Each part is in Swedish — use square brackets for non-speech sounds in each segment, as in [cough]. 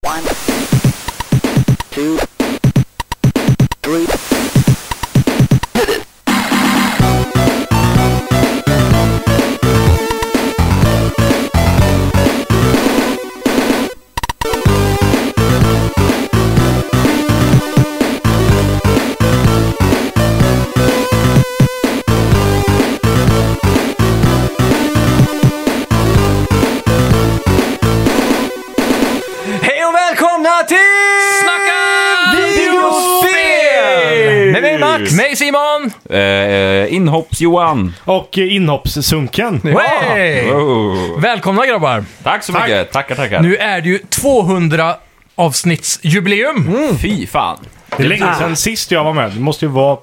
One, two, three. Hej och välkomna till Snacka videospel! Med mig Max! Mig Simon! Eh, inhopps-Johan. Och eh, inhoppssunken. Hey! Oh. Välkomna grabbar! Tack så mycket. Tackar, tackar. Nu är det ju 200 avsnittsjubileum. Mm. Fy fan. Det är länge sedan sist jag var med. Det måste ju vara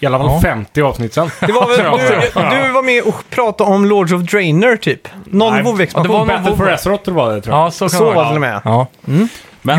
i alla fall 50 avsnitt sedan. Det var väl, [laughs] du, du var med och pratade om Lords of Draenor typ. Någon Det WoW-expansion. var någon Battle WoW. for Azeroth det var det tror jag. Ja, så kan Så var det det vara. till och med. Ja. Men Johan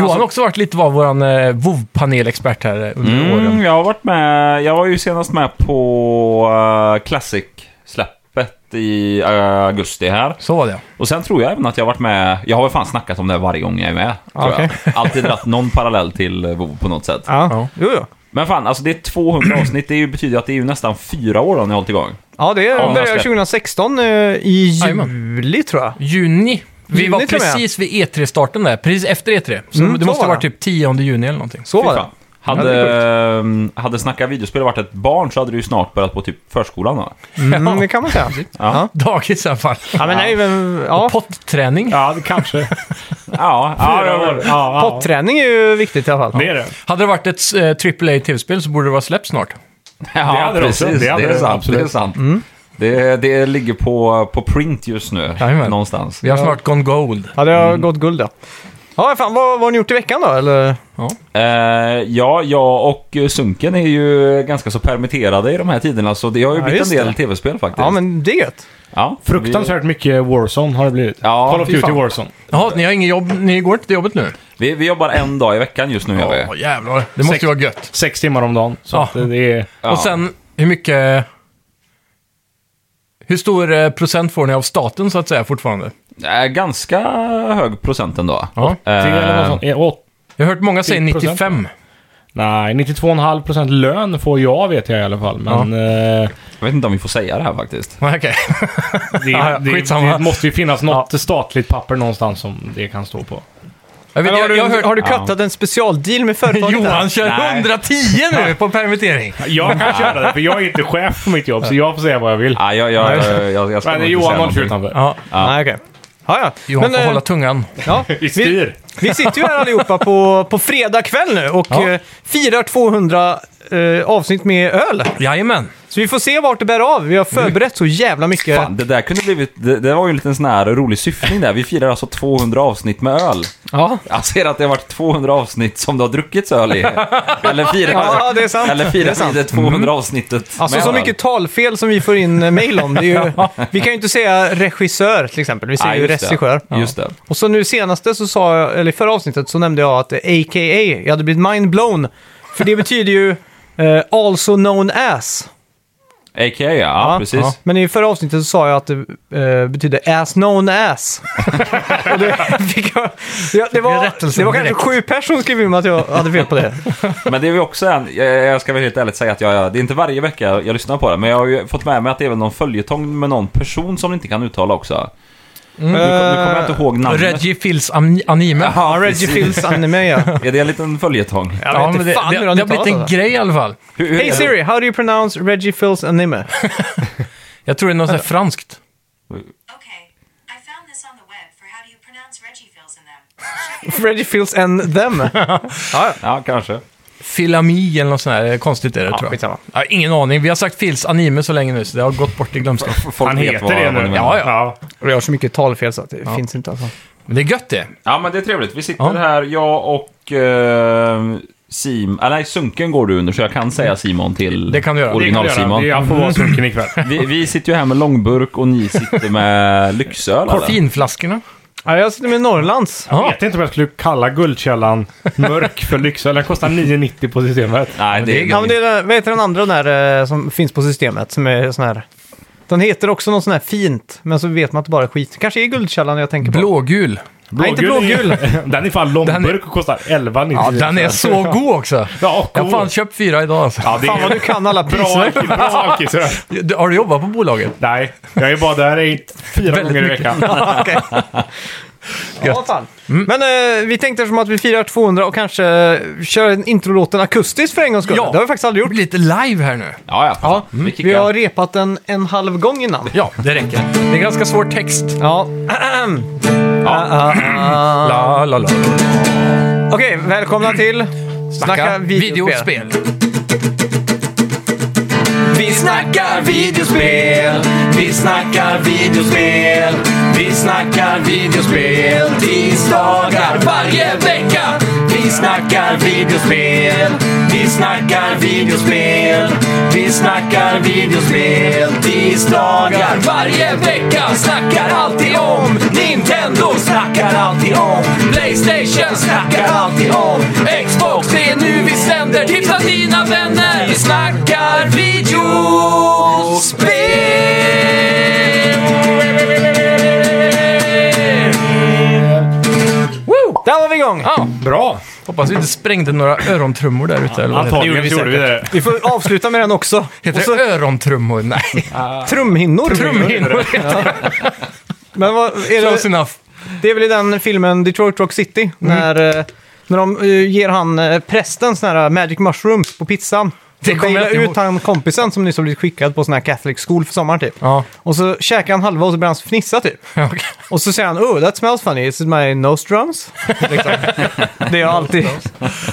har alltså- också varit lite var vår eh, WoW-panelexpert här eh, under åren. mm, jag har varit med. Jag var ju senast med på eh, Classic-släppet i eh, augusti här. Så var det. Och sen tror jag även att jag har varit med. Jag har väl fan snackat om det här varje gång jag är med. Tror Okej. jag. [laughs] Alltid dragit någon parallell till eh, WoW på något sätt. Ja, Ja. jo, jo. Men fan, alltså det är 200 avsnitt. Det är ju- betyder att det är ju nästan fyra år om jag har hållit igång. ja det Ja, började ska- 2016 eh, i Jajamän. juli tror jag. Juni. Vi Juni var till och med. precis vid E3-starten där, precis efter E3. Så Mm, det så måste ha var varit typ 10 juni eller någonting. [laughs] Så Fy var det. fan. Hade, Ja, det ehm, hade Snacka videospel varit ett barn så hade du ju snart börjat på typ förskolan va? Mm, det kan man säga. Ja. Dagis i alla fall. Ja, men nej, men, ja. Potträning. Ja, det kanske. Ja, Fyra år. Ja, ja. Potträning är ju viktigt i alla fall. Det är det. Hade det varit ett eh, AAA-tv-spel så borde det vara släppt snart. Ja, hade det också. precis. Det, Det hade är det, sant. absolut. Det är sant. Det, det ligger på, på print just nu. Jajamän. Någonstans. Vi har snart gone gold. Ja, det har gått guld ja. Ja, fan, vad, vad har ni gjort i veckan då? Eller? Eh, ja, jag och Sunken är ju ganska så permitterade i de här tiderna. Så det har ju Ja, blivit en just del det. tv-spel faktiskt. Ja, men det är gött. Ja, vi- Fruktansvärt mycket Warzone har det blivit. Ja, Call of fy Duty fan. Warzone. Jaha, ni har ingen jobb, ni går inte till jobbet nu? Vi, vi jobbar en dag i veckan just nu. gör vi. Ja, jävlar. Det måste Sex- ju vara gött. Sex timmar om dagen. Så Ja. att det är... Ja. Och sen, hur mycket... Hur stor eh, procent får ni av staten så att säga fortfarande? Eh, ganska hög procent ändå. Ja. Eh, Tre eller något sånt. Eh, åt- Jag har hört många säga 10%. 95. Nej, 92,5 procent lön får jag vet jag i alla fall. Men eh, jag vet inte om vi får säga det här faktiskt. Nej, [laughs] Okej. det, Ja, ja, det, skitsamma. det måste ju finnas något statligt papper någonstans som det kan stå på. Jag vet, Men har, jag, du, jag har har hört... du cuttat en specialdeal med företaget? [laughs] Johan där? kör Nej. 110 nu på permittering. Jag kan köra det, för jag är inte chef på mitt jobb, så jag får säga vad jag vill. Ah, jag, jag, jag, jag, jag ska Men nog inte Johan säga håller sig någonting. utanför. Ja, Nej, okej. Ja, ja. Johan får eh, hålla tungan. ja, I vi, styr. vi sitter ju här allihopa på, på fredag kväll nu och Ja. eh, firar 200 eh, avsnitt med öl. Jajamän. Så vi får se vart det bär av. Vi har förberett så jävla mycket. Fan, det där kunde blivit... Det, det var ju en liten sån här rolig syftning där. Vi firar alltså 200 avsnitt med öl. Ja. Jag ser att det har varit 200 avsnitt som det har druckits öl [laughs] i. Eller firar, ja, det är sant. eller det är firar sant. vi det 200 avsnittet Alltså med så öl. mycket talfel som vi får in eh, mail om. Det är ju, vi kan ju inte säga regissör till exempel, vi säger Nej, ju just det. regissör. Just det. Och så nu senaste så sa jag, eller i förra avsnittet så nämnde jag att eh, AKA, jag hade blivit mind blown. För det betyder ju eh, also known as. A.k.a. ja, ja precis. ja. Men i förra avsnittet så sa jag att det eh, betyder as [laughs] known as. Och det, fick jag, det, det en var, rättelse det var kanske direkt. sju personer som skrev in att jag hade fel på det. Men det är ju också en... Jag, jag ska väl helt ärligt säga att jag, det är inte varje vecka jag lyssnar på det. Men jag har ju fått med mig att det är väl någon följetong med någon person som ni inte kan uttala också. Mm. Nu, kom- nu kommer jag inte ihåg namnet. Reggie Fils am- anime. [laughs] Ja, Reggie precis. Fils anime ja. [laughs] Är det en liten följetong? Jag vet inte det, fan det, hur det han har blivit en uttalar det. grej i alla fall. Hur- hur Hey är det? Siri, how do you pronounce Reggie Fils anime? [laughs] Jag tror det är något sånt här franskt. Okay, I found this on the web for how do you pronounce Reggie fills in them. [laughs] Reggie Fils and [laughs] them. Ja, kanske. Filami eller något sånt här eh, konstigt är det tror jag. skitsamma. Ja, ingen aning. Vi har sagt Fils anime så länge nu så det har gått bort [laughs] i glömskan. Folk Han vet heter vad- det vad ni nu. menar. Ja, ja. Och jag har så mycket talfel så att det finns inte alltså. Men det är gött det. Ja, men det är trevligt. Vi sitter Ja. här, jag och eh, Sim... ah, nej, Sunken går du under, så jag kan säga Simon till Det kan du göra. Det kan jag göra. original-Simon. Det- Jag får vara sunken ikväll. [laughs] Vi, vi sitter ju här med långburk och ni sitter med lyxöl, eller? Finflaskorna. Ja, jag sitter med Norrlands. Jag Ja. vet inte om jag skulle kalla Guldkällan mörk för lyxöl. Den kostar 9,90 på systemet. Nej, det är Ja, men det... det är, den- vad heter den andra där eh, som finns på systemet som är sån här... Den heter också något sån här fint, men så vet man att det bara är skit. Kanske är Guldkällan jag tänker på. Blågul. Nej, inte blågul. [laughs] den är fan långburk och kostar 11,99. Ja, den är så god också. [laughs] Ja, Jag cool. har fan köpt fyra idag alltså. ja, det Fan vad är du [laughs] kan alla bra, priser. bra alkisar. Du- Har du jobbat på bolaget? Nej, jag är bara där i fyra Väldigt gånger i mycket. veckan. Okej. Ja, fan. Mm. Men eh, vi tänkte som att vi firar 200 och kanske eh, kör en introlåten akustiskt för en gångs skull. Ja. Det har vi faktiskt aldrig Det gjort. blir lite live här nu. Ja, ja. Ja, Mm. vi har repat den en halv gång innan. Ja, det räcker. Det är ganska svår text. Ja. Ah. La, la, la. [clears throat] Okej, välkomna till Snacka videospel. Vi snackar videospel, vi snackar videospel, vi snackar videospel tisdagar varje vecka. Vi snackar videospel, vi snackar videospel, vi snackar videospel tisdagar varje vecka. Snackar alltid om Nintendo, snackar alltid om Playstation, snackar alltid om Xbox. Det är nu vi sänder, tipsa dina vänner. Vi snackar videospel! Woo! Där var vi igång! Ja, Bra! hoppas vi inte sprängde några örontrummor där ute. Eller vad det Antagligen så gjorde vi det. Vi får avsluta med den också. [laughs] heter. Heter det örontrummor? [laughs] Nej, Trumhinnor. trumhinnor. Men vad, är det, Close enough. Det är väl i den filmen Detroit Rock City, Mm. när, eh, när de eh, ger han eh, prästen såna här magic mushrooms på pizzan. Det Det kommer jag kommer inte ut ihåg. han kompisen som nyss har blivit skickad på sån här Catholic school för sommaren typ. Ja. Och så käkar han halva och så börjar han fnissa typ. [laughs] Okej. Och så säger han oh that smells funny, is it my nostrums? [laughs] liksom. Det har [laughs] alltid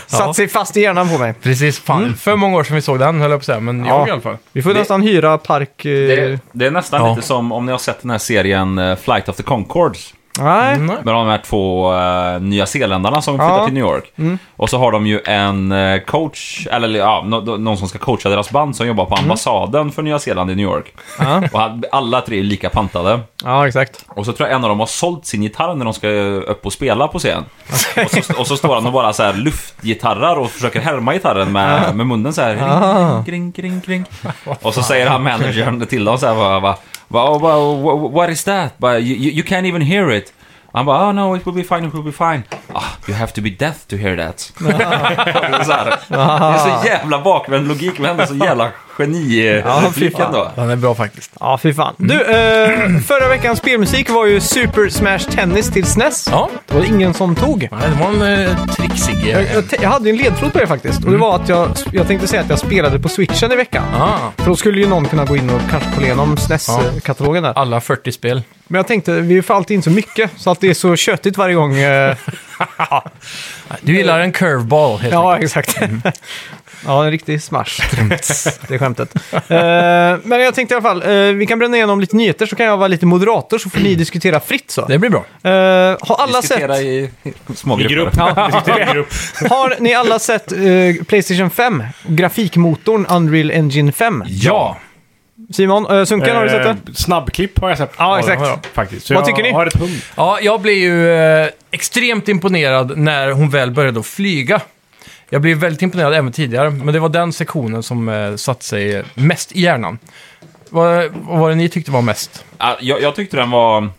satt sig fast i hjärnan på mig. Precis, fan. För många år sedan vi såg den, höll jag på att säga. Men jag Ja. i alla fall. Vi får nästan hyra park... eh, Det, det är nästan Ja. lite som om ni har sett den här serien eh, Flight of the Conchords. Nej. Med de här två uh, nya zeländarna som flyttar till New York. Och så har de ju en eh, coach, eller ja, nå- nå- någon som ska coacha deras band som jobbar på ambassaden för Nya Zeeland i New York. Ja. Och han- alla tre är lika pantade. Ja, exakt. Och så tror jag en av dem har sålt sin gitarr när de ska upp och spela på scen. Och, så, och så står han och bara så här luftgitarrar och försöker härma gitarren med, med munnen så här. Kring, kring, kring, kring. Och så säger han managern till dem så här bara, bara, bara, "Oh, bara, wha- What is that? Bara, you, you you can't even hear it. Han bara, oh no, it will be fine, it will be fine. Ah, you have to be deaf to hear that. [laughs] så här, det är så jävla bakvänd logik, men ändå så jävla Ja, fy geni-repliken fan. då. Den är bra faktiskt. Ja, fy fan. Du, Mm. eh, förra veckans spelmusik var ju Super Smash Tennis till SNES. Ja, Det var ingen som tog. Nej, det var en eh, trixig... Jag, jag, te- jag hade ju en ledtråd på det faktiskt. Och Mm. det var att jag, jag tänkte säga att jag spelade på switchen i veckan. Ah, För då skulle ju någon kunna gå in och kanske kolla igenom SNES-katalogen där. alla 40 spel. Men jag tänkte, vi får alltid in så mycket så att det är så köttigt varje gång. eh, Du gillar en curveball, helt ja, exakt. [laughs] ja, en riktig smash. [laughs] det är skämtet. Eh, men jag tänkte i alla fall, eh, vi kan bränna igenom lite nyheter så kan jag vara lite moderator så får ni diskutera fritt så. Det blir bra. Eh, har alla sett... Diskutera i små I grupper. grupp. I grupp. [laughs] Har ni alla sett eh, Playstation 5? Grafikmotorn Unreal Engine 5? Ja. Simon, eh, Sunken, har du sett det? Eh, Snabbklipp har jag sett. Ja, exakt. det har jag Faktiskt. Så Vad jag tycker ni? Har ett hum. Ja, jag blev ju eh, extremt imponerad när hon väl började att flyga. Jag blev väldigt imponerad även tidigare, men det var den sektionen som eh, satte sig mest i hjärnan. Vad, vad var det ni tyckte var mest? Ja, jag, jag tyckte den var...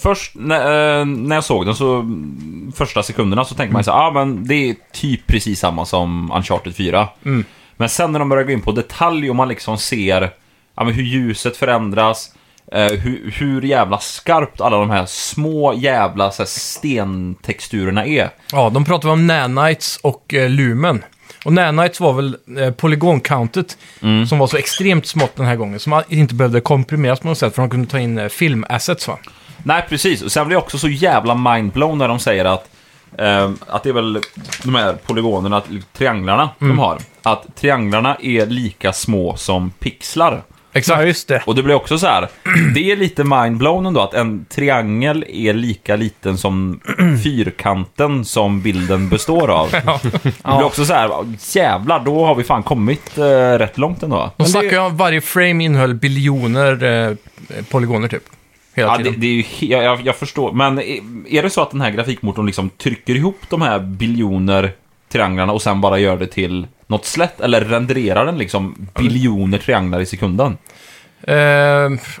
Först när, eh, när jag såg den så, mm, första sekunderna så tänkte man så här, ah, men det är typ precis samma som Uncharted 4. Men sen när de börjar gå in på detalj och man liksom ser ja, men hur ljuset förändras, eh, hur, hur jävla skarpt alla de här små jävla så här, stentexturerna är. Ja, de pratade om nanites och eh, lumen. Och nanites var väl eh, polygoncountet som var så extremt smått den här gången, som inte behövde komprimeras på något sätt, för de kunde ta in eh, filmassets va? Nej, precis. Och sen blir jag också så jävla mindblown när de säger att ehm, att det är väl de här polygonerna, liksom trianglarna de har. Att trianglarna är lika små som pixlar. Exakt. just det. Och det blir också så här, [clears throat] det är lite mindblown ändå att en triangel är lika liten som [clears throat] fyrkanten som bilden består av. Det blir också så här, jävlar, då har vi fan kommit eh, rätt långt ändå. De snackar ju om varje frame innehöll biljoner eh, polygoner typ. Hela Ja, det, tiden. det är ju, he- jag, jag, jag förstår, men är, är det så att den här grafikmotorn liksom trycker ihop de här biljoner trianglarna och sen bara gör det till något slätt? Eller renderar den liksom biljoner trianglar i sekunden? Eh,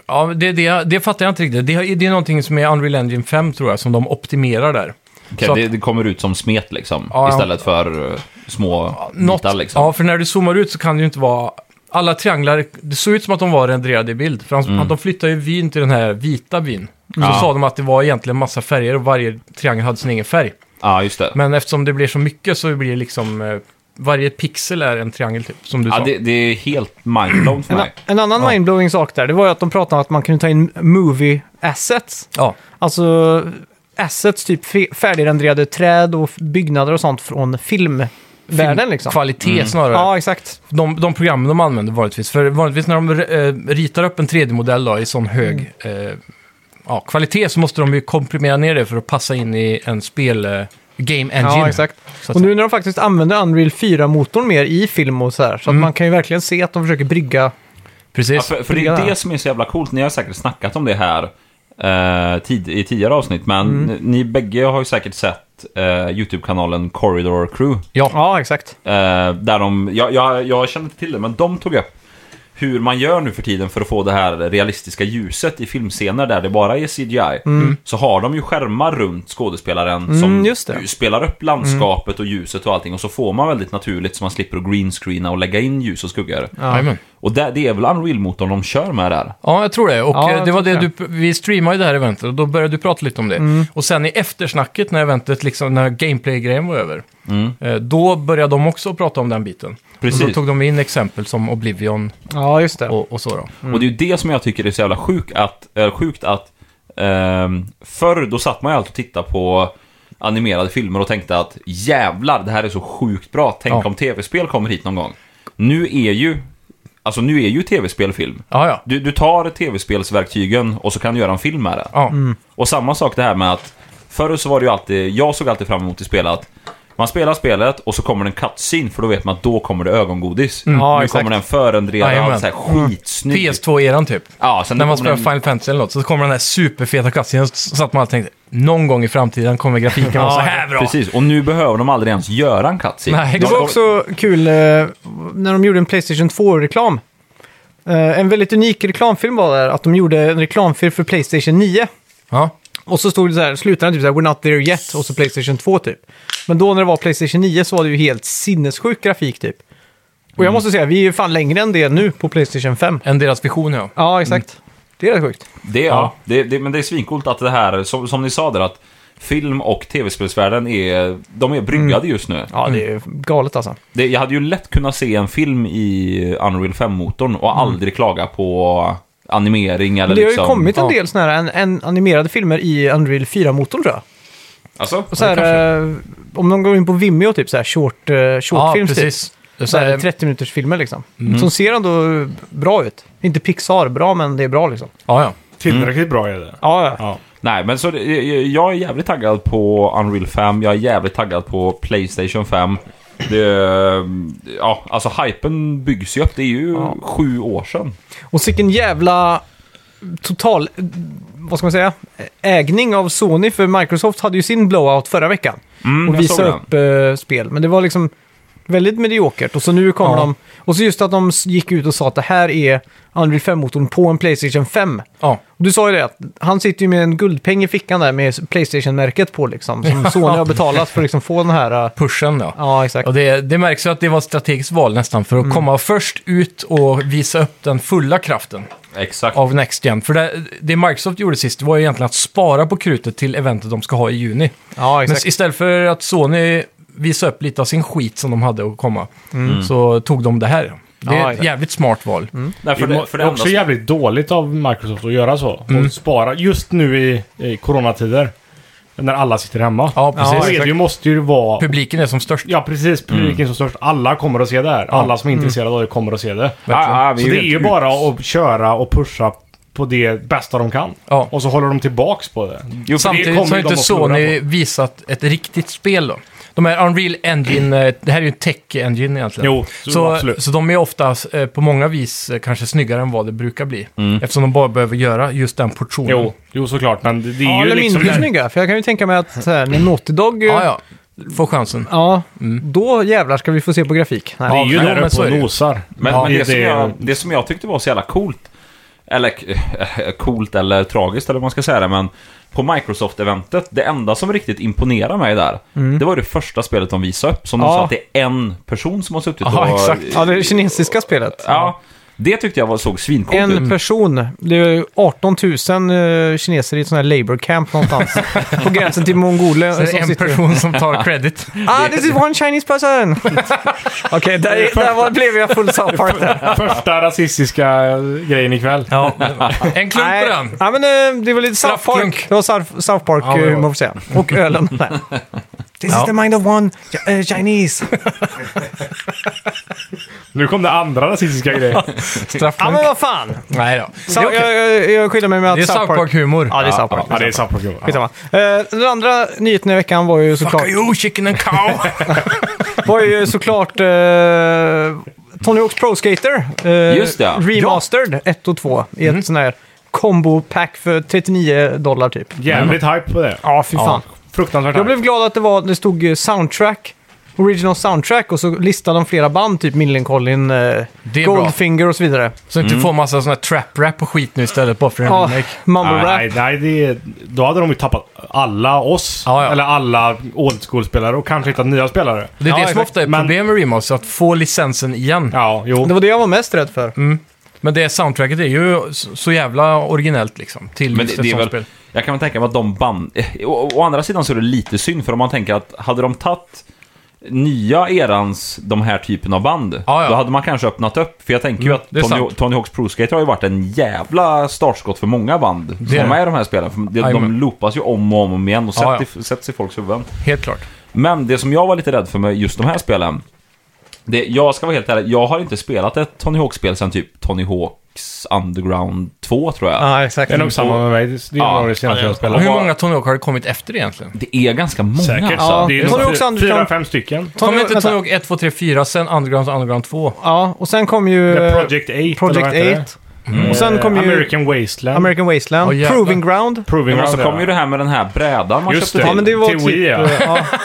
ja, det, det, det fattar jag inte riktigt. Det, det är någonting som är Unreal Engine 5 tror jag, som de optimerar där. Okej, Så att- det, det kommer ut som smet liksom, Ja, ja. istället för eh, små Något, bitar liksom. Ja, för när du zoomar ut så kan det ju inte vara... Alla trianglar, det såg ut som att de var renderade i bild. För han, han- de flyttade ju vyn till den här vita vyn. Så Mm. Ja. sa de att det var egentligen massa färger och varje triangel hade sin egen färg. Ja, just det. Men eftersom det blir så mycket så blir det liksom... Eh, varje pixel är en triangel typ, som du Ja, sa. det, det är helt mindblown för mig. En annan mindblowing sak där, det var ju att de pratade om att man kunde ta in movie assets. Ja. Alltså assets, typ fe- färdigrenderade träd och f- byggnader och sånt från filmvärlden liksom. Kvalitet Mm. snarare. Ja, exakt. De, de programmen de använder vanligtvis. För vanligtvis när de eh, ritar upp en 3D-modell då, i sån hög Mm. eh, ja, kvalitet så måste de ju komprimera ner det för att passa in i en spel... Eh, game engine. Ja, exakt. Så att Och nu när de faktiskt använder Unreal 4-motorn mer i film och så här, Mm. så att man kan ju verkligen se att de försöker brygga Precis. Ja, för, för det Brygga är där. det som är så jävla coolt. Ni har säkert snackat om det här eh, tid, i tidigare avsnitt, men Mm. ni, ni bägge har ju säkert sett eh, YouTube-kanalen Corridor Crew. Ja, exakt. Eh, där de, jag, jag, jag känner inte till det, men de tog upp hur man gör nu för tiden för att få det här realistiska ljuset i filmscener där det bara är CGI. Så har de ju skärmar runt skådespelaren som Mm. just det. spelar upp landskapet och ljuset och allting. Och så får man väldigt naturligt så man slipper att greenscreena och lägga in ljus och skuggor. Jajamän. Och det, det är väl Unreal-motorn de kör med där? Ja, jag tror det. Och Ja, eh, jag det var tror det det. Mm. du, vi streamade ju det här eventet och då började du prata lite om det. Och sen i eftersnacket när eventet, liksom, när gameplay-grejen var över, eh, då började de också prata om den biten. Och då Mm. Precis. tog de in exempel som Oblivion Ja, just det. och, och så då. Mm. Och det är ju det som jag tycker är så jävla sjuk att, eh, sjukt att ehm, förr då satt man ju alltid och tittade på animerade filmer och tänkte att jävlar, det här är så sjukt bra. Tänk Ja. om tv-spel kommer hit någon gång. Nu är ju, alltså nu är ju tv-spel film. Ja, ja. Du, du tar tv-spelsverktygen och så kan du göra en film med det. Ja, Mm. Och samma sak det här med att förr så var det ju alltid, jag såg alltid fram emot i spel att man spelar spelet och så kommer det en cutscene för då vet man att då kommer det ögongodis. Ja, nu exakt. kommer den förrenderad, Jajamän. alltså, så här skitsnygg. PS2-eran typ. Ja, sen När det man kommer spelar en- Final Fantasy eller något så kommer den här superfeta cutscenen så satt man alltid och tänkte någon gång i framtiden kommer grafiken vara så här bra. Precis, och nu behöver de aldrig ens göra en cutscene. Nej, De- Det var de- också kul eh, när de gjorde en Playstation 2-reklam. Eh, en väldigt unik reklamfilm var där, att de gjorde en reklamfilm för Playstation 9. Ja. Och så stod det så här, slutade typ så här, We're not there yet, och så Playstation 2 typ. Men då när det var Playstation 9 så var det ju helt sinnessjuk grafik typ. Och jag måste säga, vi är ju fan längre än det nu på Playstation 5. En deras vision ja. Ja, exakt. Det är rätt sjukt. Det, ja. det, det, men det är svincoolt att det här, som, som ni sa där, att film och tv-spelsvärlden är, de är bryggade just nu. Ja, det är galet alltså. Det, jag hade ju lätt kunnat se en film i Unreal 5-motorn och aldrig klaga på animering eller Men det har ju liksom... kommit en Ja. del sådana här en, en animerade filmer i Unreal 4-motorn tror jag. Alltså? Och så här, eh, om de går in på Vimeo, typ så här short, eh, short Ja, films, typ. precis. Eh, Det är Så här, här- 30 minuters filmer liksom. Som ser ändå eh, bra ut. Inte Pixar-bra, men det är bra liksom. Ja, ja. Tillräckligt bra är det. Ja, ja. Nej, men så det- jag är jävligt taggad på Unreal 5, jag är jävligt taggad på Playstation 5. Det, ja, alltså hypen byggs ju upp, det är ju sju år sedan. Och sicken jävla total, eh, vad ska man säga, ägning av Sony. För Microsoft hade ju sin blowout förra veckan. Mm, och jag såg visade den. upp eh, spel. Men det var liksom väldigt mediokert. Och så nu kommer Ja. de... Och så just att de s- gick ut och sa att det här är Unreal 5-motorn på en Playstation 5. ja. Och Du sa ju det, att han sitter ju med en guldpeng i fickan där med Playstation-märket på liksom. Som Sony har betalat för att liksom få den här... eh, Pushen ja. Ja, exakt. Och det, det märks ju att det var ett strategiskt val nästan för att Mm. komma först ut och visa upp den fulla kraften Exakt. av Next Gen. För det, det Microsoft gjorde sist var ju egentligen att spara på krutet till eventet de ska ha i juni. Ja, Men exakt. istället för att Sony visade upp lite av sin skit som de hade att komma så tog de det här. Det är Mm. Ja, ett exakt. Mm. jävligt smart val. Nej, för det, det, för det är enda också jävligt dåligt av Microsoft att göra så. Mm. Och spara just nu i, i coronatider. När alla sitter hemma. Ja, precis. Då är det ju, måste ju vara... Publiken är som störst. Ja, precis. Mm. Publiken som störst. Alla kommer att se det här. Alla som är intresserade av det kommer att se det. Ja, ja, vi Så det är helt ju ut. bara att köra och pusha på det bästa de kan. Ja. Och så håller de tillbaks på det. Jo, för det- kommer Samtidigt så har ju de inte att förlora Sony visat ett riktigt spel då. De här Unreal Engine, eh, det här är ju en tech-engine egentligen. Jo, så- så, absolut. så de är ofta eh, på många vis eh, kanske snyggare än vad det brukar bli. Eftersom de bara behöver göra just den portionen. Mm. Jo, jo, såklart. Men det, det är Ja, ju eller liksom... mindre där- snygga. För jag kan ju tänka mig att så här, när Naughty Dog... eh, Ja, ja. Få chansen. ja, Mm. Då jävlar ska vi få se på grafik. Nej. Det är ju Ja, där men så uppe är och det ju. nosar. Men, Ja, men det, som är- jag, det som jag tyckte var så jävla coolt Eller eh, coolt eller tragiskt eller vad man ska säga det, men på Microsoft-eventet, det enda som riktigt imponerade mig där, det var det första spelet de visade upp, som de Ja. sa att det är en person som har suttit Ja, och... exakt. Ja, det kinesiska spelet. Ja, det tyckte jag var, såg svincoolt ut. Mm. En person. Det är ju 18 000 eh, kineser i ett sånt här labor camp [laughs] någonstans. på gränsen till Mongolia. Så det är en person som tar credit. Ah, this is one Chinese person! [laughs] Okej, där, där var, blev jag full South Park [laughs] där. [laughs] Första rasistiska grejen ikväll. Ja. En klump på Nej, den. ja, men, eh, det var lite South Park. Straffklunk. Det var South, South Ja, det var- Park-humor, får jag säga. Och [laughs] ölen. Nej. This Ja. is the mind of one eh, Chinese. Nu kom det andra rasistiska grejen. Ja, Straffklunk. men vad fan! Nej då. Sa- jag, jag, jag skyddar mig med att Det är South Park-humor. Ja, det är South Park. Ja, det är South Park. Ja. Skitsamma. Eh, den andra nyheten i veckan var ju såklart... Fuck you, chicken and cow! var ju såklart eh, Tony Hawk's Pro Skater. eh, Just det, ja. Remastered 1 och 2 i ett Mm. sån här combo pack för 39 dollar typ. Jävligt hype på det. Ja, fy fan. Fruktansvärt Jag hype. blev glad att det, var, det stod eh, soundtrack. Original soundtrack och så listade de flera band, typ Millencolin, eh, Det är bra. Goldfinger och så vidare. [laughs] Så Mm. inte får massa sån här trap-rap och skit nu istället bara för en Ja, remake. mumble Nej, rap. nej, nej det, då hade de ju tappat alla oss. Ja, ja. Eller alla old school-spelare och kanske hittat nya spelare. Det är ja, det som exakt. ofta är Men- problem med remasters, att få licensen igen. Ja, jo. Det var det jag var mest rädd för. Mm. Men det soundtracket är ju så så jävla originellt liksom, till Men just det, ett det är sånt väl, spel. jag kan väl tänka mig att de band... eh, Å, å andra sidan så är det lite synd, för om man tänker att hade de tagit nya erans de här typen av band, Ja, ja. då hade man kanske öppnat upp. För jag tänker ju det är att Tony, sant. Tony Hawks Pro Skater har ju varit en jävla startskott för många band är som är det. med i de här spelen. För de, Jajamän. de loopas ju om och om och igen och sätts, Ja, I, sätts i folks huvuden. Helt klart. Men det som jag var lite rädd för med just de här spelen, det, jag ska vara helt ärlig, jag har inte spelat ett Tony Hawk-spel sedan typ Tony Hawks Underground 2 tror jag. Ja, ah, exakt. Det är nog samma med mig. Det är Ja. nog det senaste jag Och spelat. hur många Tony Hawk har det kommit efter egentligen? Det är ganska många. alltså. Säkert. Ja. Det Jag tror är också nog Anders fyra, kan- fem stycken. Kom Tony- inte vänta. Tony Hawk 1, 2, 3, 4, sen Underground och Underground 2? Ja, och sen kom ju... The eh, Project 8. eller Project vad heter det? Mm. 8. Och sen kom ju American Wasteland. American Wasteland. Åh, jävlar. Proving Ground. Proving Men Ground. så kom ju det här med den här brädan man Just köpte det. Ja, men det var Till typ... Wii, ja. eh,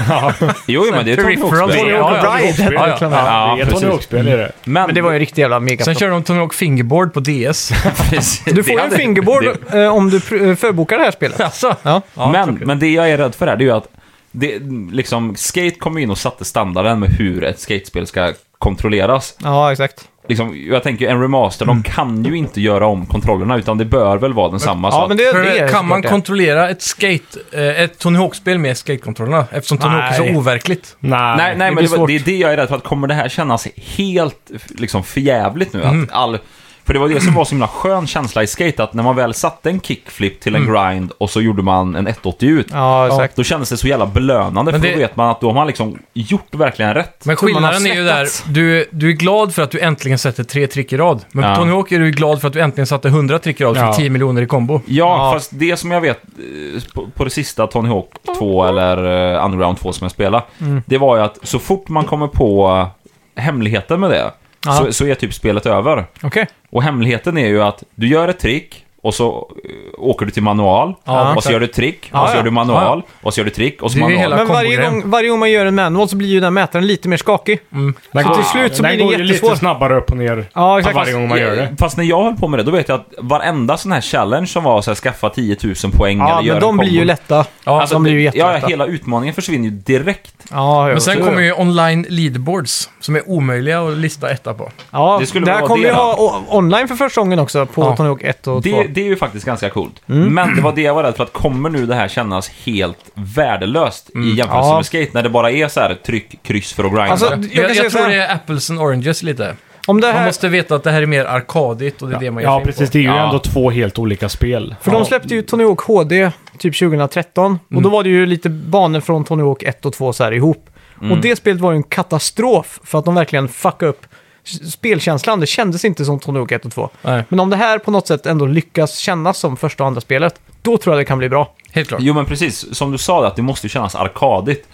ja. Jo, jo, men det är Tony Peripheral Hawk's Tony spel. Ride. Hawk. Ja, ja, Tony Hawk-spel. Ja, Det är ett Tony precis. Hawk-spel är det. Men, Men det var ju en riktig jävla mega. Sen körde de Tony Hawk Fingerboard på DS. [laughs] precis, Du får ju en hade- fingerboard det- eh, om du pr- eh, förbokar det här spelet. alltså, Ja. men, men det jag är rädd för här, det är ju att det, liksom, skate kom in och satte standarden med hur ett skatespel ska kontrolleras. ja, exakt. Liksom, jag tänker ju en remaster, Mm. de kan ju inte göra om kontrollerna, utan det bör väl vara densamma. så Ja, att- men det, för det är kan man såklart det. kontrollera ett, skate, eh, ett Tony Hawk-spel med skatekontrollerna? Eftersom Tony Hawk är Nej. så overkligt. Nej, Nej, nej det men blir det, var- svårt. det är det jag är rädd för. Att kommer det här kännas helt liksom, förjävligt nu? Att all, för det var det som var så himla skön känsla i skate, att när man väl satte en kickflip till en grind och så gjorde man en 180 ut, Ja, exakt. då kändes det så jävla belönande, Men för det- då vet man att då har man liksom gjort verkligen rätt. Men Så man har skillnaden är ju där, svettats. du, du är glad för att du äntligen sätter tre trick i rad. Men Ja. på Tony Hawk är du ju glad för att du äntligen satte 100 trick i rad för Ja. 10 miljoner i kombo. Ja, Ja. fast det som jag vet eh, på, på det sista Tony Hawk 2 eller eh, Underground 2 som jag spelade, det var ju att så fort man kommer på eh, hemligheten med det, Ja. så, så är typ spelet över. Okej. Och hemligheten är ju att du gör ett trick och så eh, åker du till manual. och så exakt. gör du ett trick, Ja, och så ja. gör du manual, och så gör du trick, och så Det är ju manual. hela- Men varje kombogrejen. gång, varje gång man gör en manual så blir ju den mätaren lite mer skakig. Den Så går- till slut så den blir det går ju jättesvår. lite snabbare upp och ner Ja, exakt. varje gång man gör det. Fast när jag höll på med det, då vet jag att varenda sån här challenge som var så här, skaffa 10 000 poäng Ja, eller göra men en de blir combo. ju lätta. Ja, de blir ju ja, jättelätta. hela utmaningen försvinner ju direkt. Ja, Men sen kommer ju... ju online leaderboards som är omöjliga att lista etta på. Ja, det skulle det här vara kommer det ju då. ha o- online för första gången också på Ja. Tony Hawk 1 och Mm. 2. Det, det är ju faktiskt ganska coolt. Men det var det jag var rädd för, att kommer nu det här kännas helt värdelöst i jämförelse Mm. Ja. med skate, när det bara är så här tryck, kryss för att grinda. Alltså, jag, Jag, kan jag, säga så tror här. det är apples and oranges lite. Om det Man här... måste veta att det här är mer arkadigt och det är det man ger sig Ja, in precis. på. Det är ju Ja. ändå två helt olika spel. För de släppte ju Tony Hawk HD typ 2013. Mm. Och då var det ju lite banor från Tony Hawk 1 och 2 så här ihop. Och Mm. det spelet var ju en katastrof för att de verkligen fuckade upp s- spelkänslan. Det kändes inte som Tony Hawk 1 och 2. Nej, Men om det här på något sätt ändå lyckas kännas som första och andra spelet, då tror jag det kan bli bra. helt klart. Jo men precis, som du sa, att det måste ju kännas arkadigt.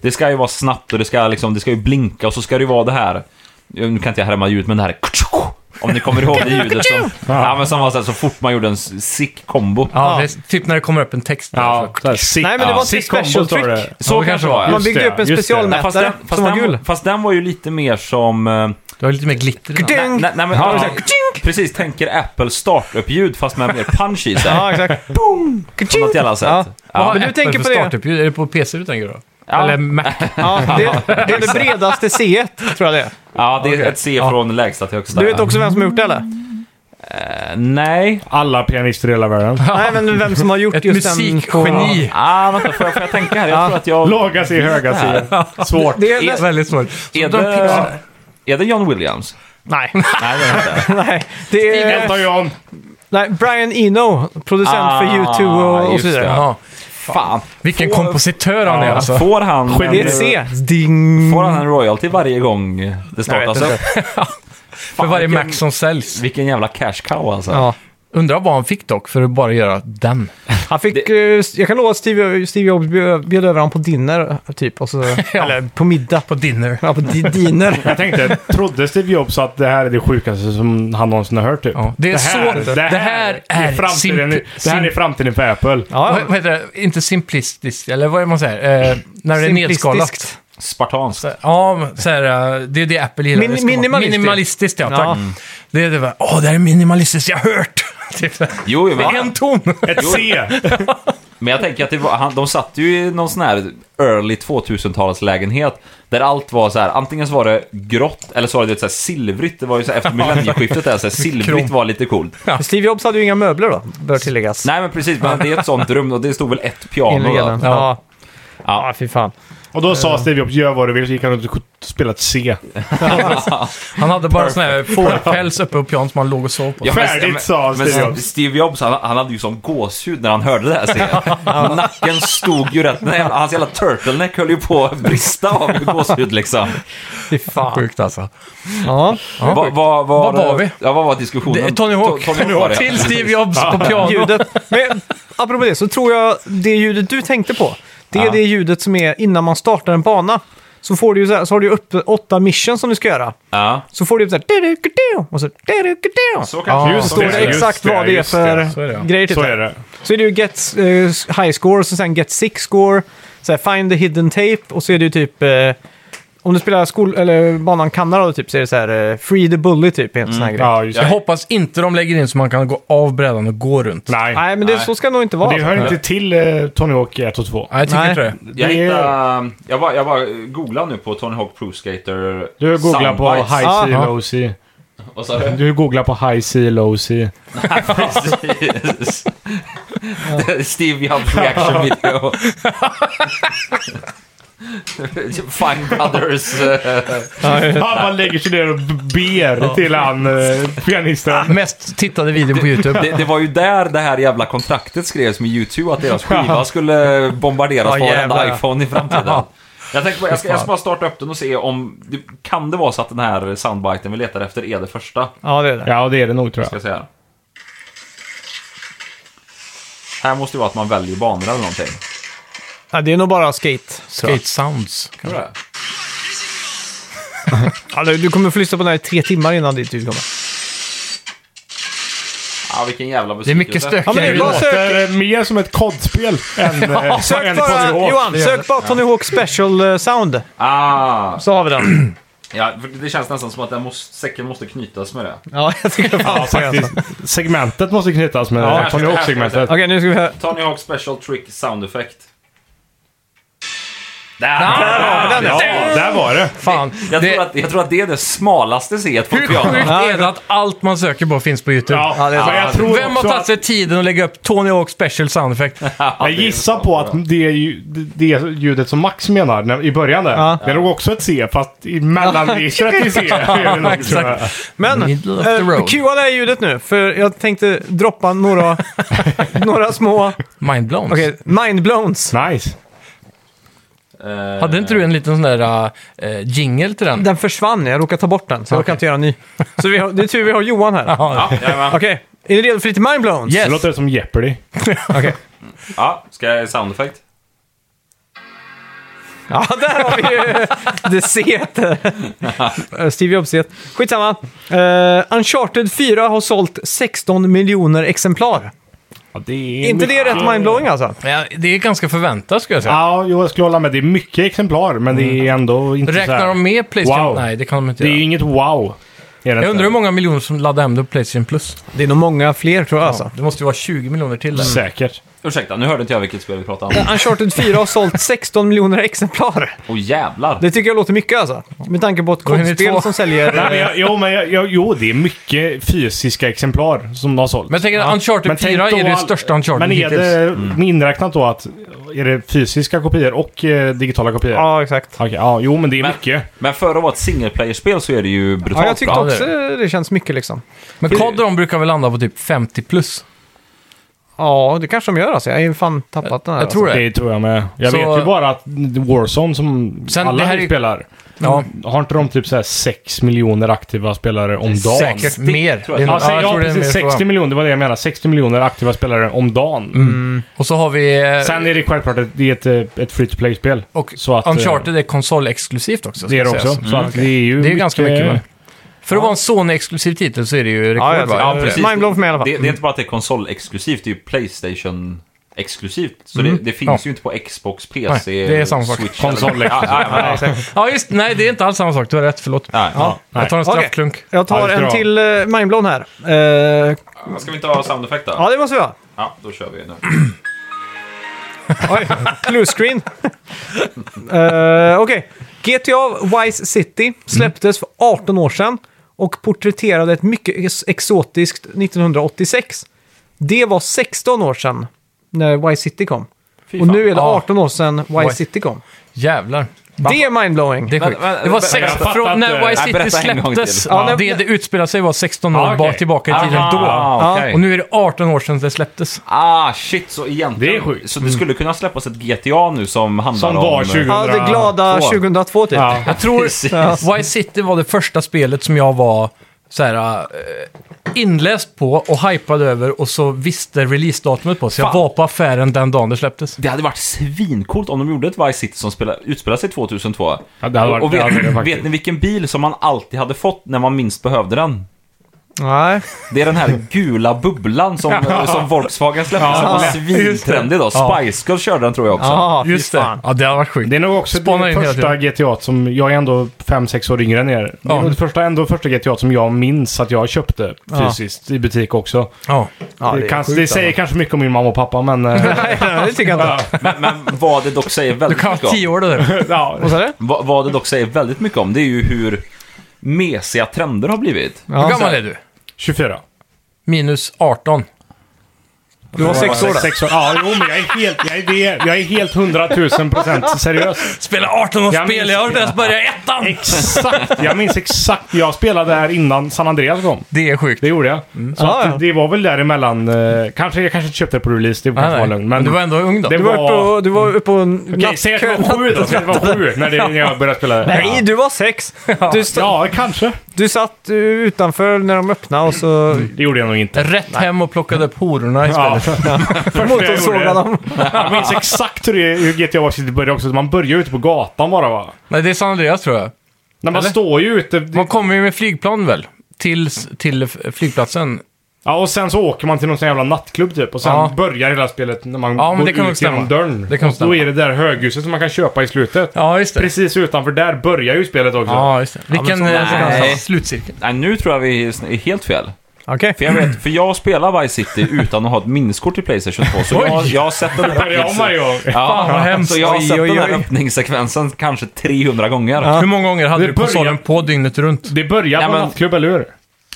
Det ska ju vara snabbt och det ska, liksom, det ska ju blinka och så ska det ju vara det här, nu kan inte jag härma ljud, men det här Om ni kommer ihåg det ljudet som... Ja, men som var så, här, så fort man gjorde en sick combo. Ja, det är typ när det kommer upp en text. där, så- så här, sick- Nej, men det var inte sick special combo, står det. trick. Så Ja, det kanske det var, ja. Man byggde det, upp en just det. Ja, Fast den, specialmätare fast, som var gul. den, fast den var ju lite mer som... eh, Du har lite mer glitter i den. Ding! Nej, nej, men, Ja. ja, precis, tänker Apple startup-ljud fast med mer punch i sig. [laughs] Ja, exakt. Boom! På något jävla sätt. Ja. Vad har men du Apple tänker för på det. typ. startup-ljud? Är det på PC du tänker då? Ja. [laughs] Eller Mac? Ja, [laughs] det, det är det bredaste C1, tror jag det är. Ja, det är ett C från lägsta till högsta. Du vet också vem som har gjort det eller? Eh, Nej. Alla pianister i hela världen. Nej, men vem som har gjort Ett just den... musikgeni. Ah, vänta, får jag, får jag tänka här? Jag tror att jag... Låga sig, höga sig. Svårt. Det är Det är nästan... väldigt svårt. Är Så de pixlar- det, är det John Williams? Nej. Nej, det är det inte. Nej. Det är... Elton John. Nej, Brian Eno, producent Ah, för YouTube och, och just så vidare. det. Ja. Fan. Vilken Får- kompositör han är alltså. Får han... Det är ett C. Ding! Får han en royalty varje gång det startas upp? För varje vilken- Mac som säljs. Vilken jävla cash cow alltså. Ja. Undrar vad han fick dock för att bara göra den. Han fick, eh, jag kan lova att Steve, Steve Jobs bjöd, bjöd över honom på dinner, typ. Och så, Eller på middag. På dinner. Ja, på di dinner. Jag tänkte, trodde Steve Jobs att det här är det sjukaste som han någonsin har hört typ? Ja, det är så- det här är framtiden, simp- det här är simp- framtiden för Apple. Vad, Ja, vad heter det? Inte simplistiskt, eller vad är det man säger? Eh, när det är Simplistiskt. nedskalat. Spartanskt. Ja, men så här, eh, det är det Apple gillar. Min- Det ska vara minimalistiskt. minimalistiskt, ja. Tack. Ja. Det är det bara, åh, det här är minimalistiskt, jag har hört! [laughs] typ så här. Jo, jo, Det men- är en ton! Ett C! Men jag tänker att det var, han, de satt ju i någon sån här early 2000-talets lägenhet där allt var så här, antingen så var det grått eller så var det så här silvrigt. Det var ju så här, efter millennieskiftet där, så här, silvrigt var lite coolt. Steve Jobs hade ju inga möbler då, bör tilläggas. Nej men precis, men det är ett sånt rum och det stod väl ett Enligt piano ja. då. Ja. ja, fy fan. Och då sa Steve Jobs, gör vad du vill, så gick han runt och spelade ett C. Han hade bara sån här fårpäls uppe på pianon som han låg och sov på. Ja, Färdigt, sa men Steve Jobs. Steve Jobs, han, han hade ju som gåshud när han hörde det här scenen. Nacken stod ju rätt, den här jävla- hans jävla turtleneck höll ju på att brista av gåshud liksom. Fy fan. Sjukt alltså. Ja. Ja. Va, va, Var var vi? Ja, vad var diskussionen? Det- Tony Hawk. Tony Hawk var det. Till Steve Jobs på piano. Ljudet. Men apropå det så tror jag det ljudet du tänkte på, det är Ja. det ljudet som är innan man startar en bana. Så, får du, ju så, här, så har du ju upp åtta mission som du ska göra. Ja, Så får du upp så här... "Didu-ku-du", Och så... "Didu-ku-du". Så kanske Så står det exakt vad det är för Så är det, ja. grejer. Typ. Så är det. Så är det ju get eh, high score, och sen get six score, så här, find the hidden tape och så är det ju typ... Eh, om du spelar skol eller banan Kanada då, typ, så är det så här eh, free the bully typ. En sån här grej. Mm, Ja, just Jag det. hoppas inte de lägger in så man kan gå av brädan och gå runt. Nej. Nej, men det, så ska det nog inte vara. Det hör inte till eh, Tony Hawk 1 och 2. Nej, jag tycker Nej. inte det. jag Det är- hittade... Jag bara, jag bara googlade nu på Tony Hawk Pro Skater Du googlar på soundbites. high Ah, C, ja. low C. Vad sa du? Du googlar på high C, low C. Precis. Steve Jobs reaction video. Find others. eh, Han bara lägger sig ner och b- ber till han eh, pianisten. Mest tittade videon på YouTube. Det, det var ju där det här jävla kontraktet skrevs med YouTube att deras skiva skulle bombarderas Ja, på varenda jävlar. iPhone i framtiden. Jag, tänkte, bara- jag, ska, jag ska bara starta upp den och se om... det- Kan det vara så att den här soundbiten vi letar efter är det första? Ja, det är det. Ja, det är det nog tror Ska jag. jag säga. Här måste det vara att man väljer banor eller någonting. Ja, det är nog bara skate. tror jag. Skate Sounds. Mm. Ja, Alltså, du, du kommer få lyssna på den här i tre timmar innan ditt ljud kommer. Ja, vilken jävla Det är besvikelse. mycket stök. Ja, men det är Det bra. låter eh, mer som ett kodspel än, eh, än Sök Tony bara, Hawk. Johan, sök bara Tony Hawk Special eh, Sound. Ah, Så har vi den. ja, för det känns nästan som att den måste, säcken måste knytas med det. [clears throat] Ja, jag tycker fan Ja, så, alltså. faktiskt. Segmentet måste knytas med Ja. Tony Hawk-segmentet. Okej, nu ska vi höra. Tony Hawk Special Trick Sound Effect. Där! Ja, där var det. Fan. Jag, det, tror att, jag tror att det är det smalaste C-et på hur piano. sjukt är det att allt man söker på finns på YouTube? Ja, det är men jag tror Vem har också tagit sig tiden att lägga upp Tony Hawk Special Sound [laughs] Effect? Jag gissar på att det, är ju- det är ljudet som Max menar när, i början där, Ja. det är nog också ett C, fast i [laughs] mellanregistret i C. är det nog, tror jag. Men, Middle of the eh, road. cuea det här ljudet nu, för jag tänkte droppa några, [laughs] några små Mindblowns. okay, mindblowns. Nice. Eh, Hade inte du en liten sån där uh, jingle till den? [laughs] Den försvann, jag råkade ta bort den, så jag Okej. kan inte göra en ny. Så vi har, det är tur vi har Johan här. Ja, jajamän. Okej, är ni redo för lite mindblowns? Det Yes. låter som Jeopardy. ja, ska jag sound effect? Ja, där har vi ju det [laughs] set. Eh, Steve Jobs-set. Skitsamma. Eh, Uncharted 4 har sålt 16 miljoner exemplar. Ja, det är Är inte det mycket- rätt mindblowing alltså? Ja, det är ganska förväntat skulle jag säga. Ja, jo, jag skulle hålla med. Det är mycket exemplar, men det är Mm. ändå inte så här- Räknar de med Playstation? Wow. Nej, det kan de inte Det är ju göra. inget wow. Är det Jag undrar hur inte. många miljoner som laddar hem det på Playstation Plus. Det är nog många fler tror jag alltså. Det måste ju vara 20 miljoner till. Där. Säkert. Ursäkta, nu hörde inte jag vilket spel vi pratade om. Uncharted 4 har sålt 16 miljoner exemplar. Åh jävlar! Det tycker jag låter mycket alltså. Med tanke på ett hinner vi två. kodspel som säljer... Nej, men jag, jo, men jag, jag, jo, det är mycket fysiska exemplar som de har sålt. Men jag tänker att Uncharted 4 tänk är då det all- största Uncharted Men är hittills. det mm. inräknat då att... Är det fysiska kopior och eh, digitala kopior? Ja, exakt. Okej, ja, jo, men det är Men- mycket. Men för att vara ett singleplayer-spel så är det ju brutalt Ja, jag tyckte bra. också det känns mycket liksom. Men COD och de brukar väl landa på typ 50 plus. Ja, det kanske de gör alltså. Jag har ju fan tappat den här. Jag tror alltså. det. Det tror jag med. Jag Så- vet ju bara att Warzone som Sen, alla det här här är ju- spelar. Ja, Har inte de typ så här 6 miljoner aktiva spelare om dagen? säkert mer. Det tror är jag. nog- Ja, jag ja, tror det är precis. mer så. Mm. 60 miljoner, det var det jag menade. 60 miljoner aktiva spelare om dagen. Mm. Och så har vi... eh, Sen är det självklart ett, det är ett, eh, ett free to play-spel. Och så att, eh, Uncharted är konsolexklusivt också. ska Det är det sägas. också. Mm. Så att det är ju Det är ju ganska mycket. Men. För att vara en Sony-exklusiv titel så är det ju rekord. Ja, jag va? tror- ja, precis. Mindblown för mig i alla fall. Det, det är Mm. inte bara att det är konsolexklusivt, det är ju Playstation-exklusivt. Så det, det finns Mm. Ja. ju inte på Xbox, PC, Nej, det är samma sak. Switch. Konsol- Ja, ja, ja, ja. Ja, just Nej, det är inte alls samma sak. Du har rätt. Förlåt. Nej. Jag tar en Okej. straffklunk. Jag Ja, tar det ska en det till uh, mindblown här. Eh, Ska vi inte ha sound effect då? ja, det måste vi ha. Ja, då kör vi nu. Oj, blue screen. Eh, Okej. GTA Vice City släpptes för 18 år sedan och porträtterade ett mycket ex- exotiskt 1986. Det var 16 år sedan när Vice City kom. Och nu är det Ja. 18 år sedan Vice Oj. City kom. Jävlar. Det är mindblowing. Det är Men- sjukt. men- Det var men- sex... jag fattar Från inte. när Vice Nej, City berätta en gång till. släpptes. Ja, nej, Det det utspelade sig var 16 år Ja, okej. bak tillbaka i tiden då. Ah, okej. Och nu är det 18 år sedan det släpptes. Ah, shit, så egentligen. Det är sjukt. Så det skulle kunna släppas ett GTA nu som handlar Som om... eh, var 20. Ja, det glada 2002. 2002 typ. [laughs] Ja. Jag tror Precis. Vice City var det första spelet som jag var så här, eh, inläst på och hypad över och så visste releasedatumet på. Så jag Fan. var på affären den dagen det släpptes. Det hade varit svincoolt om de gjorde ett Vice City som spela, utspelade sig 2002. Ja, det hade varit- och det hade det vet, faktiskt. vet ni vilken bil som man alltid hade fått när man minst behövde den? Nej. Det är den här gula bubblan [laughs] som, eh, som Volkswagen släppte som var svintrendig då. Spice Girls körde den tror jag också. Ja, Ah, fy Just det. fan. Ja, det hade varit sjukt. Det är nog också Spana det in hela första GTA som... Jag är ändå 5-6 år yngre än er. Det är Ja. nog det första, ändå första GTA som jag minns att jag köpte fysiskt i butik också. Ja. Ja, det det är kanske- sjukt, alltså. det säger kanske mycket om min mamma och pappa, [laughs] men... eh, Nej, nej, det tycker jag inte. Men, men vad det dock säger Du väldigt kan mycket vara 10 om. år det där. ja, Vad sa du? Vad, vad det dock säger väldigt mycket om, det är ju hur mesiga trender har blivit. Hur gammal är du? 24. Minus 18. Du var sex år då. Sex år. Ja, jo, men jag är helt, jag är, det- jag är helt 100 000 procent seriös. Spela 18 och Jag spel, minns- jag har inte ens börjat ettan! Exakt! Jag minns exakt. Jag spelade här innan San Andreas kom. Det är sjukt. Det gjorde jag. Mm. Så Ja, att ja. det var väl däremellan. Eh, kanske, jag kanske inte köpte det på release. Det Nej, kanske var nej. Men lugnt. Men du var ändå ung då. det Du var uppe och, du var uppe på en Okej, säg att det var sju då. Säg att det var sju när, det, när jag började spela. Nej, du var sex! Du, st- Ja, kanske. du satt eh, utanför när de öppnade och så Det gjorde jag nog inte. Rätt hem och plockade upp hororna i Ja. spelet. motorsågade dem. Jag minns exakt hur, det, hur GTA Vice City började också. Man börjar ute på gatan bara va? Nej, det är San Andreas tror jag. När man Eller? står ju ute. det- Man kommer ju med flygplan väl? Till, till f- flygplatsen. Ja, och sen så åker man till någon sån jävla nattklubb typ. Och sen Ja. börjar hela spelet när man Ja, men går det kan nog ut genom stämma. dörren. Det kan Och stämma. Då är det där höghuset som man kan köpa i slutet. Ja, just det. Precis utanför där börjar ju spelet också. Ja, just det. Vilken men sån- eh, nej. slutcirkel. Nej, nu tror jag vi är helt fel. Okej. För jag, vet, för jag spelar Vice City utan att ha ett minneskort till Playstation 2, så jag, jag har sett den Börjar om varje gång. Fan, vad hemskt. så jag har Oj, sett oj, den här oj. öppningssekvensen kanske 300 gånger. Hur många gånger hade du Det konsolen börjar- på dygnet runt? Det börjar Nej, på men- nattklubb, eller hur?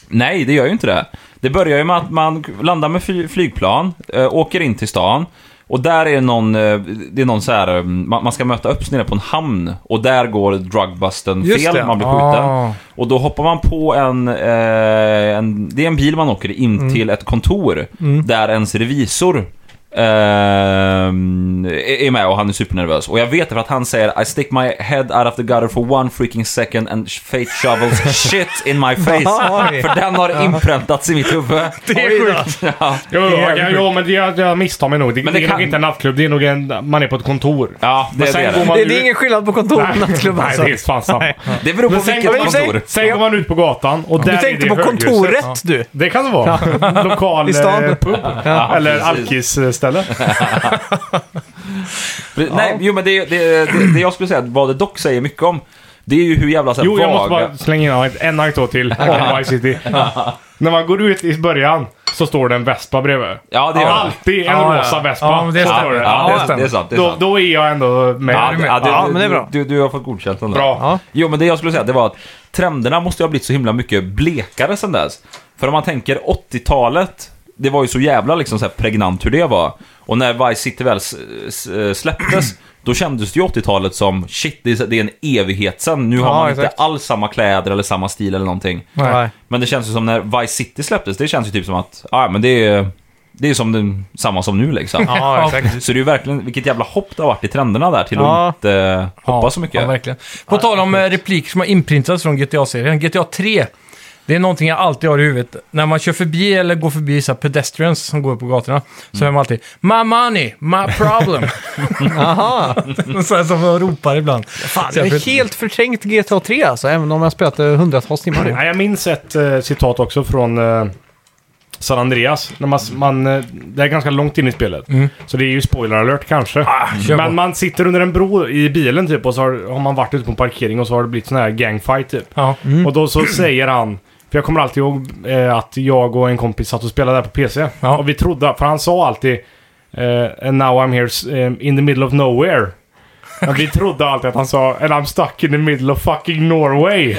Nej, det gör ju inte det. Det börjar ju med att man landar med fly- flygplan, eh, åker in till stan. Och där är någon, eh, det är någon så här, eh, man, man ska möta upp nere på en hamn. Och där går drugbusten Just fel, det. man blir skjuten. Ah. Och då hoppar man på en, Mm. eh, en, det är en bil man åker in till ett kontor. Där ens revisor ehm, är med och han är supernervös. Och jag vet det för att han säger I stick my head out of the gutter for one freaking second and fate shovels [laughs] shit in my face. Oj. för den har inpräntats i mitt huvud. [laughs] Det är sjukt. [laughs] Ja. Jo, är ja, jo men det, jag, jag misstar mig nog. Det, Men men det det, är kan- nog inte en nattklubb. Det är nog en... Man är på ett kontor. Ja, det Men är sen det. går man Det, det är ut- ingen skillnad på kontor [laughs] och nattklubb Nej, alltså. det är fan samma. Det beror på Men sen- vilket men i och för sig- kontor. Sen går man ut på gatan och där Du är tänkte det på höghus. kontoret du. Det kan det vara. Lokal I stan. eh, pub. Ja, Eller precis. alkisställe. Nej, jo men det, det, det, det jag skulle säga, vad det dock säger mycket om, det är ju hur jävla såhär Jo, jag måste vaga... bara slänga in en anekdot till om Vice City. När man går ut i början så står det en Vespa bredvid. Ja, det gör det. Alltid en Ja, ja. rosa Vespa. Ja, men det Så stämmer. står det. Ja, Ja, det, det är sant. Det är Då, sant. då är jag ändå med. Ja, det- ja, det- Ja, men det är bra. Du, du har fått godkänt den där. Bra. Ja. Jo, men det jag skulle säga det var att trenderna måste ju ha blivit så himla mycket blekare sen dess. För om man tänker 80-talet, det var ju så jävla liksom så här pregnant hur det var. Och när Vice City väl s- s- eh, släpptes, då kändes det ju 80-talet som shit, det är det är en evighet sen. Nu har Ja, man exakt. inte alls samma kläder eller samma stil eller någonting. Nej. Men det känns ju som när Vice City släpptes, det känns ju typ som att, ja men det är, det är som den, samma som nu liksom. Ja, exakt. Så det är ju verkligen, vilket jävla hopp det har varit i trenderna där till Ja. att inte eh, hoppa så mycket. Ja, verkligen. På tal om eh, repliker som har inprintats från GTA-serien. GTA 3, det är någonting jag alltid har i huvudet. När man kör förbi eller går förbi så här pedestrians som går på gatorna, så hör man alltid My money, my problem. Aha. så här som man ropar ibland. Fan, jag har helt förträngt GTA 3 alltså, även om jag spelat det hundratals timmar nu. Ja, jag minns ett eh, citat också från eh, San Andreas. När man, man, eh, det är ganska långt in i spelet. Så det är ju spoiler alert kanske. Mm. Ah, kör på. Men man sitter under en bro i bilen typ och så har, har man varit ute på en parkering och så har det blivit sån här gangfight typ. Ja. Mm. Och då så säger han, för jag kommer alltid ihåg eh, att jag och en kompis satt och spelade där på PC. Ja. Och vi trodde, för han sa alltid eh, And now I'm here s- eh, in the middle [laughs] of nowhere. Men vi trodde alltid att han sa And I'm stuck in the middle of fucking Norway.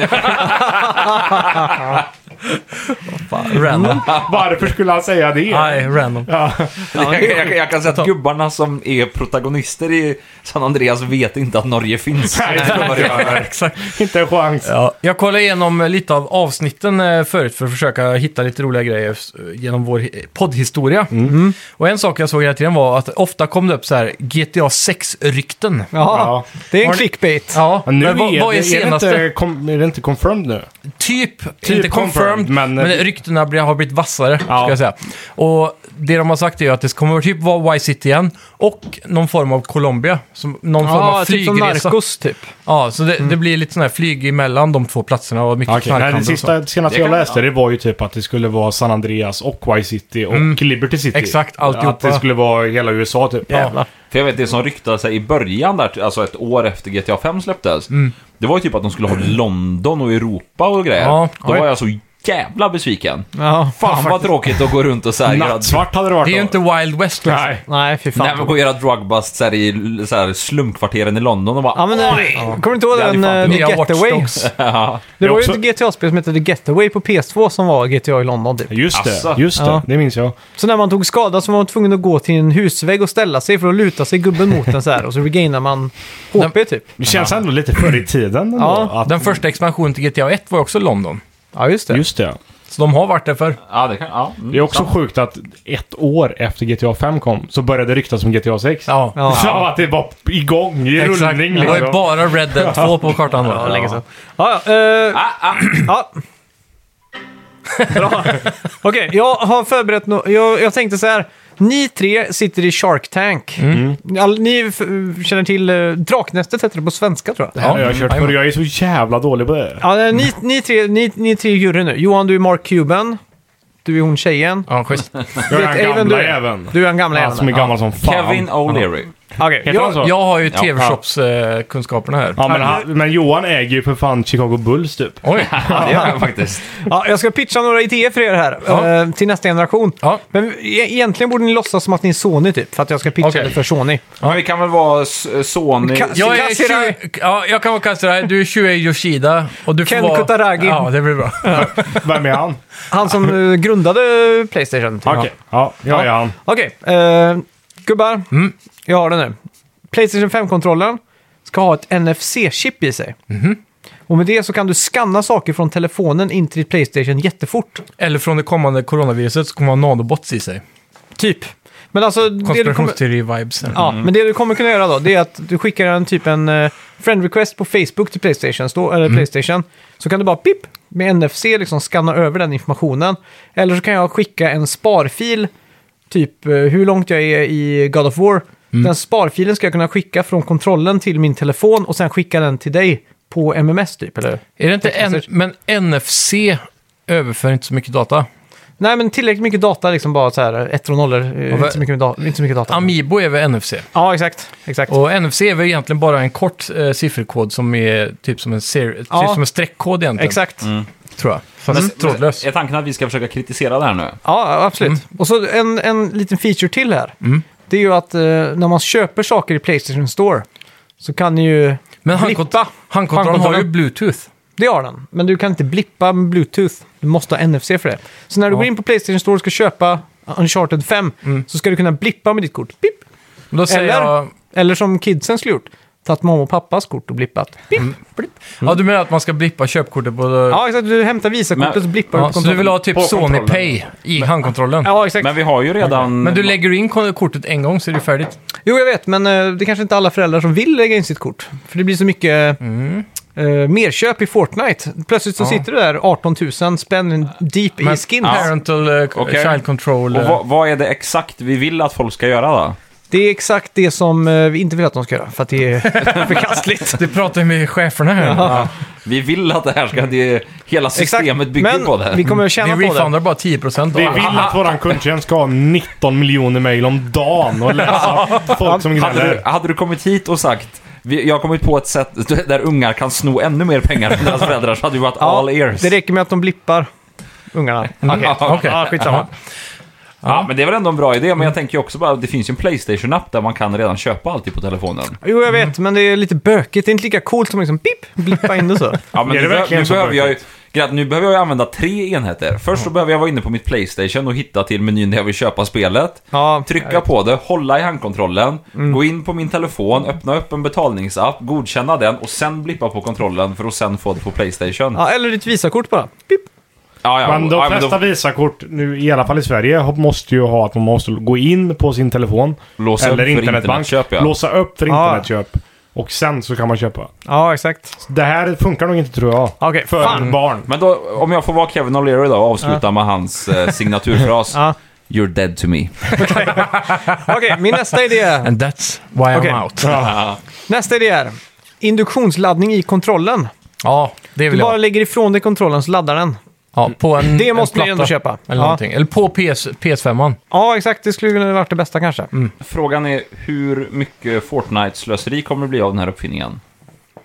Random. Varför skulle han säga det? Nej, random. Jag, jag, jag kan säga att gubbarna som är protagonister i San Andreas vet inte att Norge finns. Nej, det tror jag inte. [laughs] Exakt. Inte en chans. Ja, jag kollade igenom eh, lite av avsnitten eh, förut för att försöka hitta lite roliga grejer eh, genom vår hi- poddhistoria. Och en sak jag såg hela tiden var att ofta kom det upp så här GTA 6-rykten. Ja, det är en clickbait. Ja, Men nu men vad, är, vad är det, senaste? Är det, inte, kom, är det inte confirmed nu? Typ, inte confirmed, confirmed, men, men- ryktena blir, har blivit vassare, Ja. ska jag säga. Och det de har sagt är ju att det kommer typ vara Y-City igen och någon form av Colombia. Som, någon form av Ja, typ som flygresa. Narcos typ. ja, så det, det blir lite sån här flyg emellan de två platserna och mycket Nej, knarkhandel det och så. sista, senaste Det jag kan- läste det var ju typ att det skulle vara San Andreas och Vice City och Liberty City. Mm. Exakt, alltihopa. Att det skulle vara hela USA typ. Jävlar. För jag vet det som ryktades sig i början där, alltså ett år efter GTA 5 släpptes. Det var ju typ att de skulle ha London och Europa och grejer. Ja, Då oj. var jag så jävla besviken. Ja. Fan vad tråkigt att gå runt och så här, göra, Nattsvart hade det varit Det är ju inte då. Wild West liksom. Nej. Nej, fy fan. nej, men gå och göra drugbusts så här i så här, slumkvarteren i London och bara Ja, men, eh, Kommer du inte ihåg Det hade den fan eh, inte The Nya Watch Getaway? Dogs. Det är var ju också- ett GTA-spel som hette The Getaway på PS2 som var GTA i London typ. Just det, Asså. just det. Ja. Det minns jag. Så när man tog skada så var man tvungen att gå till en husvägg och ställa sig för att luta sig gubben mot den så här och så regainar [laughs] man HP typ. Det känns ändå lite förr i tiden ändå, Ja. att, Den första expansionen till GTA 1 var ju också London. Ja, just det. Just det. Så de har varit där för Ja, det kan... Ja. Mm. Det är också sjukt att ett år efter GTA 5 kom så började det ryktas om GTA 6. [laughs] Ja. Ja. Så att det var igång, i Exakt. rullning liksom. Det var ju bara Red Dead 2 på kartan då. Ja, länge sedan. Ja, ja. eh, [clears throat] ja. Bra. [laughs] Okej, jag har förberett no- jag, jag tänkte så här. Ni tre sitter i Shark Tank. All, ni f- känner till eh, Draknästet heter det på svenska tror jag. Ja, jag har kört Jajamän. för jag är så jävla dålig på det. Ja, eh, ni, ni, tre, ni, ni är tre i juryn nu. Johan, du är Mark Cuban. Du är hon tjejen. Ja, schysst. Jag Vet är ej vem den gamla du är. även. Du är den gamla Han som är jäveln. gammal som fan. Kevin O'Leary. Okej, Heter jag- han så? Jag har ju Ja. TV-shops-kunskaperna här. Ja, men, han, men Johan äger ju för fan Chicago Bulls typ. Oj! [laughs] Ja, det gör jag faktiskt. Ja, jag ska pitcha några idéer för er här Ja. eh, till nästa generation. Ja. Men e- egentligen borde ni låtsas som att ni är Sony typ, för att jag ska pitcha Okej. det för Sony. Men vi kan väl vara s- Sony... Ka- Jag är Kasserai. 20, ja, jag kan vara Kasserai, du är Shuei Yoshida. Och du får Ken vara... Kutaragi. Ja, det blir bra. Vem är han? Han som eh, grundade Playstation. Typ. [laughs] Okej. Ja, jag är han. Okej, eh, gubbar. Mm. Jag har det nu. Playstation 5-kontrollen ska ha ett NFC-chip i sig. Mhm. Och med det så kan du skanna saker från telefonen in till ditt Playstation jättefort. Eller från det kommande coronaviruset så kommer man ha nanobots i sig. Typ. Men alltså, det du kommer... Konspirationsteori-vibes. Ja, men det du kommer kunna göra då, det är att du skickar en typ en eh, friend request på Facebook till Playstation, Store, eller Playstation. Så kan du bara pip med NFC liksom skanna över den informationen. Eller så kan jag skicka en sparfil, typ eh, hur långt jag är i God of War. Den sparfilen ska jag kunna skicka från kontrollen till min telefon och sen skicka den till dig på MMS typ, eller? Är det inte en, Tekniskt. men NFC överför inte så mycket data. Nej, men tillräckligt mycket data liksom bara så här, ettor och nollor, eh, inte så mycket, da- inte så mycket data. Amiibo är väl NFC? ja, exakt. exakt. Och NFC är väl egentligen bara en kort eh, sifferkod som är typ som en, ser- Ja. typ som en streckkod egentligen. Exakt. Tror jag. Mm, Fast trådlös. Är tanken att vi ska försöka kritisera det här nu? Ja, absolut. Mm. Och så en, en liten feature till här. Det är ju att eh, när man köper saker i Playstation Store så kan ni ju... Men blippa handkont- handkontrollen har ju handkontrollen. Bluetooth. Det har den, men du kan inte blippa med Bluetooth. Du måste ha NFC för det. Så när du går in på Playstation Store och ska köpa Uncharted 5 så ska du kunna blippa med ditt kort. Pip! Men Då Mm. säger Eller? jag... Eller som kidsen skulle gjort, tagit mamma och pappas kort och blippat. Pip! Mm. Blipp. Ja, du menar att man ska blippa köpkortet på... Ja, Ja, exakt. Du hämtar Visa-kortet Men- och blippar du ja, på så du kontrollen. vill ha typ På Sony kontrollen. Pay i handkontrollen. Ja, exakt. Men vi har ju redan... Men du lägger in kon- kortet en gång så är det färdigt. Jo, jag vet, men eh, det kanske inte är alla föräldrar som vill lägga in sitt kort. För det blir så mycket Mm. eh, merköp i Fortnite. Plötsligt så sitter du där 18 000 spänn deep i skin. Parental eh, k- Okej. child control. Och eh, vad, vad är det exakt vi vill att folk ska göra då? Det är exakt det som eh, vi inte vill att de ska göra, för att det är [laughs] förkastligt. Det pratar ju med cheferna här. Vi vill att det här ska... Det, hela systemet bygger men på det. vi kommer att tjäna Mm. Vi på det. refundar bara 10% av Vi alla. vill att våran kundtjänst ska ha 19 miljoner mejl om dagen och läsa folk som Hade du, gnäller. hade du kommit hit och sagt vi, jag har kommit på ett sätt där ungar kan sno ännu mer pengar från deras föräldrar så hade vi varit all ears. det räcker med att de blippar ungarna. Ja, Mm. Okej. Ja, skitsamma. ja, men det är väl ändå en bra idé, men jag tänker ju också bara att det finns ju en Playstation-app där man kan redan köpa allting på telefonen. Jo, jag vet, Mm. men det är lite bökigt. Det är inte lika coolt som liksom pip, blippa in det [laughs] så. Ja, men Är det nu, behö- verkligen nu, så behöver jag ju, bökigt? Grat, nu behöver jag ju använda tre enheter. Först så behöver jag vara inne på mitt Playstation och hitta till menyn där jag vill köpa spelet. Ja, Trycka på det, hålla i handkontrollen, Mm. gå in på min telefon, öppna upp en betalningsapp, godkänna den och sen blippa på kontrollen för att sen få det på Playstation. Ja, eller ditt Visakort bara. Pip. Ja, ja, Men de ja, men flesta Visakort, nu, i alla fall i Sverige, har- måste ju ha att man måste gå in på sin telefon. Låsa upp eller för internetbank. internetköp, ja. Låsa upp för Ja. internetköp. Och sen så kan man köpa. Ja, exakt. Det här funkar nog inte tror jag. Okej, för fan. barn. Men då, om jag får vara Kevin O'Leary då och avsluta med hans eh, [laughs] signaturfras. Ja. You're dead to me. Okej, min nästa idé är... And that's why Okej. I'm out. Nästa idé är induktionsladdning i kontrollen. Ja, det Du vill bara jag. lägger ifrån dig kontrollen så laddar den. Ja, på en, Det en måste vi platta ändå köpa. Eller, Ja. någonting. eller på PS, PS5. Ja, exakt. Det skulle kunna varit det bästa kanske. Mm. Frågan är hur mycket Fortnite-slöseri kommer det bli av den här uppfinningen?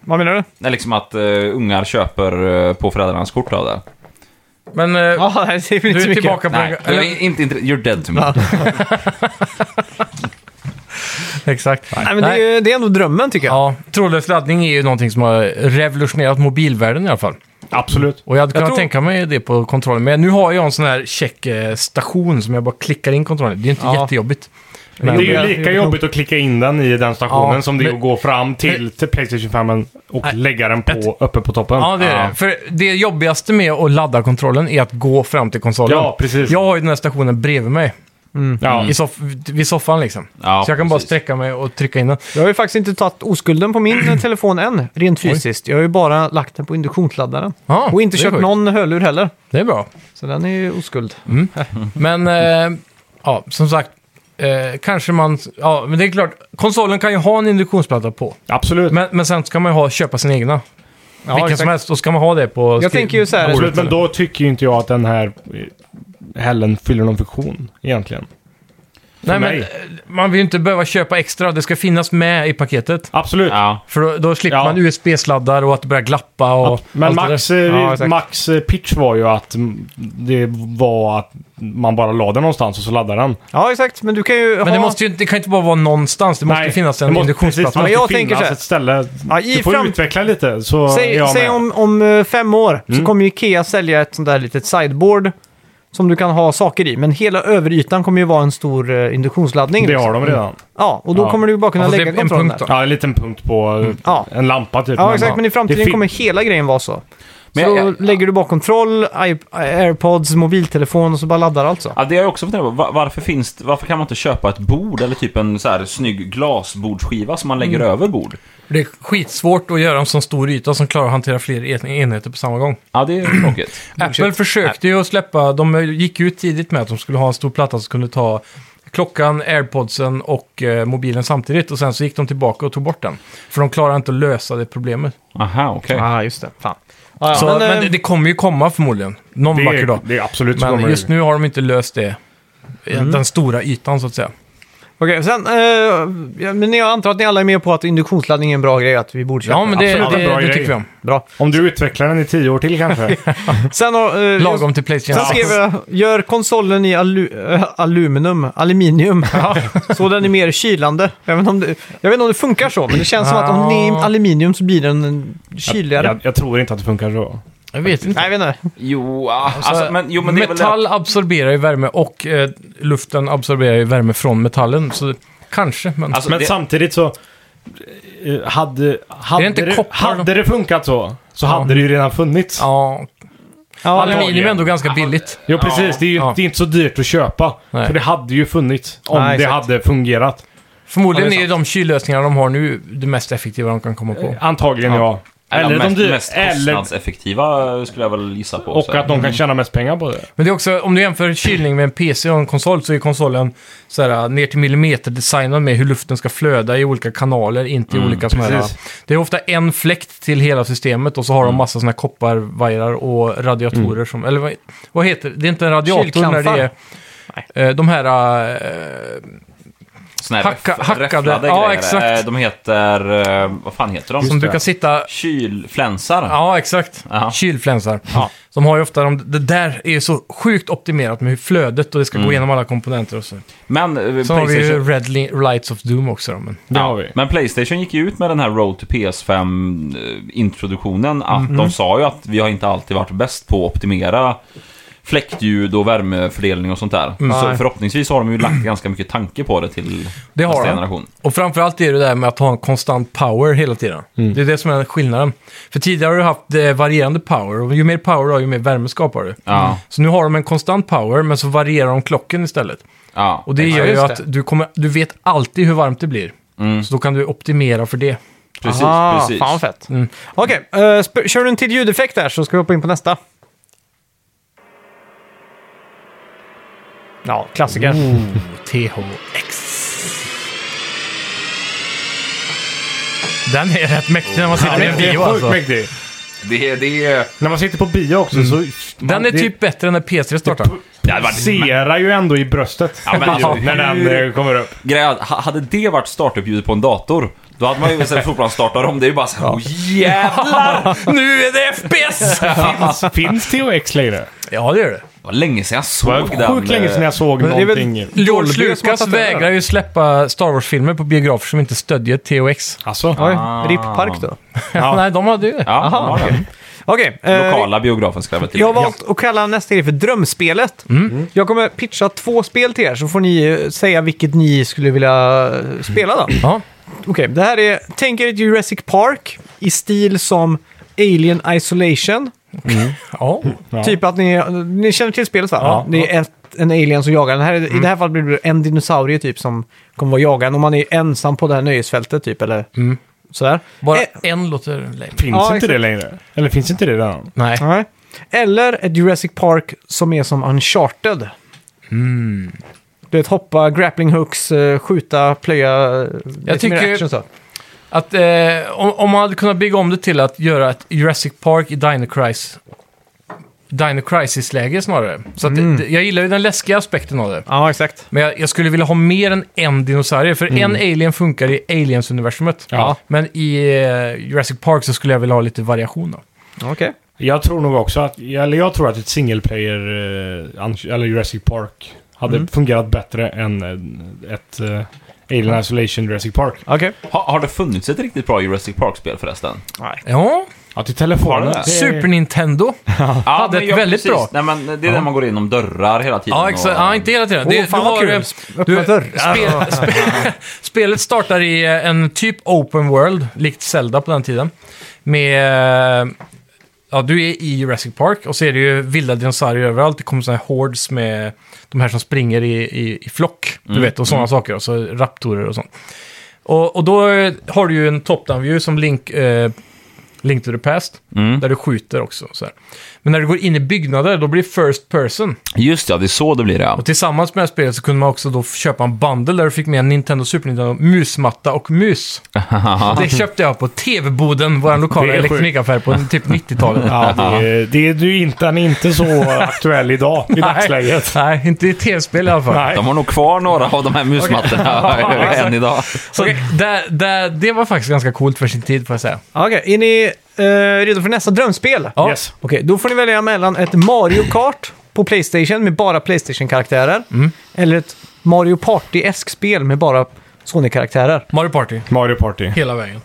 Vad menar du? Nej, liksom att eh, ungar köper eh, på föräldrarnas kort av det. Men [laughs] eh, Ja, det är väl inte du så är mycket. tillbaka på... Nej, den- jag Eller, är inte intre- You're dead to me. exakt. Nej, men det, är, ju- det är ändå drömmen tycker jag. Ja, trådlös laddning är ju någonting som har revolutionerat mobilvärlden i alla fall. Absolut. Och jag hade kunnat tror- tänka mig det på kontrollen. Men nu har jag en sån här check eh, station som jag bara klickar in kontrollen. Det är inte Ja. jättejobbigt. Det är ju jobbigt. lika jobbigt att klicka in den i den stationen Ja, som det är men- att gå fram till, till Playstation 5 och lägga den på, uppe på toppen. Ja, det är det. För det jobbigaste med att ladda kontrollen är att gå fram till konsolen. Ja, precis. Jag har ju den här stationen bredvid mig, Mm. Ja. i soff- vid soffan liksom. Ja, så jag kan bara precis. sträcka mig och trycka in den. Jag har ju faktiskt inte tagit oskulden på [clears throat] min telefon än, rent fysiskt. Jag har ju bara lagt den på induktionsladdaren. Ja, och inte det är köpt sjukt. någon hörlur heller. Det är bra. Så den är ju oskuld. Men eh, ja, som sagt, eh, kanske man... Ja, men det är klart, konsolen kan ju ha en induktionsplatta på. Absolut. Men, men sen ska man ju ha, köpa sina egna. Ja, Vilken exakt. som helst, och ska man ha det på... Jag skri- tänker ju så här- Absolut, men då tycker ju inte jag att den här eh, hällen fyller någon funktion egentligen. Nej, men, mig. eh, man vill ju inte behöva köpa extra. Det ska finnas med i paketet. Absolut. Ja. För då, då slipper Ja. man USB-sladdar och att det börjar glappa och... Men allt det Max, där. eh, Ja, exakt. Max eh, pitch var ju att mm, det var att man bara la den någonstans och så laddade den. Ja, exakt. Men du kan ju Men ha... det, måste ju, inte- det kan inte bara vara någonstans. Det måste ju finnas det en måste- precis, induktionsplatta. Det måste Men jag finnas tänker så här. ett ställe. Ja, i du får fram- utveckla lite så är Säg, jag säg med. om, om eh, fem år så kommer ju Ikea sälja ett sånt där litet sideboard som du kan ha saker i. Men hela överytan kommer ju vara en stor eh, induktionsladdning. Det har liksom. de redan. Ja, och då Ja. kommer du ju bara kunna Alltså, det lägga är en kontrollen punkt där. då. Ja, en liten punkt på Mm. eh, Ja. en lampa typ. Ja, exakt. Men i det framtiden fin- kommer hela grejen vara så. Men så jag- jag- lägger du bara kontroll, i- airpods, mobiltelefon och så bara laddar allt så. Ja, det har jag också funderat på. Va- Varför, finns, det- varför kan man inte köpa ett bord eller typ en så här snygg glasbordsskiva som man lägger Mm. över bord? Det är skitsvårt att göra en sån stor yta som klarar att hantera fler en- enheter på samma gång. Ja, det är tråkigt. Apple försökte ju att släppa, de gick ut tidigt med att de skulle ha en stor platta som kunde ta klockan, airpodsen och eh, mobilen samtidigt. Och sen så gick de tillbaka och tog bort den. För de klarar inte att lösa det problemet. Aha, okej. ah, just det. Fan. Ja, ja. så, men, men eh, det, det kommer ju komma förmodligen, någon vacker dag. Det, det är absolut så Men kommer just nu har de inte löst det. Den stora ytan så att säga. Okej, sen... Eh, ja, men jag antar att ni alla är med på att induktionsladdning är en bra grej, att vi borde köpa Ja, men den. det, absolut en det, bra det grej. tycker vi om. Bra. Om du utvecklar den i tio år till kanske. Sen, har, eh, Lagom till Playstation sen skrev jag, gör konsolen i alu, eh, aluminium, aluminium, [laughs] så den är mer kylande. Även om det, jag vet inte om det funkar så, men det känns som att om den är i aluminium så blir den kyligare. jag, jag tror inte att det funkar så. Jag vet inte. Nej, jag vet inte. Jo, ah, alltså, men, jo, men det är väl det metall absorberar ju värme och eh, luften absorberar ju värme från metallen. Så kanske, men... Alltså, men det- samtidigt så... eh, Hade, hade, inte det, koppar hade det funkat så, så hade det ju redan funnits. ja, Ja, aluminium är ändå ganska billigt. Jo, precis. Det är ju Ja. det är inte så dyrt att köpa. Nej. För det hade ju funnits om Nej, det exakt. hade fungerat. Förmodligen Ja, det är är de kyllösningar de har nu det mest effektiva de kan komma på. Antagligen ja. eller Eller de mest, dyr, mest eller, kostnadseffektiva eh, skulle jag väl gissa på. så Och här. att de kan tjäna mest pengar på det. Men det är också, om du jämför kylning med en PC och en konsol så är konsolen så här, äh, ner till millimeter designad med hur luften ska flöda i olika kanaler, inte Mm, i olika sådana här... äh, precis. Det är ofta en fläkt till hela systemet och så har Mm. de massa sådana här kopparvajrar och radiatorer som... Eller vad, vad heter det? Det är inte en radiator när det Kylklampar. är... eh, De här... eh, Såna här Hacka- räff- hackade- räfflade ja, grejer. exakt. Eh, De heter... eh, Vad fan heter de? som du kan sitta... Kylflänsar. Ja, exakt. Ja. Kylflänsar. Som har ju ofta de... Det där är så sjukt optimerat med hur flödet och det ska gå igenom alla komponenter och så. Men, eh, Sen har Mm. vi PlayStation, ju Red Li- Lights of Doom också då, men... Det har vi. men Playstation gick ju ut med den här Road to PS5-introduktionen. eh, Att De sa ju att vi har inte alltid varit bäst på att optimera fläktljud och värmefördelning och sånt där. Så Nej. förhoppningsvis har de ju lagt ganska mycket tanke på det till Det har nästa de. generation. Och framförallt är det där med att ha en konstant power hela tiden. Det är det som är skillnaden. För tidigare har du haft eh, varierande power och ju mer power du har ju mer värme skapar du. Ja, Så nu har de en konstant power men så varierar de klocken istället. ja. Och det Mm. gör ju just att det. du, kommer, du vet alltid hur varmt det blir. Så då kan du optimera för det. precis, ah, precis. Mm. Fan vad fett. Okej, eh, sp- kör du en till ljudeffekt där så ska vi hoppa in på nästa. Ja, klassiker. THX. Den är rätt mäktig när man sitter i en Det bio är sjukt alltså. mäktigt. Det, det, När man sitter på bio också så... Den är det- typ bättre än när P3 [laughs] startar. det hade varit Pulserar ju ändå i bröstet. Ja, [laughs] men alltså, när den eh, kommer upp. Grejen är att ha- hade det varit startupljudet på en dator, då hade man ju istället för att starta om. Det är ju bara så här, oh "Åh, jävlar! Nu är det FPS! Finns, finns THX längre? Ja, det gör det. Det var länge sedan jag Det såg var den. eh, sjukt länge sedan jag såg Men det är väl- Dolby som någonting. George har Lucas tagit över. vägrar ju släppa Star Wars-filmer på biografer som inte stödjer THX. Alltså? Oj, RIP Park då. [laughs] Nej, de hade ju det. Ja, Aha, Okej, eh, Lokala biografen ska jag väl till. jag har valt att kalla nästa grej för drömspelet. Mm. Jag kommer pitcha två spel till er så får ni eh, säga vilket ni skulle vilja eh, spela då. Ja. Okej, det här är, tänk er ett Jurassic Park i stil som Alien Isolation. ja. Ja. Typ att ni, ni känner till spelet va? Ja. Mm. Det är ett, en alien som jagar den. Här, I det här fallet blir det en dinosaurie typ som kommer vara jagaren och man är ensam på det här nöjesfältet typ eller sådär. Mm. Bara Eh, en låter lame. Finns Ja, inte exakt. det längre? Eller finns inte det redan? Nej. nej. Eller ett Jurassic Park som är som Uncharted. Mm. Du vet hoppa, grappling hooks, eh, skjuta, plöja. Jag tycker- Action, så. Att, eh, om, om man hade kunnat bygga om det till att göra ett Jurassic Park i Dino Crisis. Dino Crisis-läge snarare. Så att det, det, jag gillar ju den läskiga aspekten av det. Ja, exakt. Men jag, jag skulle vilja ha mer än en dinosaurie, för en alien funkar i Aliens-universumet. Ja. Men i eh, Jurassic Park så skulle jag vilja ha lite variation. Då. Okej. Jag tror nog också att... Eller jag tror att ett single player... eh, Unch- Eller Jurassic Park hade Mm. fungerat bättre än eh, ett... eh, Alien Isolation Jurassic Park. Okej. Ha, har det funnits ett riktigt bra Jurassic Park-spel förresten? Ja, Ja, till telefonen. Har den det? Super Nintendo. Ja, Ah, hade men ett ja, väldigt bra. Nej, men det är där man går igenom dörrar hela tiden. Ja, exakt. och- Ja, inte hela tiden. Åh, fan vad kul. eh, Öppna dörrar. [laughs] spel, spe, spelet startar i eh, en typ open world, likt Zelda på den tiden. Med... eh, Ja, du är i Jurassic Park och så är det ju vilda dinosaurier överallt. Det kommer sådana här hordes med de här som springer i, i, i flock, Mm. du vet, och sådana saker. Och så raptorer och sånt. Och, och då eh, har du ju en top-down-view som Link, eh, Link to the Past, Mm. där du skjuter också. Så här. Men när du går in i byggnader, då blir det first person. Just ja, det är så det [laughs] blir ja. Och tillsammans med det här spelet så kunde man också då köpa en bundle där du fick med en Nintendo Super Nintendo musmatta och mus. Det köpte jag på TV-boden, vår lokala Det är sjukt. elektronikaffär på typ [laughs] 90-talet. Ja, [laughs] det, är- det är du inte, den är inte så aktuell idag [laughs] i dagsläget. Nej, inte i tv-spel i alla fall. Nej. De har nog kvar några av de här [laughs] musmattorna [laughs] än idag. Så det, det, det var faktiskt ganska coolt för sin tid får jag säga. Okej, är ni eh, redo för nästa drömspel? Ja. Yes. Okej, då får ni välja mellan ett Mario Kart på Playstation med bara Playstation-karaktärer. Eller ett Mario Party-esk spel med bara Sony-karaktärer. Mario Party, Mario Party. hela vägen.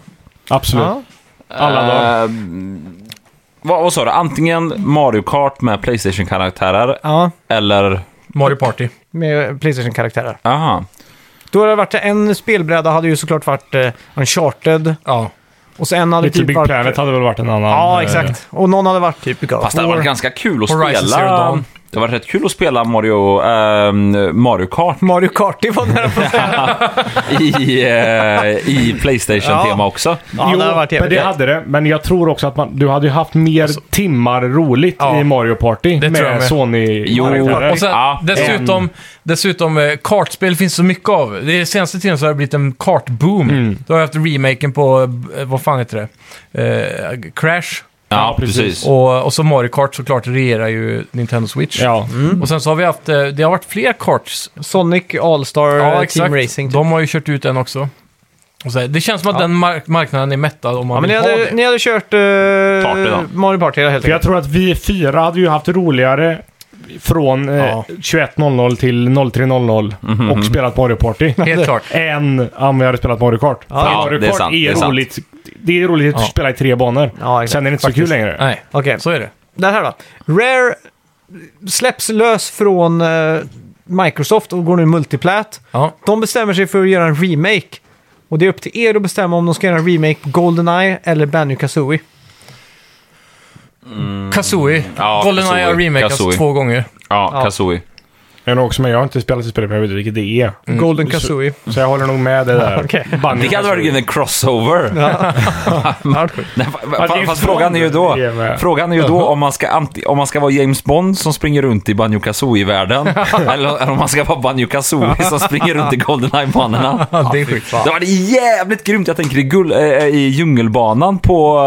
Absolut. Ja. Alla dagar. Eh, vad, vad sa du? Antingen Mario Kart med Playstation-karaktärer Ja, eller... Mario Party. med Playstation-karaktärer. Aha. Då hade det varit en spelbräda, hade ju såklart varit eh, Uncharted. Ja. Och så en hade Little typ Big varit... Planet hade väl varit en annan... Ja, eh, exakt. Och någon hade varit typ God of Fast det hade War. varit ganska kul att Horizon Zero spela... Dawn. Det var rätt kul att spela Mario, ehm, Mario Kart [laughs] Mario Kart, det var nära [laughs] på i, eh, i Playstation-tema också. Ja, jo, det hade varit men jävligt. det hade det. Men jag tror också att man, du hade ju haft mer timmar roligt Ja. i Mario Party Det tror jag med med. Sony. Jo, Och sen, Ja, dessutom, dessutom eh, kartspel finns så mycket av. Det senaste tiden så har det blivit en kartboom. Mm. Då har jag haft remaken på, eh, vad fan heter det? Eh, Crash. Ja, Ja, precis. precis. Och, och så Mario Kart såklart regerar ju Nintendo Switch. Ja. Och sen så har vi haft, eh, det har varit fler karts. Sonic All-Star eh, Team Racing. typ. De har ju kört ut en också. Och så här, det känns som att den mark- marknaden är mättad om man Ja, men ni vill ha hade, det. ni hade kört eh, Party då. Mario Party helt För jag enkelt. tror att vi fyra hade ju haft roligare från eh, Ja. 21.00 till 03.00 och spelat Mario Party. Helt klart. Än om vi hade spelat Mario Kart. För Ja, Mario det är Kart sant, är, det är sant. roligt. Det är roligt att Ja. spela i tre banor. Ja, exakt. Sen är det inte Faktiskt. så kul längre. Nej, Okej, så är det. det här då. Rare släpps lös från eh, Microsoft och går nu multiplat. Ja. De bestämmer sig för att göra en remake. Och det är upp till er att bestämma om de ska göra en remake på Goldeneye eller Banjo Kazooie. Mm. Kazooie. Ja, Goldeneye har Kazooie. remakeats Kazooie. två gånger. Ja, Ja. Kazooie. Jag är nog också med. Jag har inte spelat i spelet, men jag vet inte vilket det är. Golden Kazooie. Så jag håller nog med det där. [laughs] Okej. Mm. Banjo- Alltså, Det hade varit en [laughs] crossover. Nej, fa- fa- Ja, det är fa- fast ju Bond frågan är ju då, det är med. frågan är ju då om, man ska anti, om man ska vara James Bond som springer runt i Banjo [laughs] Kazooie-världen. eller, eller om man ska vara Banjo Kazooie som springer runt i Goldeneye-banorna. det är sjukt. Det var det jävligt grymt. Jag tänker i, gul, eh, eh, i djungelbanan på,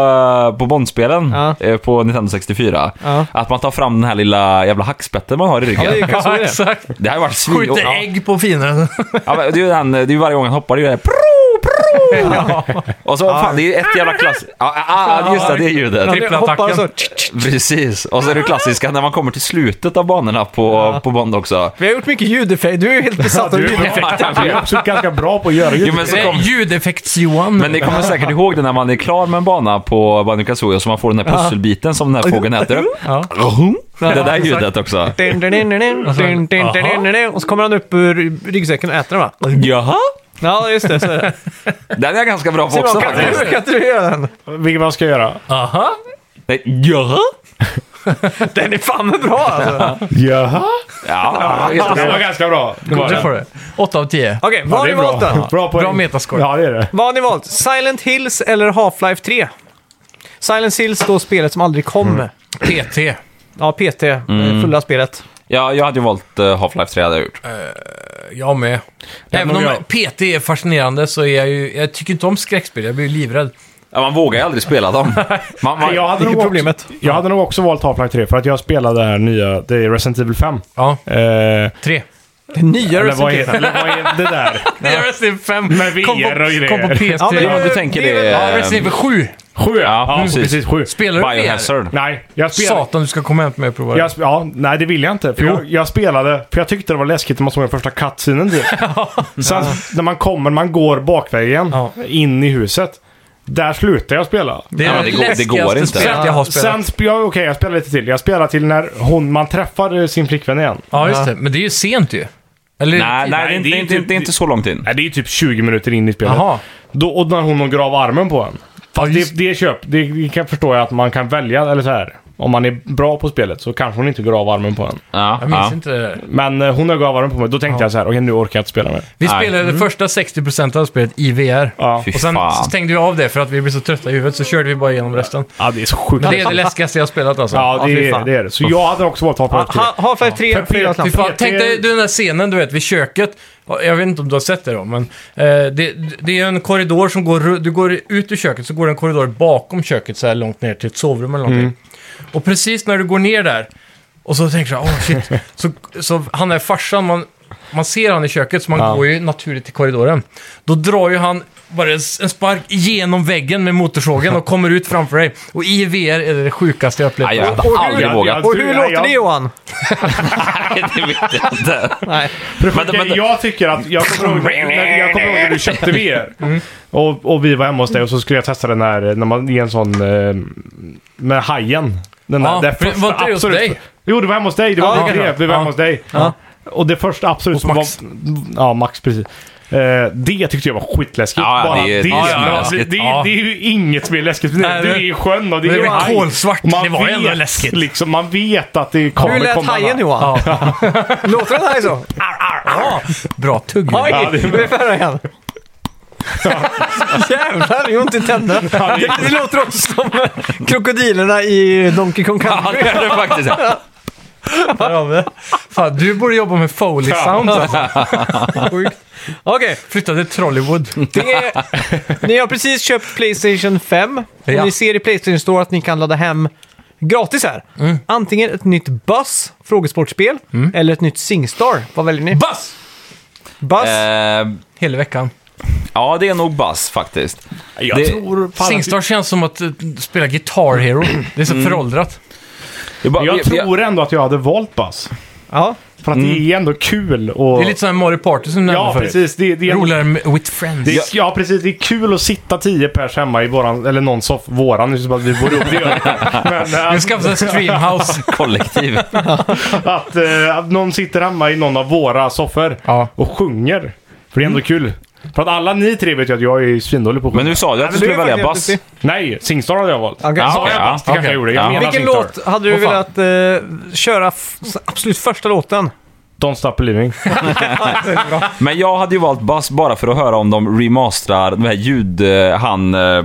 eh, på Bondspelen Ja. eh, på Nintendo 64. Ja. Att man tar fram den här lilla jävla hackspetten man har i ryggen. [laughs] Ja, det är Ja, Kazooie. exakt. Det här har ju varit svin... Skjuter ja. ägg [laughs] på fienden. Ja, men det är ju den, det är ju varje gång han hoppar, det är ju det här, pro, pro. Och så, fan, det är ju ett jävla klass... Ja, ah, ah, just det, det är ljudet. Han hoppar och så... Precis, och så är det klassiska när man kommer till slutet av banorna på, på Bond också. Vi har gjort mycket ljudeffekter. Du är ju helt besatt av Du är ljudeffekter. bra. Du är också ganska bra på att göra Jo, ljud. men, så Det kom, är Ljudeffekts-Johan. men ni kommer säkert ihåg det när man är klar med en bana på Banjo Kazooie så man får den här pusselbiten som den här fågeln äter upp. Ja. Det där ljudet också. Dun, dun, dun, dun, dun, dun, dun, dun, dun, dun, dun. Och så kommer han upp ur ryggsäcken och äter den va? Jaha? Ja, just det. Så är det. Den är jag ganska bra på också Simon, kan faktiskt. du, kan inte du göra den? Vilket man ska göra. Aha. Nej, Jaha? Den är fan med bra alltså. Jaha? Ja, just Det Alltså, det. var ganska bra. Det var Du det. får det. 8 av 10. Okej, vad Ja, har det ni är valt då? bra. Bra, poäng. Bra metascore. Ja, det är det. Vad har ni valt? Silent Hills eller Half-Life 3? Silent Hills då spelet som aldrig kom. PT. Ja, PT, eh, fulla spelet. Ja, jag hade ju valt eh, Half-Life 3 hade jag gjort. Jag med. Även men om jag- PT är fascinerande så är jag ju... Jag tycker inte om skräckspel, jag blir livrädd. Ja, man vågar ju aldrig spela dem. Man, man, Jag hade, nog problemet. Också, jag hade nog också valt Half-Life 3 för att jag spelade det här nya, det är Resident Evil 5. Ja, Eh, eller tre. Det nya vad är, Resident Evil. eller vad är det där? Det är Resident 5. Med VR kom på, och grejer. Kom på PS3. Ja, men Ja, Ja, du tänker det... eh, Resident Evil 7. Sju [laughs] ja. Ja, ja precis. precis. sju. Spelar du VR? Biohazard. Nej, jag spelade... Satan, du ska komma hem till mig och prova det. Jag, sp- ja, nej, det vill jag inte. För Jo. jag, jag spelade, för jag tyckte det var läskigt när man såg den första [laughs] cutscenen typ. Sen när man kommer, man går bakvägen Ja. in i huset. Där slutade jag spela. Det Ja, är men det det går- det läskigaste går inte. spelet jag har spelat. Sen, sp- ja, okej, jag spelade lite till. Jag spelade till när hon, man träffar eh, sin flickvän igen. Ja, just det. Men det är ju sent ju. Eller, Nej, nej, det, är det är inte, typ- det är inte så långt in. Nej, det är ju typ 20 minuter in i spelet. Jaha. Då, och när hon hugger av armen på en. Ja, just, Det, det är köp. Det, det kan förstår jag att man kan välja, eller så här. Om man är bra på spelet så kanske hon inte hugger av armen på en. Ja, jag minns ja. inte det där. Men eh, hon högg av armen på mig. Då tänkte jag så här, okej nu orkar jag inte spela mer. Vi Nej. spelade första 60% av spelet i VR. Ja. Fy Och sen fan. stängde vi av det för att vi blev så trötta i huvudet, så körde vi bara igenom resten. Ja, det är så sjukt. Men det är det läskigaste jag har spelat alltså. Ja, fy det, är- fan. det är det. Så jag hade också valt Half-Life 3. Half-Life 3, För 4 Peter- Fy snabbt. fan, PT- tänk dig den där scenen du vet vid köket. Ja, Jag vet inte om du har sett det då, men eh, det, det är en korridor som går... ru- Du går ut ur köket så går det en korridor bakom köket så här långt ner till ett sovrum eller någonting. Mm. Och precis när du går ner där och så tänker jag, åh [laughs] shit. så, så han är farsan, man, man ser han i köket så man Ja. går ju naturligt till korridoren. Då drar ju han bara en s- en spark genom väggen med motorsågen och kommer ut framför dig. Och i VR är det det sjukaste jag upplevt. Nej, jag hade och- aldrig jag- vågat. Och hur Ja, låter ja. det Johan? Nej, det vet jag inte. Nej. Men, Men- men- jag tycker att... Jag kommer ihåg när, jag kommer ihåg när du köpte VR. Mm. Och, och vi var hemma hos dig och så skulle jag testa den här, eh, när man ger en sån... eh, Med hajen. Den Ja, där, det för det första var inte det hos absolut- dig? Jo, det var hemma hos dig. Det var Ja, inte det det. kanske. Vi var Ja. hemma hos dig. Ja. Och det första absolut Hos som Max. var... Ja, Max precis. Eh, det tyckte jag var skitläskigt. Ja, ja, Bara det är- det, ja, ja, det, ja. det, det, Ja. är ju inget som är läskigt. Det Nej, är det- i sjön och det det är är en haj. kolsvart. Och man Det var ändå vet läskigt. Liksom, man vet att det kommer Hur lät komma hajen några- Johan? Låter den här så? Ja, bra tugg. Oj! [laughs] Ja, det är bra. Ungefär igen. Jävlar, det gör ont i tänderna. Det, det låter också som eh, krokodilerna i Donkey Kong Ja, Country. det är det faktiskt. Fan, du borde jobba med Foley Sound. Alltså. Sjukt. Okej, Flytta till Trollywood. det är... ni har precis köpt Playstation 5. Och Ja. Ni ser i Playstation Store att ni kan ladda hem gratis här. Antingen ett nytt Buzz, frågesportspel, eller ett nytt Singstar. Vad väljer ni? Bass! Buzz? Eh, Hela veckan. Ja, det är nog bass faktiskt. Jag Det- tror... fan att- Singstar känns som att eh, spela Guitar Hero. Det är så föråldrat. Jag, bara, Jag vi- vi- tror ändå att jag hade valt Bass. Ja. För att det är ändå kul och... Det är lite som Mario Party som du nämnde Ja, förut. precis. Det, det är... Roligare med- with friends. Det är, ja, precis. Det är kul att sitta tio pers hemma i våran, eller någon soff, våran, nu så att vi bor ihop, det gör vi inte. Men Vi äh, skaffar [laughs] en streamhouse. Kollektiv. att, äh, att någon sitter hemma i någon av våra soffor Ja. och sjunger. För det är ändå kul. För att alla ni tre vet ju att jag är svindålig på att Men sjunga. nu sa du att du men det skulle är välja bass. faktiskt jävligt Nej, Singstar hade jag valt. Okej. Ja, Sa jag okej, bass? Det kanske okej. jag gjorde. Jag Ja. menar Vilken Singstar. låt hade du Åh, fan. velat eh, köra f- absolut första låten? Don't Stop Believing. Men jag hade ju valt bass bara för att höra om de remasterar den här ljud... eh, Han... eh,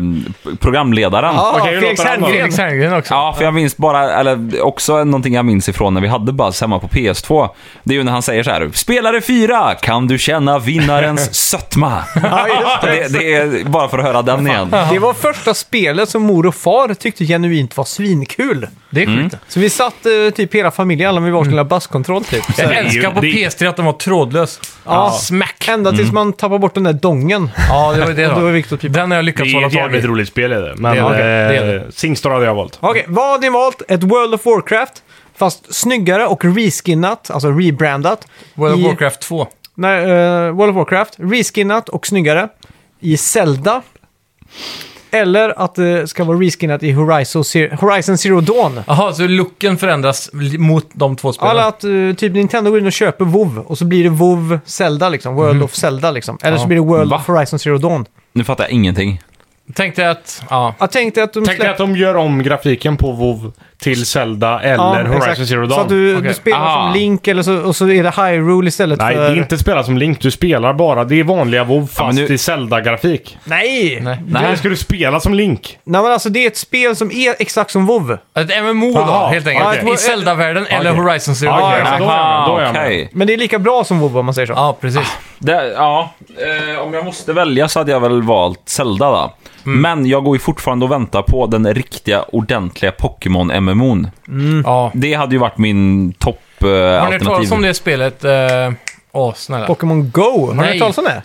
Programledaren. Ja, Okej, hur Felix låter den då? Herngren. Felix Herngren också. Ja, för jag minns bara, eller också någonting jag minns ifrån när vi hade Buzz hemma på PS2. Det är ju när han säger så här, spelare 4, kan du känna [laughs] vinnarens sötma? Ja, just det. Det, det är bara för att höra den igen. Det var första spelet som mor och far tyckte genuint var svinkul. Det är sjukt. Så vi satt eh, typ hela familjen, alla Mm. med varsin lilla basskontroll typ. [laughs] Så, Jag är ju- älskar på det- PS3 att den var trådlös. Ja. Smack! ända tills man tappar bort den där dongen. Mm. Ja, det var ju det Då är typ- det då. viktigt att pipa. Den har jag Det lyckats är hålla ett tag jävligt i. roligt spel är det. Men Det är det. Det är eh, Singstar hade jag valt. Okej, vad har ni valt? Ett World of Warcraft, fast snyggare och reskinnat, alltså rebrandat. World i- of Warcraft 2. Nej, eh, World of Warcraft, reskinnat och snyggare i Zelda. Eller att det ska vara reskinnat i Horizon, Ze- Horizon Zero Dawn. Jaha, så looken förändras li- mot de två spelen? Alla att eh, typ Nintendo går in och köper WoW och så blir det WoW Zelda liksom. World Mhm. of Zelda liksom. Eller så Ja. blir det World Va? of Horizon Zero Dawn. Nu fattar jag ingenting. Tänkte att... Ja. Jag tänkte att de Tänk dig att de gör om grafiken på WoW till Zelda eller Ja, Horizon exakt. Zero Dawn. Så att du, Okej. du spelar Ah. som Link eller så, och så är det Hyrule istället Nej, för... det är inte spela som Link. Du spelar bara. Det är vanliga WoW fast nu- i Zelda-grafik. Nej! Nej. Nej. Nej. ska du spela som Link? men alltså det är ett spel som är exakt som WoW. Ett MMO då, Jaha, helt enkelt. okej. I Zelda-världen eller Okej. Horizon Zero Ja, Dawn. exakt. då är jag med, då är jag med. okej. Men det är lika bra som WoW om man säger Ah. så. Ja, precis. Det, ja, eh, om jag måste välja så hade jag väl valt Zelda då. Men jag går ju fortfarande och väntar på den riktiga, ordentliga Pokémon-MMO'n. Mm. Ja. Det hade ju varit min eh, Har ni hört talas topp-alternativ. om det spelet? Eh, Åh, snälla. Pokémon Go, har ni Nej. hört talas om det?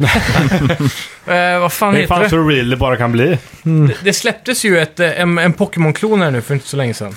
Eh, vad fan Det är heter fan det? så real det bara kan bli. Det släpptes ju ett, eh, en, en Pokémon-klon här nu för inte så länge sedan.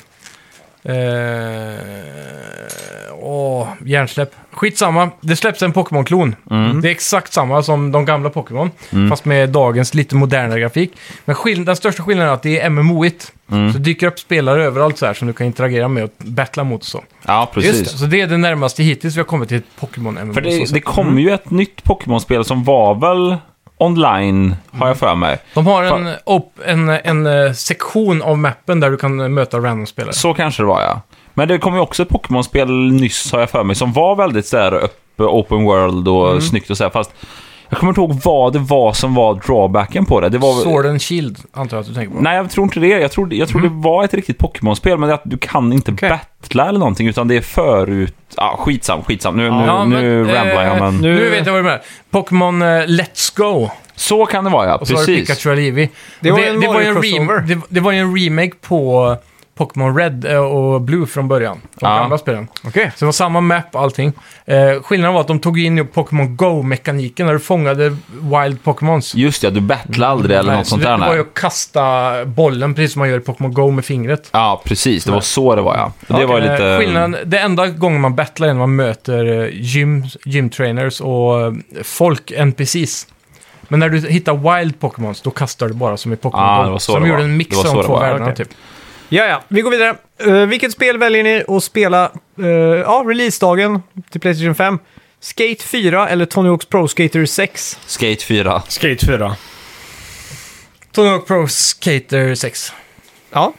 Eh, åh, hjärnsläpp. Skitsamma, det släpps en Pokémon-klon. Det är exakt samma som de gamla Pokémon, fast med dagens lite modernare grafik. Men skill- den största skillnaden är att det är MMO-igt. Så det dyker upp spelare överallt så här som du kan interagera med och battla mot och så. Ja, Just det. Så det är det närmaste hittills vi har kommit till ett Pokémon-MMO. För så Mm. det, sett. det kom ju ett nytt Pokémon-spel som var väl online, har Mm. jag för mig. De har en, op- en, en eh, sektion av mappen där du kan eh, möta random-spelare. Så kanske det var, ja. Men det kom ju också ett Pokémon-spel nyss, har jag för mig, som var väldigt sådär upp- open world och Mm. snyggt och sådär. Fast jag kommer inte ihåg vad det var som var drawbacken på det. det var, Sword Mm. and Shield antar jag att du tänker på. Nej, jag tror inte det. Jag tror, jag tror det var ett riktigt Pokémon-spel, men det är att du kan inte Okej. battla eller någonting, utan det är förut... Ah, skitsam, skitsam. Nu, nu, Ja, men, nu ramblar jag, eh, men... Nu vet jag vad du menar. Pokémon eh, Let's Go. Så kan det vara, ja. Och så har du Precis. Pikachu och Eevee. Det Och var en Mario-crossover. rem- det, det var ju en remake på eh, Pokémon Red eh, och Blue från början. De Ja. gamla spelen. Okej. Så det var samma map och allting. Eh, skillnaden var att de tog in ju Pokémon Go-mekaniken när du fångade Wild Pokémons. Just ja, du battlar aldrig eller något Mm. så sånt det, där. det var ju nej. att kasta bollen precis som man gör i Pokémon Go med fingret. Ja, precis. Det var så det var, ja. Det var ju Eh, lite... mm, Skillnaden, det enda gången man battlar är när man möter eh, gym, gymtrainers och eh, folk, NPCs. Men när du hittar Wild Pokémons, då kastar du bara som i Pokémon Ah, Go. det var så de det gjorde var. en mix Det var av så de det två var. världarna Okej. typ. Ja, ja. Vi går vidare. Eh, vilket spel väljer ni att spela eh, ja, releasedagen till Playstation 5? Skate 4 eller Tony Hawk's Pro Skater 6? Skate 4. Skate 4. Tony Hawk Pro Skater 6. Ja.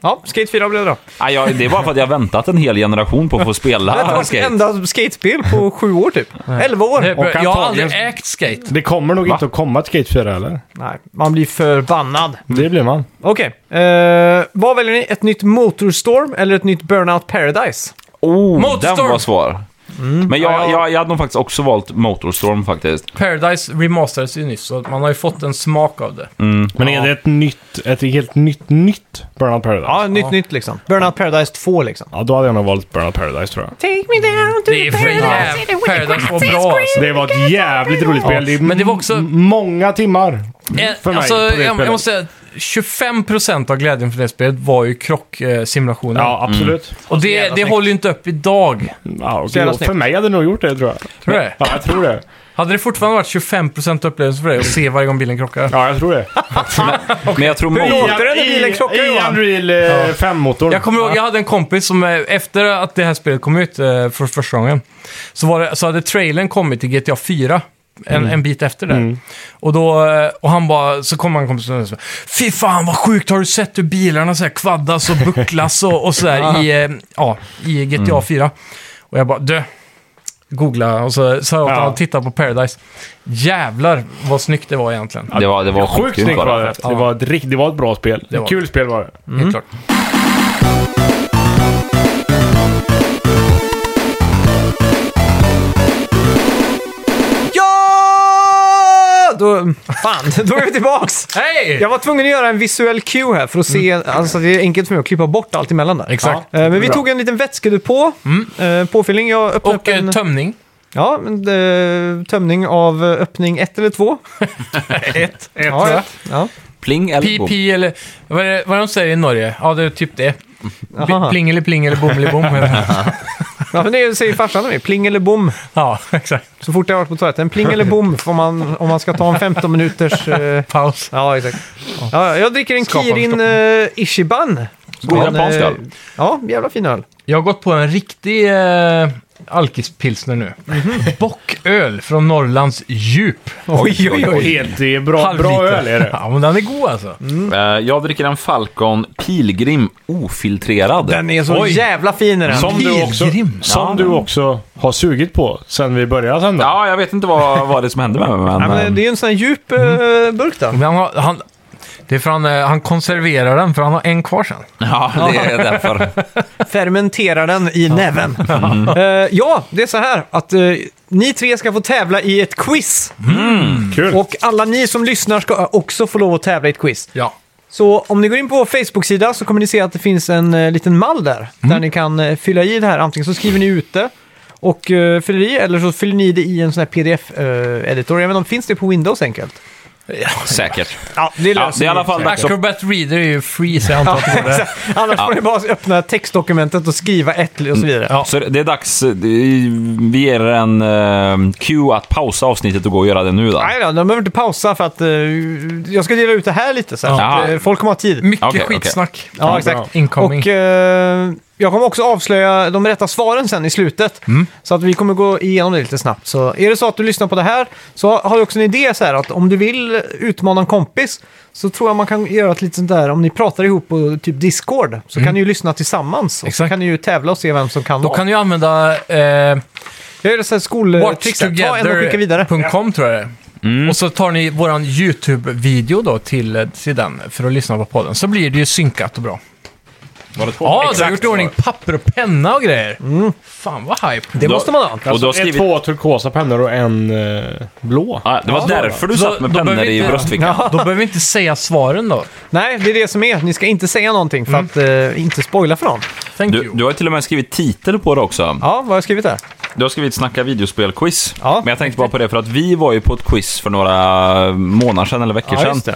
Ja, Skate 4 blev det då. Ah, jag, det är bara för att jag har väntat en hel generation på att få [laughs] Det har spela varit skate. enda skatespel på sju år typ. Elva år. Det- Jag har antagligen- aldrig ägt skate. Det kommer nog inte att komma ett Skate 4 eller? Nej, man blir förbannad. Det blir man. Okej, eh, vad väljer ni? Ett nytt Motorstorm eller ett nytt Burnout Paradise? Oh, den Motorstorm. var svår. Men jag, jag, jag hade nog faktiskt också valt Motorstorm faktiskt. Paradise remasterades ju nyss, så man har ju fått en smak av Mm. det. Men är det ett nytt, ett helt nytt, nytt Burnout Paradise? Ja, nytt nytt liksom. Burnout Paradise 2 liksom. Ja, då hade jag nog valt Burnout Paradise tror jag. Take me down to Det är the för paradise. jävla... Paradise var bra alltså. Det var ett jävligt roligt spel. Det är Men det var också... m- många timmar. Eh, för mig alltså, på det jag, jag spelet. måste säga att 25% av glädjen för det spelet var ju krocksimulationen. Ja, absolut. och det, det håller ju inte upp idag. Ja, och Mm. Så jävla det- snyggt. för mig hade det nog gjort det tror jag. Tror du det? Ja, jag tror det. Hade det fortfarande varit 25% upplevelse för dig att se varje gång bilen krockar? Ja, jag tror det. Men jag tror Motor... låter det när bilen krockar, I Johan? Unreal Ja. 5-motorn. Jag kommer ihåg, jag hade en kompis som eh, efter att det här spelet kom ut eh, för första gången, så, var det, så hade trailern kommit till GTA 4. En, Mm. en bit efter det. Och, då, eh, och han bara, så kom han kompis och sa Fy fan vad sjukt, har du sett hur bilarna så här kvaddas och bucklas och, och sådär i, eh, ja, i GTA Mm. 4? Och jag bara, du, googla. Och så sa jag åt Ja. honom, titta på Paradise. Jävlar vad snyggt det var egentligen. Det var, det var Sjukt skitgrymt snyggt var var det. det. Det var ett, rikt- det var ett bra spel. Det var Ett kul spel var det. Helt klart. Ja! Då, fan, [laughs] då är vi tillbaks! Hej! Jag var tvungen att göra en visuell cue här för att se, alltså det är enkelt för mig att klippa bort allt emellan där. Exakt. Eh, Men vi tog en liten vätskedepå, mm. påfyllning, jag öppnade Och upp en eh, tömning. ja, men, eh, tömning av eh, öppning ett eller två. ett. ett tror ja, jag. ett. Ja. Pling eller bom. PP eller vad är det, vad är det de säger i Norge? Ja, det är typ det. Aha. Pling eller pling eller bom eller bom. heter det. Ja, men det säger farsan till mig, pling eller bom. [laughs] ja, exakt. Så fort jag har varit på toaletten, pling eller bom får man, om man ska ta en 15 minuters... eh, Paus. ja, exakt. Ja, jag dricker en Skapa Kirin förstoppning. eh, Ishiban. God En, japansk eh, öl. Ja, jävla fin öl. Jag har gått på en riktig eh, alkispilsner nu. Bocköl från Norrlands djup. Oj, oj, Och helt det är bra, bra Halvliter. öl är det. [laughs] Ja, men den är god alltså. Eh, Jag dricker en Falcon Pilgrim ofiltrerad. Den är så Oj. jävla fin är den. Som du också, Pilgrim. som du också har sugit på sen vi började sända. Ja, jag vet inte vad, vad det är som hände med mig, men... Ja, men Eh, det är ju en sån här djup eh, burk då. Men han, har- han, det är för han, eh, han konserverar den, för han har en kvar sen. [laughs] Ja, det är därför. Fermenterar den i näven. Eh, ja, det är så här att eh, ni tre ska få tävla i ett quiz. Kul. Och alla ni som lyssnar ska också få lov att tävla i ett quiz. Ja. Så om ni går in på vår Facebook-sida så kommer ni se att det finns en eh, liten mall där. Där ni kan eh, fylla i det här. Antingen så skriver ni ut det och eh, fyller i eller så fyller ni det i en sån här pdf-editor. Jag vet inte om finns det på Windows enkelt? Säkert. Ja, det är Ja, löser det är i alla vi. fall dags att... Acrobat Reader är ju free, så jag antar att det går där. Annars får ni bara öppna textdokumentet och skriva ett och Mm. så vidare. Så det är dags. det- Vi ger er en eh, cue att pausa avsnittet och gå och göra det nu då. Nej då, de behöver inte pausa för att eh, jag ska dela ut det här lite så Ja. att, eh, folk kommer ha tid. Mycket Okej, okej. skitsnack. Ja, exakt. Incoming. Och eh, jag kommer också avslöja de rätta svaren sen i slutet. Mm. Så att vi kommer gå igenom det lite snabbt. Så är det så att du lyssnar på det här så har du också en idé så här att om du vill utmana en kompis så tror jag man kan göra ett litet sånt där, om ni pratar ihop på typ Discord så kan ni ju lyssna tillsammans. Och så Mm. Exakt. kan ni ju tävla och se vem som kan Då vad. kan du använda eh, Jag gör så här skoltricks, där. ta en och skicka vidare. watchtogether.com tror jag det är. Mm. Och så tar ni våran YouTube-video då till, eh, till den för att lyssna på podden. Så blir det ju synkat och bra. Var det två? Ja, du har Exakt. gjort i ordning papper och penna och grejer. Fan vad hype. Det måste man ha. Och du har Alltså, skrivit... Två turkosa pennor och en eh, blå. Ja, det var därför du Så satt med då pennor behöver vi i inte- bröstfickan. Då behöver vi inte säga svaren då. Nej, det är det som är. Ni ska inte säga någonting Mm. för att eh, inte spoila för någon. Thank Du, you. du har ju till och med skrivit titel på det också. Ja, vad har jag skrivit där? Du har skrivit Snacka videospel-quiz. Ja. Men jag tänkte bara på det för att vi var ju på ett quiz för några månader sedan eller veckor Ja, just sedan.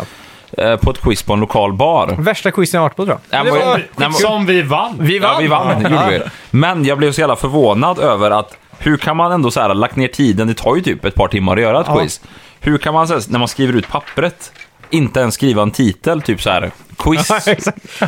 Eh, På ett quiz på en lokal bar. Värsta quizen jag har varit på tror jag. Nej, Det men- var- nej, men- Som vi vann. Vi vann! Ja, vi vann. det Gjorde vi. Men jag blev så jävla förvånad över att hur kan man ändå så här lagt ner tiden, det tar ju typ ett par timmar att göra ett quiz. Hur kan man så här, när man skriver ut pappret inte ens skriva en titel, typ så här [laughs] quiz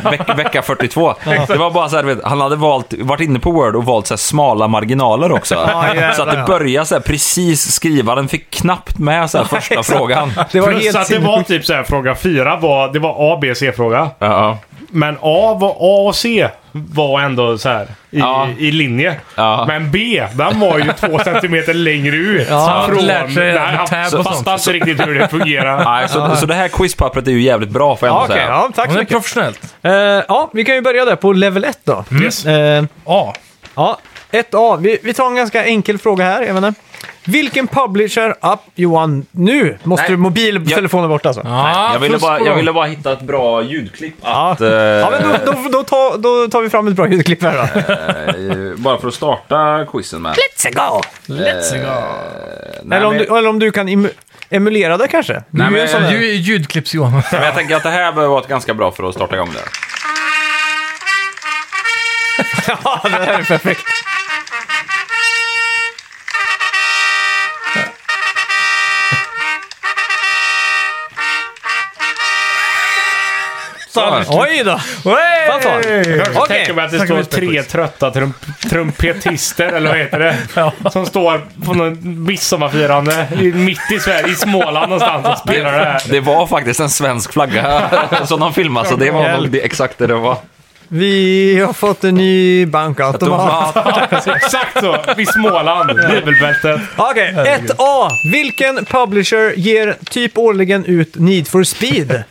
veck, vecka 42. Det var bara så här, du vet, han hade valt, varit inne på Word och valt så här smala marginaler också. jävlar, så att det ja. började så här precis, skrivaren fick knappt med så här första frågan. Det var Plus helt att det sinnessjukt. var typ så här, fråga fyra var, det var A, B, C-fråga. Ja, Men A, var, A och C var ändå så här i, Ja. i linje. Ja. Men B, den var ju två centimeter längre ut. Ja. Han Han lärt sig Nej, han tab och sånt. fattar inte riktigt hur det fungerar. Nej, så, så det här quizpappret är ju jävligt bra får jag Ja, ändå okej. säga. ja, tack Hon så är mycket. professionellt. Eh, ja, vi kan ju börja där på level 1 då. Mm. Yes. Eh, Ja. ja, 1A. Vi, vi tar en ganska enkel fråga här. Jag vet inte. Vilken publisher... Up, Johan, nu måste Nej. du mobiltelefonen bort alltså. Ja. Ah, Jag ville, fusk bara, på jag dem. ville bara hitta ett bra ljudklipp att... eh, men då, då, då, tar, då tar vi fram ett bra ljudklipp [laughs] här då. eh, bara för att starta quizen med. Let's go! Let's go. Nej, eller, om men- du, eller om du kan im- emulera det kanske? Du Nej, är ju en men sån där- Du är ljudklipps-Johan. Men jag tänker att det här behöver vara ett ganska bra för att starta igång där. Ja, det här är perfekt. Så. Oj då! Fan, fan. Jag Okej. tänker mig att det Snacka står lite tre quiz. trötta trum- trumpetister, eller vad heter det? Som står på någon midsommarfirande i- mitt i Sverige, i Småland någonstans och spelar det här. Det var faktiskt en svensk flagga [laughs] som de filmade, så det var nog det, exakt det det var. Vi har fått en ny bankautomat. Exakt så! Vid Småland, bibelbältet. Okej, 1A. Vilken publisher ger typ årligen ut Need for speed?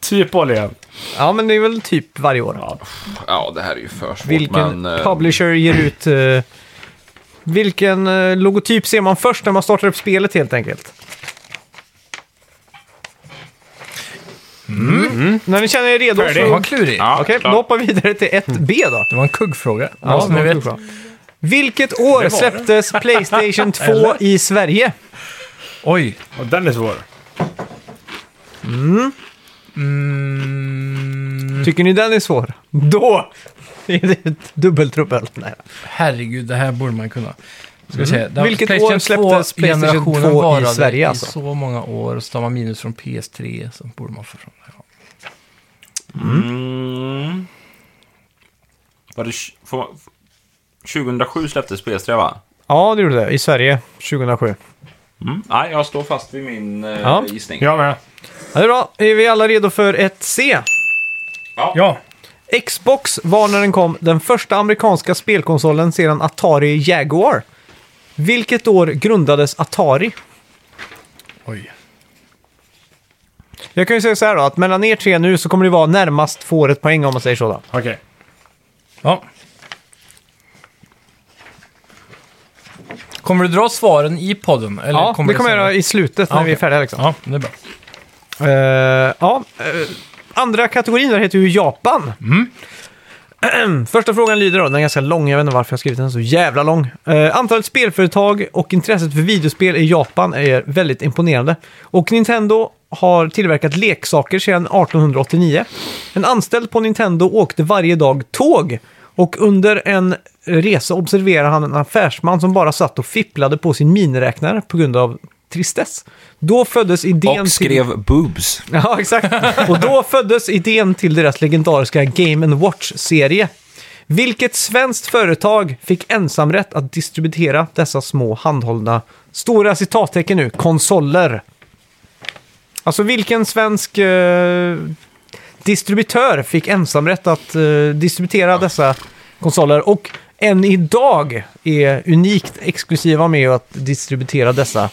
Typ olja. Ja, men det är väl typ varje år. Ja, det här är ju för svårt, Vilken men... eh, publisher ger ut... eh, vilken eh, logotyp ser man först när man startar upp spelet helt enkelt? Mm. När ni känner er redo Det var så... klurig. ja, Okej, då klart. hoppar vi vidare till 1B då. Det var en kuggfråga. Ja, Ja, det ni var vet. kul, bra. Vilket år [laughs] släpptes Playstation 2 i Sverige? Oj. Och den är svår. Mm. Tycker ni den är svår? Då [laughs] är det ett dubbeltrubbel. Nej. Herregud, det här borde man kunna. Ska vi se. Den- Mm. Vilket år släpptes 2 -generationen PlayStation 2 i varade Sverige, alltså? I så många år, så tar man minus från PS3, så borde man få från det. Ja. Mm. Var det... tj- får man- 2007 släpptes PS3, va? Ja, det gjorde det. I Sverige 2007. Mm. Nej, jag står fast vid min eh, Ja. gissning. Jag med. Ja, det är bra. Är vi alla redo för ett C? ja. Xbox var när den kom den första amerikanska spelkonsolen sedan Atari Jaguar. Vilket år grundades Atari? Oj. Jag kan ju säga så här då, att mellan er tre nu så kommer det vara närmast får ett poäng om man säger så då. Okej. Ja. Kommer du dra svaren i podden? Eller Ja, det kommer jag senare? göra i slutet när Ja, vi är okej. färdiga liksom. Ja, det är bra. Eh, ja, eh, andra kategorin där heter ju Japan. [clears throat] Första frågan lyder då, den är ganska lång, jag vet inte varför jag har skrivit den så jävla lång. Eh, antalet spelföretag och intresset för videospel i Japan är väldigt imponerande. Och Nintendo har tillverkat leksaker sedan 1889. En anställd på Nintendo åkte varje dag tåg. Och under en resa observerade han en affärsman som bara satt och fipplade på sin miniräknare på grund av tristess. Då föddes idén Och till... skrev boobs. Ja, exakt. Och då föddes idén till deras legendariska Game Watch-serie. Vilket svenskt företag fick ensamrätt att distributera dessa små handhållna, stora citattecken nu, konsoler? Alltså vilken svensk eh, distributör fick ensamrätt att eh, distributera dessa konsoler och än idag är unikt exklusiva med att distributera dessa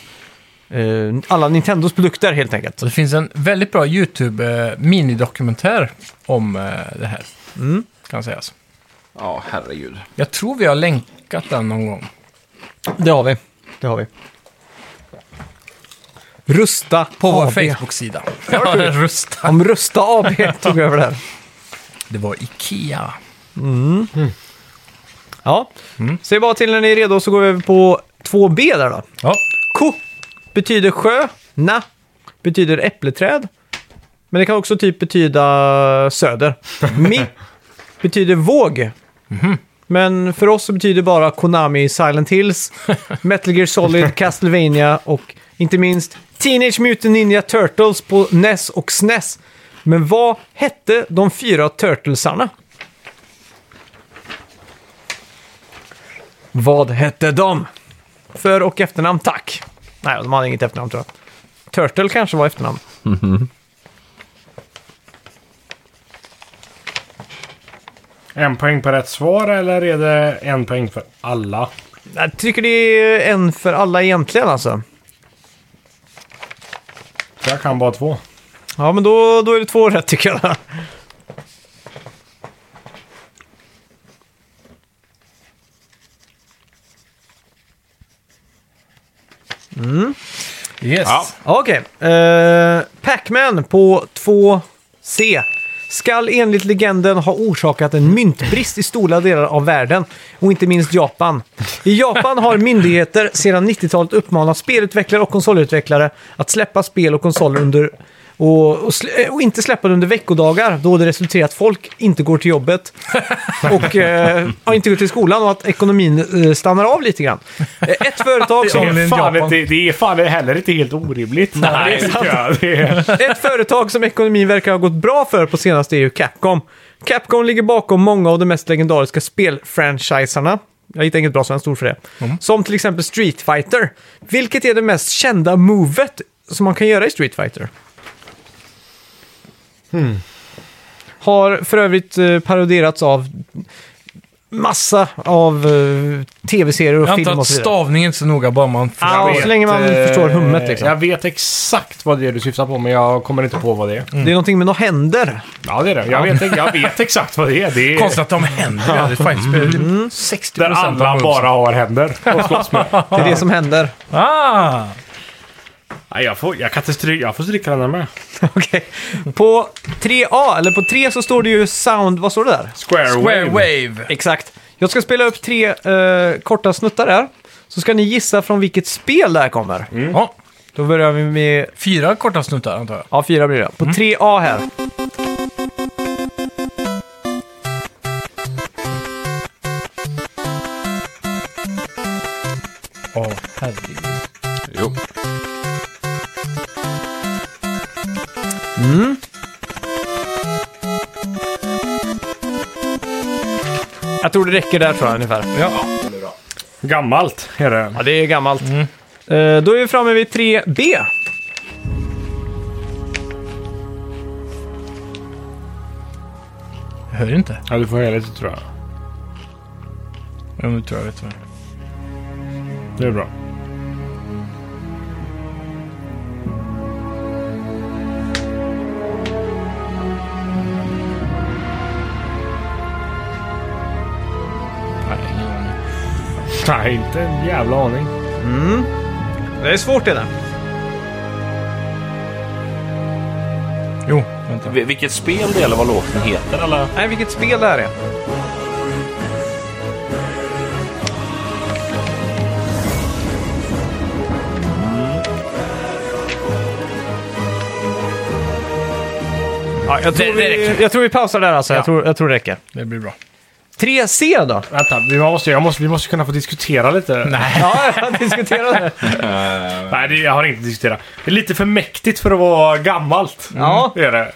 eh, alla Nintendos produkter helt enkelt. Så det finns en väldigt bra YouTube-minidokumentär om eh, det här. Mm. Kan sägas. Ja, herregud. Jag tror vi har länkat den någon gång. Det har vi. Det har vi. Rusta På vår AB. Facebook-sida. Ja, Rusta. Om Rusta AB tog över [laughs] där. Det var Ikea. Ja. Mm. Säg bara till när ni är redo så går vi över på 2B där då. Ja. Ko betyder sjö. Na betyder äppleträd. Men det kan också typ betyda [laughs] söder. Mi betyder våg. Mhm. Men för oss så betyder bara Konami Silent [laughs] Hills, Metal Gear Solid, Castlevania och inte minst Teenage Mutant Ninja Turtles på NES och SNES. Men vad hette de fyra Turtlesarna? Vad hette de? För och efternamn, tack. Nej, de hade inget efternamn tror jag. Turtle kanske var efternamn. En poäng på rätt svar eller är det en poäng för alla? Jag tycker det är en för alla egentligen alltså. Så jag kan bara två. Ja, men då, då är det två rätt tycker jag. Yes. Ja. Ja, Okej. Eh, Pac-Man på 2C. Skall enligt legenden ha orsakat en myntbrist i stora delar av världen och inte minst Japan. I Japan har myndigheter sedan 90-talet uppmanat spelutvecklare och konsolutvecklare att släppa spel och konsoler under och, och, slä, eh, och inte släppa det under veckodagar då det resulterar i att folk inte går till jobbet och eh, ja, inte går till skolan och att ekonomin eh, stannar av lite grann. Eh, ett [laughs] företag som... Det är, fan Japan. inte, det är fan heller inte helt orimligt. Nej, det tycker jag. Det är... Ett företag som ekonomin verkar ha gått bra för på senaste är ju Capcom. Capcom ligger bakom många av de mest legendariska spelfranchiserna. Jag hittar inget bra svenskt ord för det. Mm. Som till exempel Street Fighter. Vilket är det mest kända movet som man kan göra i Street Fighter? Hmm. Har för övrigt eh, parodierats av massa av eh, tv-serier och Jag film antar och att så vidare. stavningen är inte så noga, bara man förstår. Ja, vet, så länge man eh, förstår hummet liksom. Jag vet exakt vad det är du syftar på, men jag kommer inte på vad det är. Det är någonting med några händer. Ja, det är det. Jag vet, jag vet exakt vad det är. Det är Konstigt att de händer. Ja, det är Mm. fightspel. 60 där alla bara har händer [laughs] att slåss med. Det är det som händer. Ah! Nej, jag, får, jag, kan inte stry, jag får stryka den här med. [laughs] Okej. På 3A, eller på 3 så står det ju sound... Vad står det där? Square, Square Wave. Wave. Exakt. Jag ska spela upp tre eh, korta snuttar här. Så ska ni gissa från vilket spel det här kommer. Ja, Då börjar vi med... fyra korta snuttar antar jag. Ja, fyra blir det. På 3A här. Ja, herregud. Jo. Jag tror det räcker där tror jag ungefär. Gammalt är det. Ja, det är gammalt. Eh, då är vi framme vid 3B. Jag hör inte. Ja, du får hela lite tror jag. Ja, nu tror jag vet vad det är. Det är bra. Nej, inte en jävla aning. Det är svårt det där. Jo, vänta. Vil- Vilket spel det är eller vad låten heter eller? Nej, vilket spel det här är. Ja, jag, tror Det- det vi, räcker. jag tror vi pausar där alltså. Jag, tror, jag tror det räcker. Det blir Alltså, bra. 3C då? Vänta, vi måste, jag måste, vi måste kunna få diskutera lite. Nej, [laughs] Ja, jag diskuterade det. det, jag har inte diskuterat. Det är lite för mäktigt för att vara gammalt. Ja. Det är det.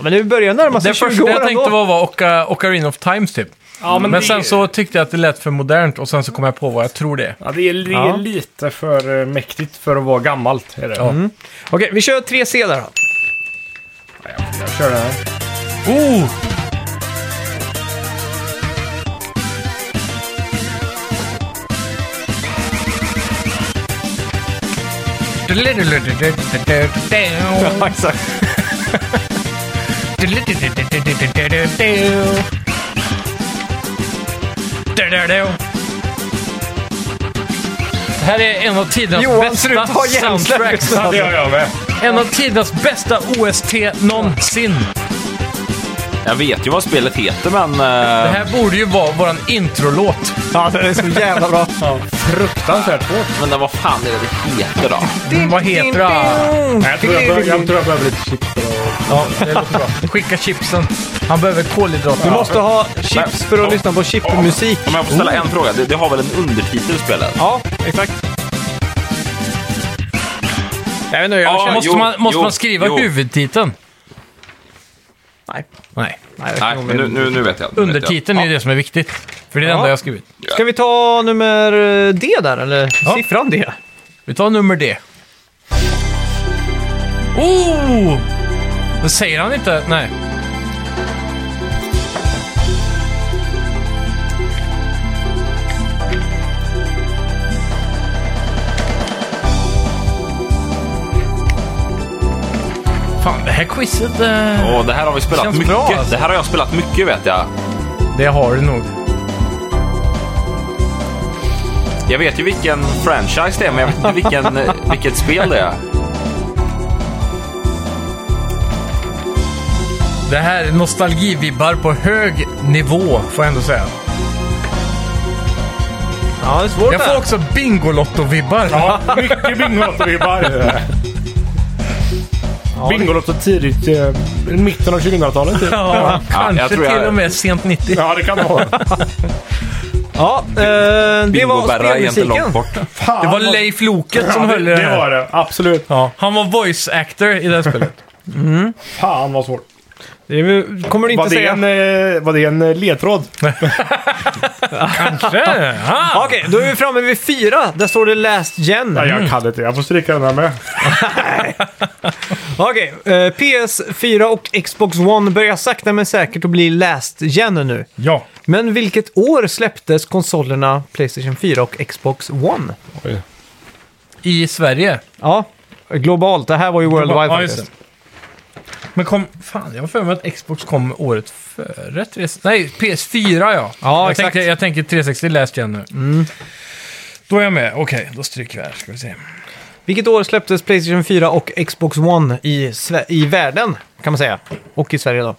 Men nu börjar närma sig Det 20 år första jag tänkte ändå. var, var Oca, Ocarina of Times typ. Ja, Men, det, sen så tyckte jag att det lät för modernt och sen så kom jag på vad jag tror det är. Ja, det är, det är Ja. lite för eh, mäktigt för att vara gammalt. Är det. Ja. Okej, vi kör 3C där då. Jag kör den här. Oh! Ja, exakt. Det här är en av tidernas Johan bästa Strut har hjärnsläpp. soundtracks. Ja, det gör jag med. En av tidernas bästa OST någonsin. Jag vet ju vad spelet heter men... Det eh, här borde ju vara våran introlåt. Ja, det är så jävla bra. Fruktansvärt svårt. Men vad fan är det det heter då? Vad heter det? Nej, Jag tror jag, behöver- jag tror jag behöver lite chips. Ja, det låter bra. Skicka chipsen. Han behöver kolhydrater. Du måste ha chips för att lyssna på chipmusik. Om jag får ställa Oh. en fråga. Det, det har väl en undertitel spelet? Ja, exakt. Jag vet inte, jag Ja, känner... måste jo, man, måste jo, man skriva jo. huvudtiteln? Nej. Nej. Nej, jag Nej, vet men inte. nu, nu, nu vet jag. Nu vet jag. Undertiteln är det som är viktigt. För det är det Ja. enda jag har skrivit. Ska vi ta nummer eh, D där, eller siffran D? Vi tar nummer D. Oh! Men säger han inte? Nej. Fan, det här quizet... Eh, Åh, det här har vi spelat Känns mycket. bra, alltså. Det här har jag spelat mycket vet jag. Det har du nog. Jag vet ju vilken franchise det är, men jag vet inte vilken, [laughs] eh, vilket spel det är. Det här är nostalgivibbar på hög nivå, får jag ändå säga. Ja, det är svårt Jag det får här. också Bingolotto-vibbar. [laughs] Ja, mycket Bingolotto-vibbar. Bingolotto tidigt, eh, mitten av 2000-talet. typ. Ja, kanske jag tror jag- till och med sent 90. Ja, det kan det vara. Ja, eh, det Bingo var Berra är inte långt spelmusiken. bort. Fan, Det var vad- Leif Loket som Ja, höll i det det, det här. var det. Absolut. Ja, han var voice actor i det här spelet. Fan vad svårt. Det är väl- kommer du Var inte det, säga. en, eh, var det en eh, ledtråd? Aha. [laughs] Okej, då är vi framme vid fyra. Där står det Last Gen. Nej, jag kan inte. Jag får stryka den här med. Okej, eh, PS4 och Xbox One börjar sakta men säkert att bli Last Gen nu. Ja. Men vilket år släpptes konsolerna Playstation 4 och Xbox One? I Sverige. Ja, globalt. Det här var ju Worldwide Ja, just faktiskt. det. Men kom... Fan, jag har för mig att Xbox kom året före 360. Nej, PS4 ja. Ja, jag, exakt. tänkte, jag tänker 360 läst igen nu. Då är jag med. Okej, då stryker vi här. Ska vi se. Vilket år släpptes Playstation 4 och Xbox One i, Sve- i världen, kan man säga. Och i Sverige då.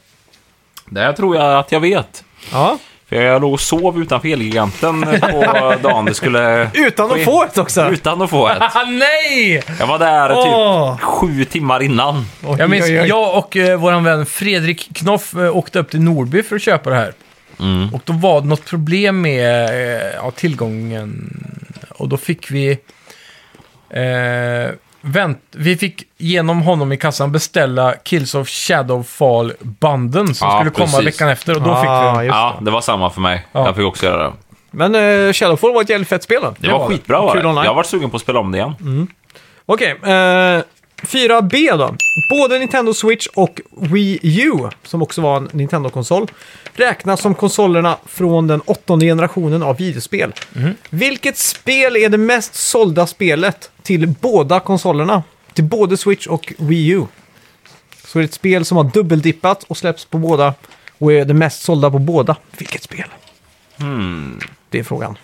Det här tror jag att jag vet. Ja. För jag låg och sov utanför Elgiganten på [laughs] dagen det skulle... Utan att få ett också! Utan att få ett. Ah, nej! Jag var där typ Åh! sju timmar innan. Jag minns, Oj, oj, oj. jag och eh, vår vän Fredrik Knoff eh, åkte upp till Norby för att köpa det här. Mm. Och då var det något problem med eh, ja, tillgången. Och då fick vi... Eh, vänt, vi fick genom honom i kassan beställa Kills of Shadowfall-banden som Ja, skulle komma precis. veckan efter. Och då fick vi Ah, dem. just Ja, det var samma för mig. Ja. Jag fick också göra det. Men eh, Shadowfall var ett jävligt fett spel då. Det var var Mm. det. skitbra var Kul det. online. Jag var sugen på att spela om det igen. Okej, eh, 4B då. Både Nintendo Switch och Wii U, som också var en Nintendo-konsol, räknas som konsolerna från den åttonde generationen av videospel. Vilket spel är det mest sålda spelet till båda konsolerna? Till både Switch och Wii U. Så det är ett spel som har dubbeldippat och släpps på båda och är det mest sålda på båda. Vilket spel? Det är frågan.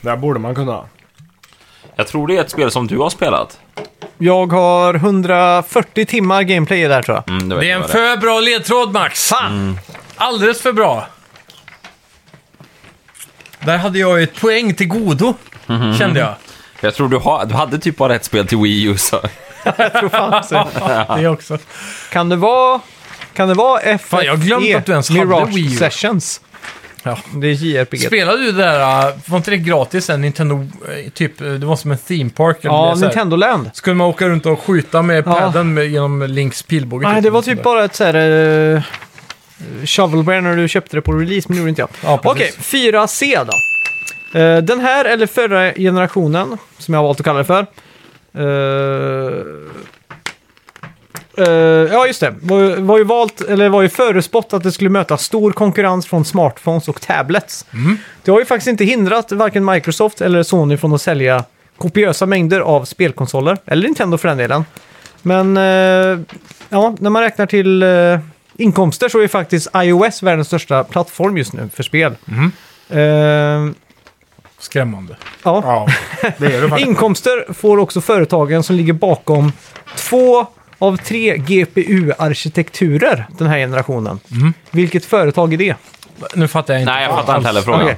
Där borde man kunna. Jag tror det är ett spel som du har spelat. Jag har 140 timmar gameplay där tror jag. Mm, vet Det är jag en vad för bra ledtråd, Max. Fan! Alldeles för bra. Där hade jag ju ett Mhm. poäng till godo, kände jag. [laughs] Jag tror du, har, du hade typ bara ett spel till Wii U. Så. jag tror fan så. Det också. Kan det vara... Kan det vara FFE? Fan, jag har glömt att du ens hade Mirage Wii U. Sessions. Ja. Det är JRPG. Spelade du det där, äh, var inte det gratis sen Nintendo, äh, typ, äh, det var som en theme park? eller ja, så här. Nintendo Land. Skulle man åka runt och skjuta med Ja. padden med, genom Links pilbåge? Nej, det var typ Sådär. bara ett så här... Uh, shovelware när du köpte det på release, men det gjorde inte jag. Ja, precis. Okej, 4C då. Eh, den här, eller förra generationen, som jag har valt att kalla det för. Eh, eh, ja, just det. Var, ju- var ju valt, eller var ju förespått att det skulle möta stor konkurrens från smartphones och tablets. Mhm. Det har ju faktiskt inte hindrat varken Microsoft eller Sony från att sälja kopiösa mängder av spelkonsoler, eller Nintendo för den delen. Men eh, ja, när man räknar till eh, inkomster så är faktiskt iOS världens största plattform just nu för spel. Mhm. Eh, Skrämmande. ja. Ja, det är det faktiskt. Inkomster får också företagen som ligger bakom två av tre GPU-arkitekturer den här generationen. Mhm. Vilket företag är det? Nu fattar jag inte. Nej, jag fattar inte heller frågan. Okej.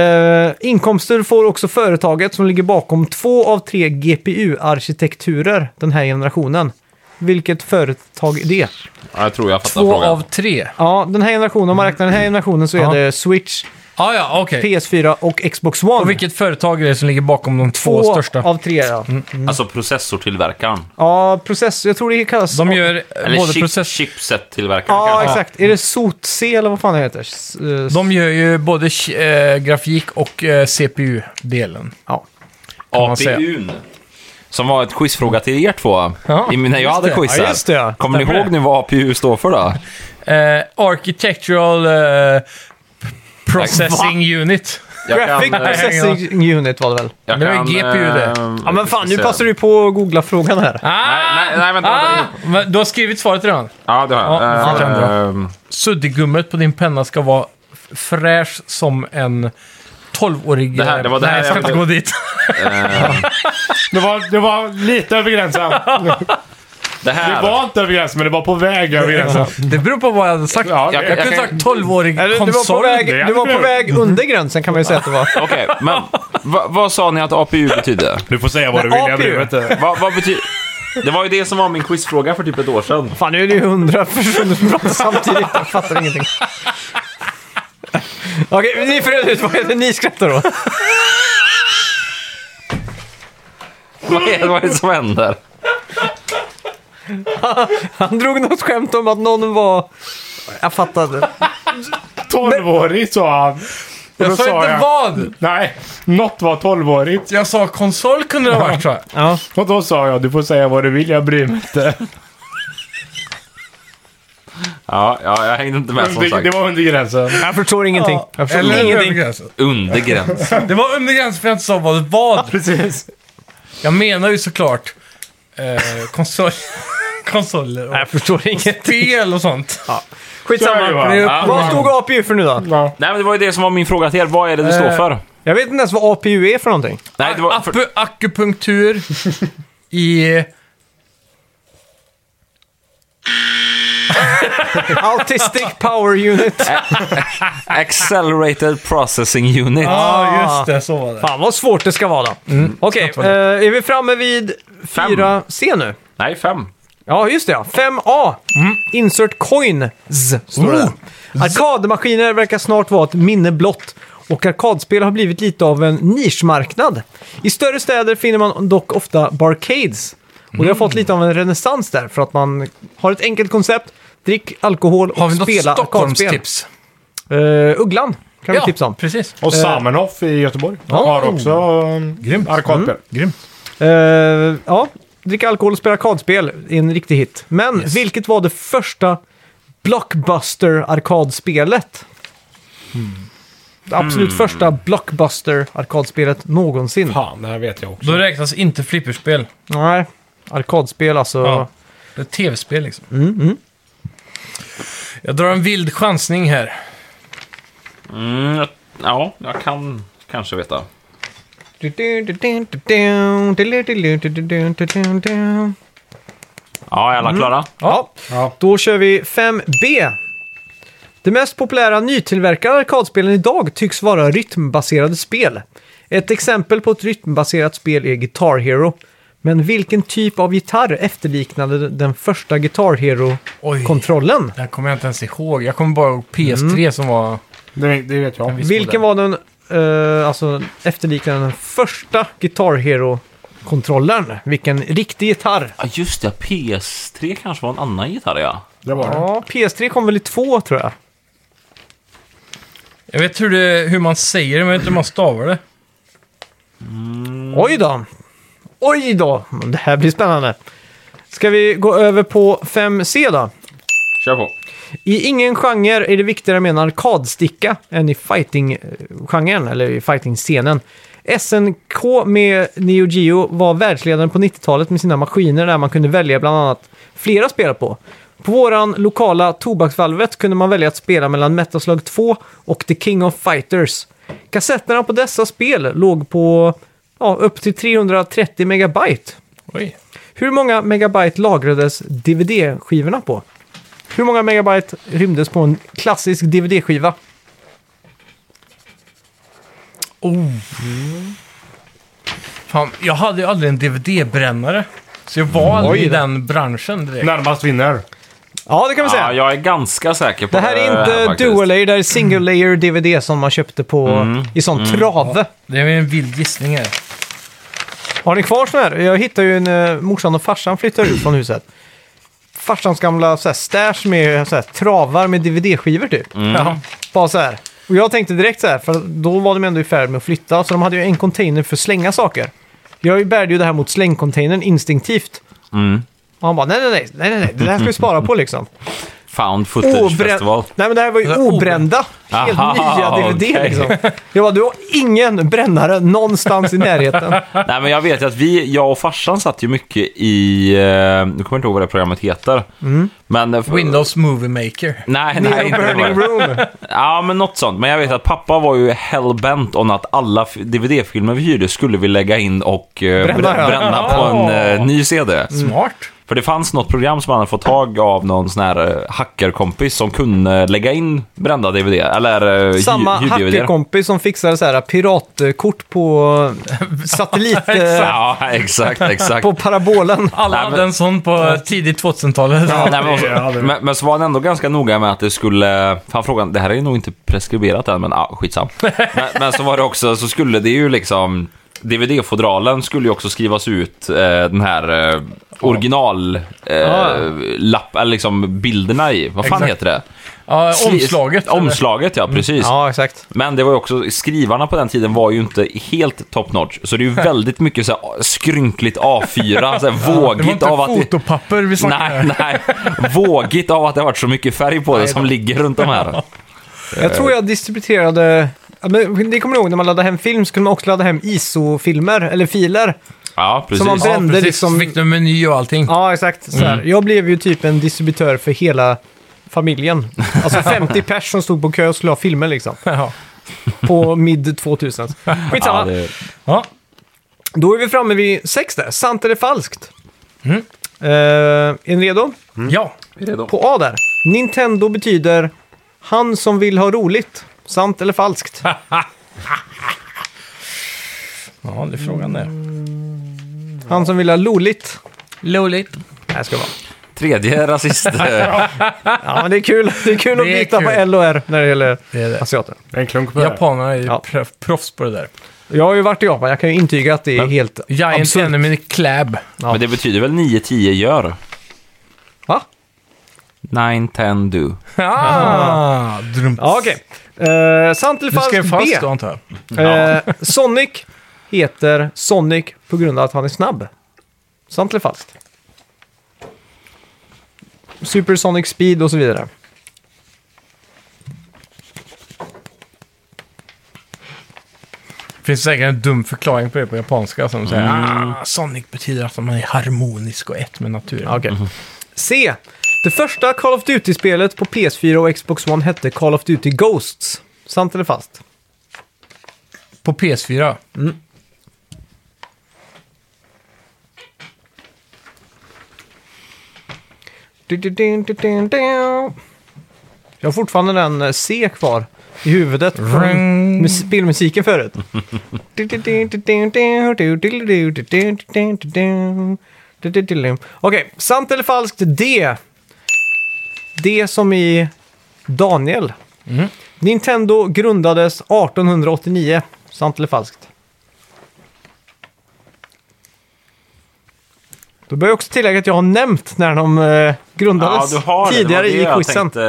Eh, inkomster får också företaget som ligger bakom två av tre GPU-arkitekturer den här generationen. Vilket företag är det? Ja, jag tror jag fattar Två frågan. av tre. Ja, den här generationen, om man räknar den här generationen så är Ja. det Switch, Ah, ja, okej. PS4 och Xbox One. Och vilket företag är det som ligger bakom de två, två Mm. största? av tre, ja. Mm. Alltså processortillverkaren. Ja, process, jag tror det kallas... De gör eh, Eller både chip, process... chipset-tillverkaren Ja, kanske. exakt. Är det SOT-C eller vad fan det heter? S- eh, s- De gör ju både eh, grafik och eh, CPU-delen. Ja. man säga. APUn. Som var ett quizfråga till er två. Ja, I, när jag just hade det. quizen. Ja, just det, ja. Kommer ni Stämmer ihåg det? nu vad APU står [laughs] för då? Eh, architectural eh, Processing Unit. Jag Graphic kan, eh, Processing Unit var det väl? jag Det var ju kan, GPU det. eh, Ja, men fan, nu se. passar du på att googla frågan här. Ah! Nej, nej, vänta. Ah! vänta. Men Du har skrivit svaret redan. Ja, det har Ja, jag. fortsätt Eh, ehm, Suddigummet på din penna ska vara f- fräsch som en 12-årig... Det här- det var det Nej, här jag ska jag inte gå ville- dit. [laughs] Det var, det var lite över [laughs] gränsen. det här. Det var inte över gränsen, men det var på väg över gränsen. Det beror på vad jag hade sagt. Ja, jag, jag- jag kunde kan- sagt 12-årig Eller, du var på konsol. väg, det du var hade på du. väg under gränsen kan man ju säga att det [laughs] var. Okej, men va, vad sa ni att APU betydde? Du får säga vad du vill. Jag bryr mig inte. Va, vad betyder... Det var ju det som var min quizfråga för typ ett år sedan. Fan, nu är det ju hundra personer som pratar samtidigt. [laughs] Jag fattar ingenting. Okej, men ni får reda ut vad är det ni skrattar åt. [laughs] Vad är, vad är det som händer? Han drog något skämt om att någon var... Jag fattade. Tolvårig sa han. Och Jag då sa inte vad! Nej, något var tolvårigt. Jag sa konsol kunde det ha varit tror jag. Ja. Och då sa jag du får säga vad du vill, jag bryr mig inte. Ja, ja, jag hängde inte med som Det, sagt. det var under gränsen. Jag förstår ingenting. Jag förstår Eller ingenting. undergränsen. Under gräns. Det var under gränsen för jag inte sa vad. vad. Precis. Jag menar ju såklart eh, konsol, [laughs] konsoler och Jag förstår ingenting. spel och sånt. Så är det, Skitsamma. va? Det är upp- Ja. Vad stod APU för nu då? Ja. Nej, men det var ju det som var min fråga till er. Vad är det det står för? Jag vet inte ens vad APU är för [laughs] någonting. Nej, det var... För, Apu, akupunktur i... Autistic Power Unit. accelerated Processing Unit. ah, just det. Så var det. Fan vad svårt det ska vara då. Mm. Okej, vara eh, är vi framme vid 4C nu? Nej, fem. Ja, just det ja. 5A. Insert coins, står det. Oh. där. Arkadmaskiner verkar snart vara ett minne blott. Och arkadspel har blivit lite av en nischmarknad. I större städer finner man dock ofta barcades. Och det har Mm. fått lite av en renässans där, för att man har ett enkelt koncept. Drick alkohol och Har vi något spela arkadspel. Stockholmstips? Uh, Ugglan kan vi tipsa om. precis. Och Samenhof i Göteborg Ja. har också um, Grymt. Oh. Grymt. arkadspel. Eh, ja, dricka alkohol och spela arkadspel är en riktig hit. Men vilket var det första Blockbuster-arkadspelet? Det absolut första Blockbuster-arkadspelet någonsin. Fan, det här vet jag också. Då räknas inte flipperspel. Nej, arkadspel alltså. Ja. Det är ett tv-spel liksom. Mm, Jag drar en vild chansning här. Mm, jag- ja, jag kan kanske veta. Ja, är alla klara? Ja. Ja. Då kör vi 5B. Det mest populära nytillverkade arkadspelen idag tycks vara rytmbaserade spel. Ett exempel på ett rytmbaserat spel är Guitar Hero. Men vilken typ av gitarr efterliknade den första Guitar Oj. Hero-kontrollen? Det här kommer jag inte ens ihåg. Jag kommer bara ihåg PS3 som var... Det, det vet jag. viss Mm. Vilken var den, eh, alltså efterliknade den första Guitar Hero-kontrollen? Vilken riktig gitarr? Ja, just det. PS3 kanske var en annan gitarr, ja. Det var det. Ja, PS3 kom väl i två tror jag. Jag vet hur, det, hur man säger det, men jag vet inte hur man stavar det. Oj då! Oj då! Det här blir spännande. Ska vi gå över på 5C då? Kör på. I ingen genre är det viktigare med en arkadsticka än i fighting-genren, eller i fighting-scenen. SNK med Neo Geo var världsledaren på 90-talet med sina maskiner där man kunde välja bland annat flera spel på. På våran lokala Tobaksvalvet kunde man välja att spela mellan Metal Slug 2 och The King of Fighters. Kassetterna på dessa spel låg på ja, upp till 330 megabyte. Oj. Hur många megabyte lagrades DVD-skivorna på? Hur många megabyte rymdes på en klassisk DVD-skiva? Fan, jag hade ju aldrig en DVD-brännare. Så jag var aldrig i den branschen direkt. Närmast vinner. Ja, det kan vi säga. Ja, jag är ganska säker på Det här är inte faktiskt. Mm. dual layer, det här är single layer DVD som man köpte på i sån trave. Det är en vild gissning här. Har ni kvar sån här? Jag hittade ju en eh, morsan och farsan flyttade ut från huset. Farsans gamla så här, stash med så här, travar med DVD-skivor typ. Mm. Ja. Bara så här. Och jag tänkte direkt så här, för då var de ändå i färd med att flytta, så de hade ju en container för att slänga saker. Jag bärde ju det här mot slängcontainern instinktivt. Mm. Och han bara, nej, nej, nej, nej, nej, nej, det där ska vi spara på liksom. Found [laughs] footage-festival. Nej, men det här var ju här obrä- obrända. Helt Alltså, Aha, nya DVD okej. liksom. Jag bara, du har ingen brännare någonstans i närheten. Nej, men jag vet ju att vi, jag och farsan satt ju mycket i, eh, nu kommer jag inte ihåg vad det programmet heter. Mm. Men, eh, Windows Movie Maker. Nej, [laughs] nej, Neo inte det var Burning det. Room. Ja, men något sånt. Men jag vet att pappa var ju hellbent om att alla f- DVD-filmer vi hyrde skulle vi lägga in och eh, br- Bränna, ja. Mm. bränna på en eh, ny CD. Smart. För det fanns något program som han hade fått tag av någon sån här eh, hackerkompis som kunde lägga in brända DVD, eller eh, hy- Samma hyr-DVD. hackerkompis som fixade så här [laughs] piratkort på satellit... eh, Ja, [laughs] exakt, exakt. på parabolen. Alla Nej, hade men- en sån på tidigt 2000-talet. Nej, men, det hade också, vi. men, men så var han ändå ganska noga med att det skulle... Fan frågan, det här är ju nog inte preskriberat än, men ah, [laughs] skitsam. men, men så var det också, så skulle det ju liksom... DVD-fodralen skulle ju också skrivas ut eh, den här eh, original eh, lapp, eller liksom bilderna i. Vad fan Exakt. heter det? Ja, Sli- omslaget. eller? Mm, Omslaget, ja precis. Ja, exakt. Men det var ju också, skrivarna på den tiden var ju inte helt top notch. Så det är [laughs] ju väldigt mycket så här skrynkligt A4, så här Det var vågigt inte av att... det- fotopapper vi snackade Nej, om. nej. Vågigt av att det har varit så mycket färg på det som ligger runt de här. Jag tror jag distribuerade... Ja, men Ni kommer ihåg när man laddade hem film så kunde man också ladda hem ISO-filmer, eller filer. Ja, precis. man Ja, brände precis. liksom- Fick du en meny och allting. Ja, exakt. Så här. Mm. Jag blev ju typ en distributör för hela familjen. [laughs] Alltså 50 pers som stod på kö och skulle ha filmer liksom. Ja. På mid 2000. Skitsamma. Ja, det, Ja. Då är vi framme vid sex där. Sant eller falskt? Mm. är ni redo? ja. På A där. Nintendo betyder han som vill ha roligt. Sant eller falskt? Ja, det är frågan där. Han som vill ha roligt. Loligt. Nej, ska det vara. tredje rasist... eh, Ja, men det är kul. Det är kul att Det är byta på kul. L och R när det gäller Det är det. asiater. En klunk på det. här. Japanerna är ju Ja. proff- proffs på det där. Jag har ju varit i Japan. Jag kan ju intyga att det är helt Giant absurt. Enemy Clab. Men det betyder väl 9-10 gör? Va? 9-10 do. Ah, drumt. Ja, okej. Eh, sant eller Du skrev falskt B? fast då, antar jag. Eh, [laughs] Sonic heter Sonic på grund av att han är snabb. Sant eller falskt? Super Sonic Speed och så vidare. Det finns säkert en dum förklaring på det på japanska som säger ah, Sonic betyder att man är harmonisk och ett med naturen. Okej. C. Det första Call of Duty-spelet på PS4 och Xbox One hette Call of Duty Ghosts. Sant eller falskt? På PS4. Du-du-du-du-du-du. Jag har fortfarande den eh, C kvar i huvudet från Ring. mus- spelmusiken förut. Okej, sant eller falskt D. D som i Daniel. Nintendo grundades 1889. Sant eller falskt? Då bör jag också tillägga att jag har nämnt när de eh, grundades tidigare det. Det var i det jag quizen. tänkte,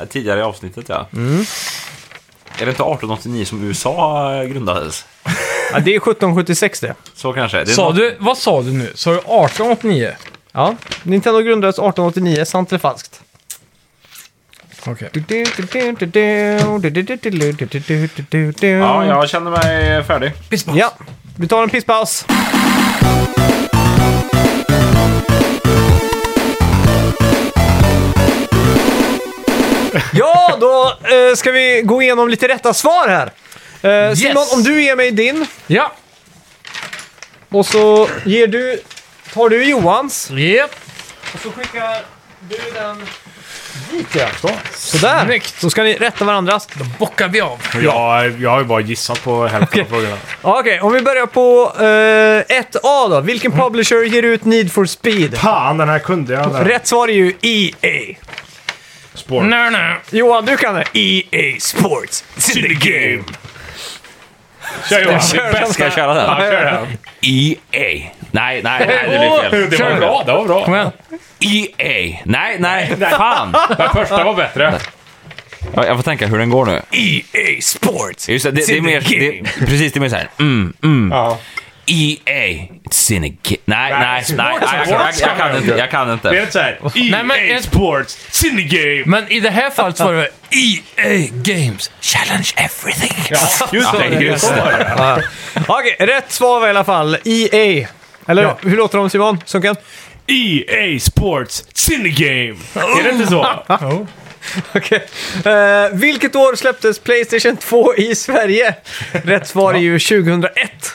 eh, tidigare i avsnittet ja. Är det inte 1889 som USA eh, grundades? Ja, det är 1776 det. Så kanske. Det är Sa något- du, vad sa du nu? Sa du 1889? Ja, Nintendo grundades 1889, sant eller falskt? Okej. Ja, jag känner mig färdig. Ja, vi tar en pisspaus. Ja, då eh, ska vi gå igenom lite rätta svar här. Eh, Simon, Yes. om du ger mig din Ja. och så ger du, tar du Johans Yep. och så skickar du den dit igen. Sådär, Snyggt. så ska ni rätta varandras. Bockar vi av. Jag, jag har ju bara gissat på hälften av frågorna. Ja, Okej, om vi börjar på eh, 1A då. Vilken Mm. publisher ger ut Need for speed? Fan, den här kunde jag. Den. Rätt svar är ju EA. spår. Nej, nej. Johan, du kan det. E EA Sports. It's in the game. Kör Johan. Kör Bäst ska jag den. köra den? Kör den. EA. Nej, nej, [laughs] nej det blir fel. Det var bra, det var Kom [laughs] bra. igen. EA. Nej, nej, fan. Den första var bättre. Jag, jag får tänka hur den går nu. EA Sports. Just det, det, det är mer... Det, precis, det är mer såhär... Mm, mm. Ja. EA. Syndicate. Nej, nej, nej. nej jag, jag, jag kan inte. Jag kan Det är inte. inte såhär... Nej, men- EA Sports, Cine Game. Men i det här fallet så var det EA Games Challenge Everything. Ja, just Ja, det. just det. Okej, rätt svar var i alla fall EA. Eller Ja. hur låter de Simon? Sunken? E EA Sports, Cine Game. Är det inte så? Oh. Okej. Eh, vilket år släpptes Playstation 2 i Sverige? Rätt svar är ju 2001.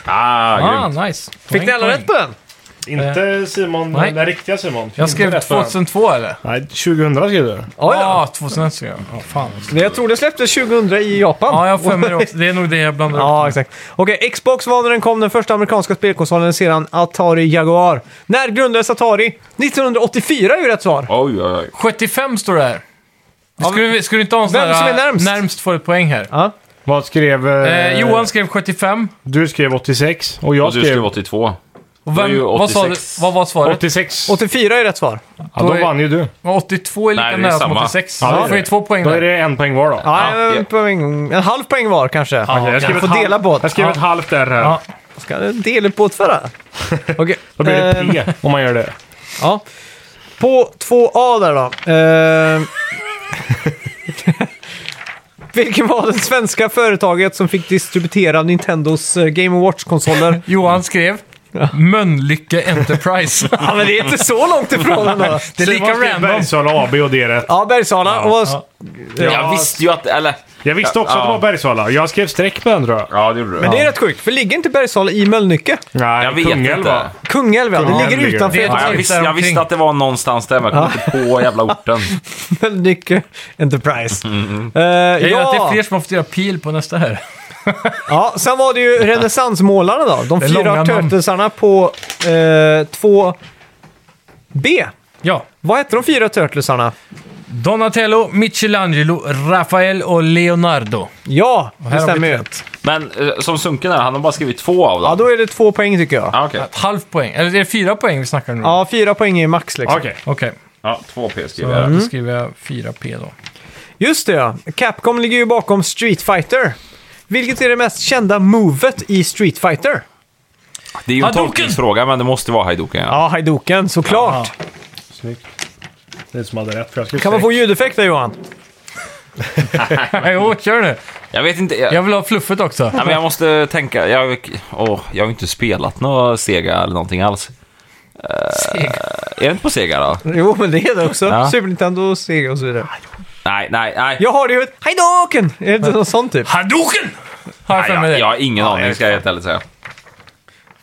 Ah, Ah, grymt. nice. Fick ni alla rätt på den? Inte Simon, Nej. den riktiga Simon. Jag skrev 2002 eller? Nej, 2000 skrev du. Ja, ja. Ja, 2001 skrev jag. Ja, fan. Men Jag tror det släpptes 2000 i Japan. Ja, jag har för mig det också. Det är nog det jag blandar ihop. Ja, exakt. Okej, Xbox var när den kom den första amerikanska spelkonsolen sedan Atari Jaguar. När grundades Atari? 1984 är ju rätt svar. Oj, oj, oj. 75 står det här. Skulle, vi- skulle du inte ha en sån Vem som här... är närmst? får ett poäng här. Ja. Vad skrev... Eh, Johan skrev 75. Du skrev 86 och jag Och du skrev... skrev 82. Och Det var ju vem, vad, sa du, 86. vad var svaret? 86. 84 är rätt svar. ja, då vann ju du. Var 82 är lika Nej, det är nära som samma. 86. Ja, det Ja, är då får det. vi två poäng Då där. är det en poäng var då. Ja, en, ja. poäng, en halv poäng var kanske. jag skrev Jag ett får halvt- dela på Jag det. skrev ett halvt där här. Ja. Ska jag dela på det för det? Okej. Då blir det Eh. ehm, P om man gör det. ja. På 2A där då. Ehm. [laughs] Vilken var det svenska företaget som fick distributera Nintendos eh, Game Watch-konsoler Johan skrev Mölnlycke Enterprise. Ja, men det är inte så långt ifrån ändå. Det är Simon lika skrev random. Bergsala AB och det är rätt. Ja, Bergsala. och, Jag visste ju att... Eller... Jag visste också Ja. att det var Bergsala. Jag skrev streck på den tror jag. Ja, det gjorde du. Men det är rätt sjukt, för ligger inte Bergsala i Mölnlycke? Nej, Jag vet inte. Kungälv, ja. Det Kungälv ligger ligger utanför det. Ja, jag, Göteborg. visste, jag visste att det var någonstans där, men jag kom inte på jävla orten. Mölnlycke Enterprise. Mm. Jag gillar att det är ja. fler som har fått göra pil på nästa här. ja, sen var det ju [laughs] renässansmålarna då. De är långa fyra namn. turtlesarna på 2B. Ja. Vad hette de fyra turtlesarna? Donatello, Michelangelo, Rafael och Leonardo. Ja, det har vi stämmer ju. Men eh, som Sunken är, han har bara skrivit två av Ja, dem. då är det två poäng tycker jag. Ja, okej. Ett halvt poäng. Eller är det fyra poäng vi snackar nu? Ja, fyra poäng är max liksom. Okej. Okej, Ja, två P skriver då jag. skriver jag 4P då. [laughs] Just det ja. Capcom ligger ju bakom Street Fighter. Vilket är det mest kända movet i Street Fighter? Det är ju en Hadouken! tolkningsfråga, men det måste vara Haidoken. Ja. Ja, Haidoken såklart. Snyggt. Det är som hade rätt för jag skrev Kan man få ljudeffekt där Johan? jo, kör nu. Jag vet inte. Jag, Jag vill ha fluffet också. nej, men jag måste tänka. Jag, åh, jag har ju inte spelat några Sega eller någonting alls. Är det inte på Sega då? Jo, men det är det också. Ja. Super Nintendo, Sega och så vidare. Nej, nej, nej. Jag har det ju ett Haidoken! Är det inte något sånt typ? Hadoken! Har jag nej för mig jag, det. jag har ingen aning, ska jag helt ärligt säga.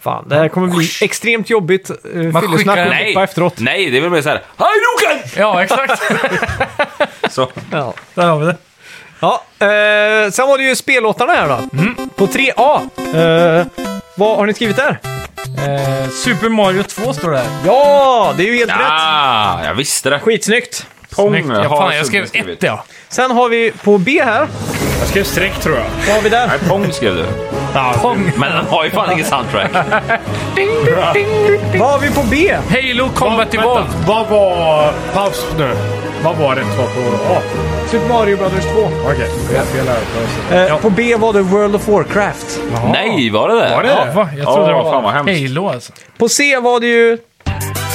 Fan, det här kommer bli extremt jobbigt. Uh, Man Fyllesnack skickar- och Nej. hoppa efteråt. Nej, det är väl mer såhär Hej Loken! Ja, exakt. Så, Ja. Där har vi det. Ja, eh, sen var det ju spellåtarna här då. På 3A. Eh, vad har ni skrivit där? Eh, Super Mario 2 står det här. Ja, det är ju helt rätt. ah, jag visste det. Skitsnyggt. Pong Snyggt. Ja, har fan, jag Sundby skrev ett ja. Sen har vi på B här. Jag skrev streck tror jag. Vad har vi där? Nej, Pong skrev du. Pong. Men den har ju fan ingen soundtrack. Vad har vi på B? Halo Combat Evolved. Vänta, Vad var... Paus nu. Vad var rätt svar på A? Super Mario Brothers 2. Okej, jag har fel här. Paus. Eh, På B var det World of Warcraft. Nej, var det det? Var det Ja, va? Jag trodde Åh, det var fan vad hemskt. Halo alltså. På C var det ju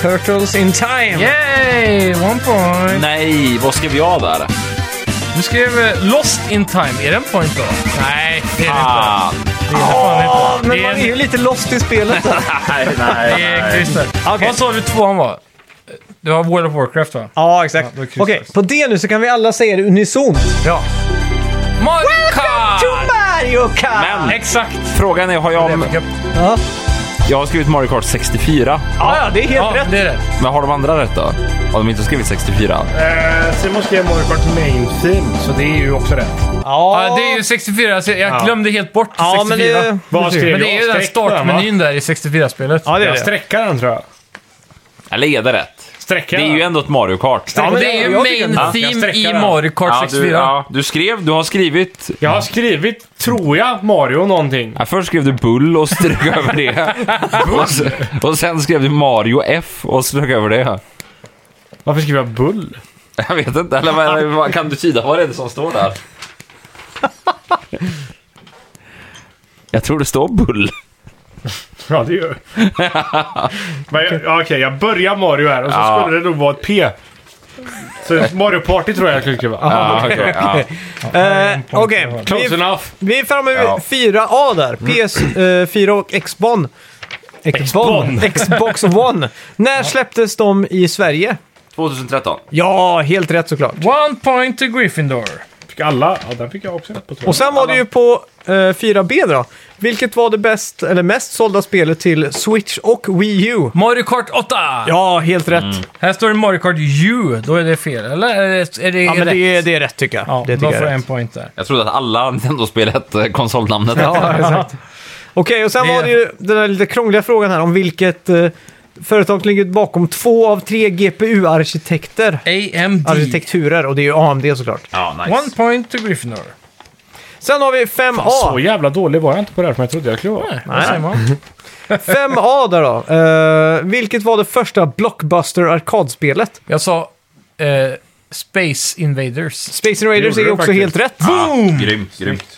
Turtles in Time. Yay! One point. Nej, vad skrev jag där? Du skrev eh, Lost in Time. Är det en point då? Nej, det är det inte. Ah, Det är det fan Men inte. Det man är är en- ju lite lost i spelet. nej, nej, det är nej. Christer. Vad sa du tvåan var? Det var World of Warcraft va? [laughs] ja, exakt. då kryssar Okej, vi. på D nu så kan vi alla säga det unisont. Ja. Mario To Kart! Mario Kart! Men Exakt! frågan är, har jag... Ja, Jag har skrivit Mario Kart 64. ja, ja, det är helt Ja, rätt. det är det. Men har de andra rätt då? Har de inte skrivit 64? Eh, Simon skrev Mario Kart Main Theme, så det är ju också rätt. Ja, det är ju 64. Så jag glömde helt bort Ja, 64. men det- Vad skrev Men det är ju jag? den Streck där, va? startmenyn där i 64-spelet. Ja, det är Jag det. sträckar den tror jag. Eller är det rätt? Sträcka Det är ju ändå ett Mario Kart. Ja, men det är ju jag tycker main den. Jag theme sträcker i den. Mario Kart Ja, du, 64. ja, du skrev, du har skrivit... Jag har skrivit, tror jag, Mario någonting. Ja, först skrev du Bull och strök [laughs] över det. Och sen, och sen skrev du Mario F och strök över det. Varför skrev jag Bull? [laughs] [laughs] Jag vet inte, eller [laughs] vad- vad kan du tyda? Vad är det som står där? Jag tror det står Bull. Ja, det gör jag. Men jag- ja, Okej, jag börjar Mario här och så Ja. skulle det nog vara ett P. Så Mario Party tror jag jag skulle skriva. [laughs] Ja, okej, ja. Eh, Okej, Close vi, enough. vi är framme vid Ja. 4A där. PS4 och Xbon. Mm. Xbon. Xbox One. När släpptes de i Sverige? 2013. Ja, helt rätt såklart. One point to Gryffindor. Fick alla? Ja, den fick jag också rätt på tror jag. Och sen var det ju på eh, 4B då. Vilket var det bäst, eller mest sålda spelet till Switch och Wii U? Mario Kart 8! Ja, helt rätt. Här står det Mario Kart U. Då är det fel, eller? Är det, är det Ja, men rätt? det är, det är rätt tycker jag. Ja, det då tycker får jag jag är en rätt. point där. Jag trodde att alla Nintendo-spel hette konsolnamnet. Ja, exakt. Okej, och sen Det är- var det ju den där lite krångliga frågan här om vilket eh, företag som ligger bakom två av tre GPU-arkitekter. AMD. Arkitekturer, och det är ju AMD såklart. Ja, nice. One point to Gryffindor. Sen har vi 5A. [laughs] Så jävla dålig var jag inte på det här som jag trodde jag skulle vara. Vad säger man? 5A där då. Eh, vilket var det första Blockbuster-arkadspelet? Jag sa eh, Space Invaders. Space Invaders Det är gjorde också du helt rätt. Boom! Grymt, [laughs] grymt.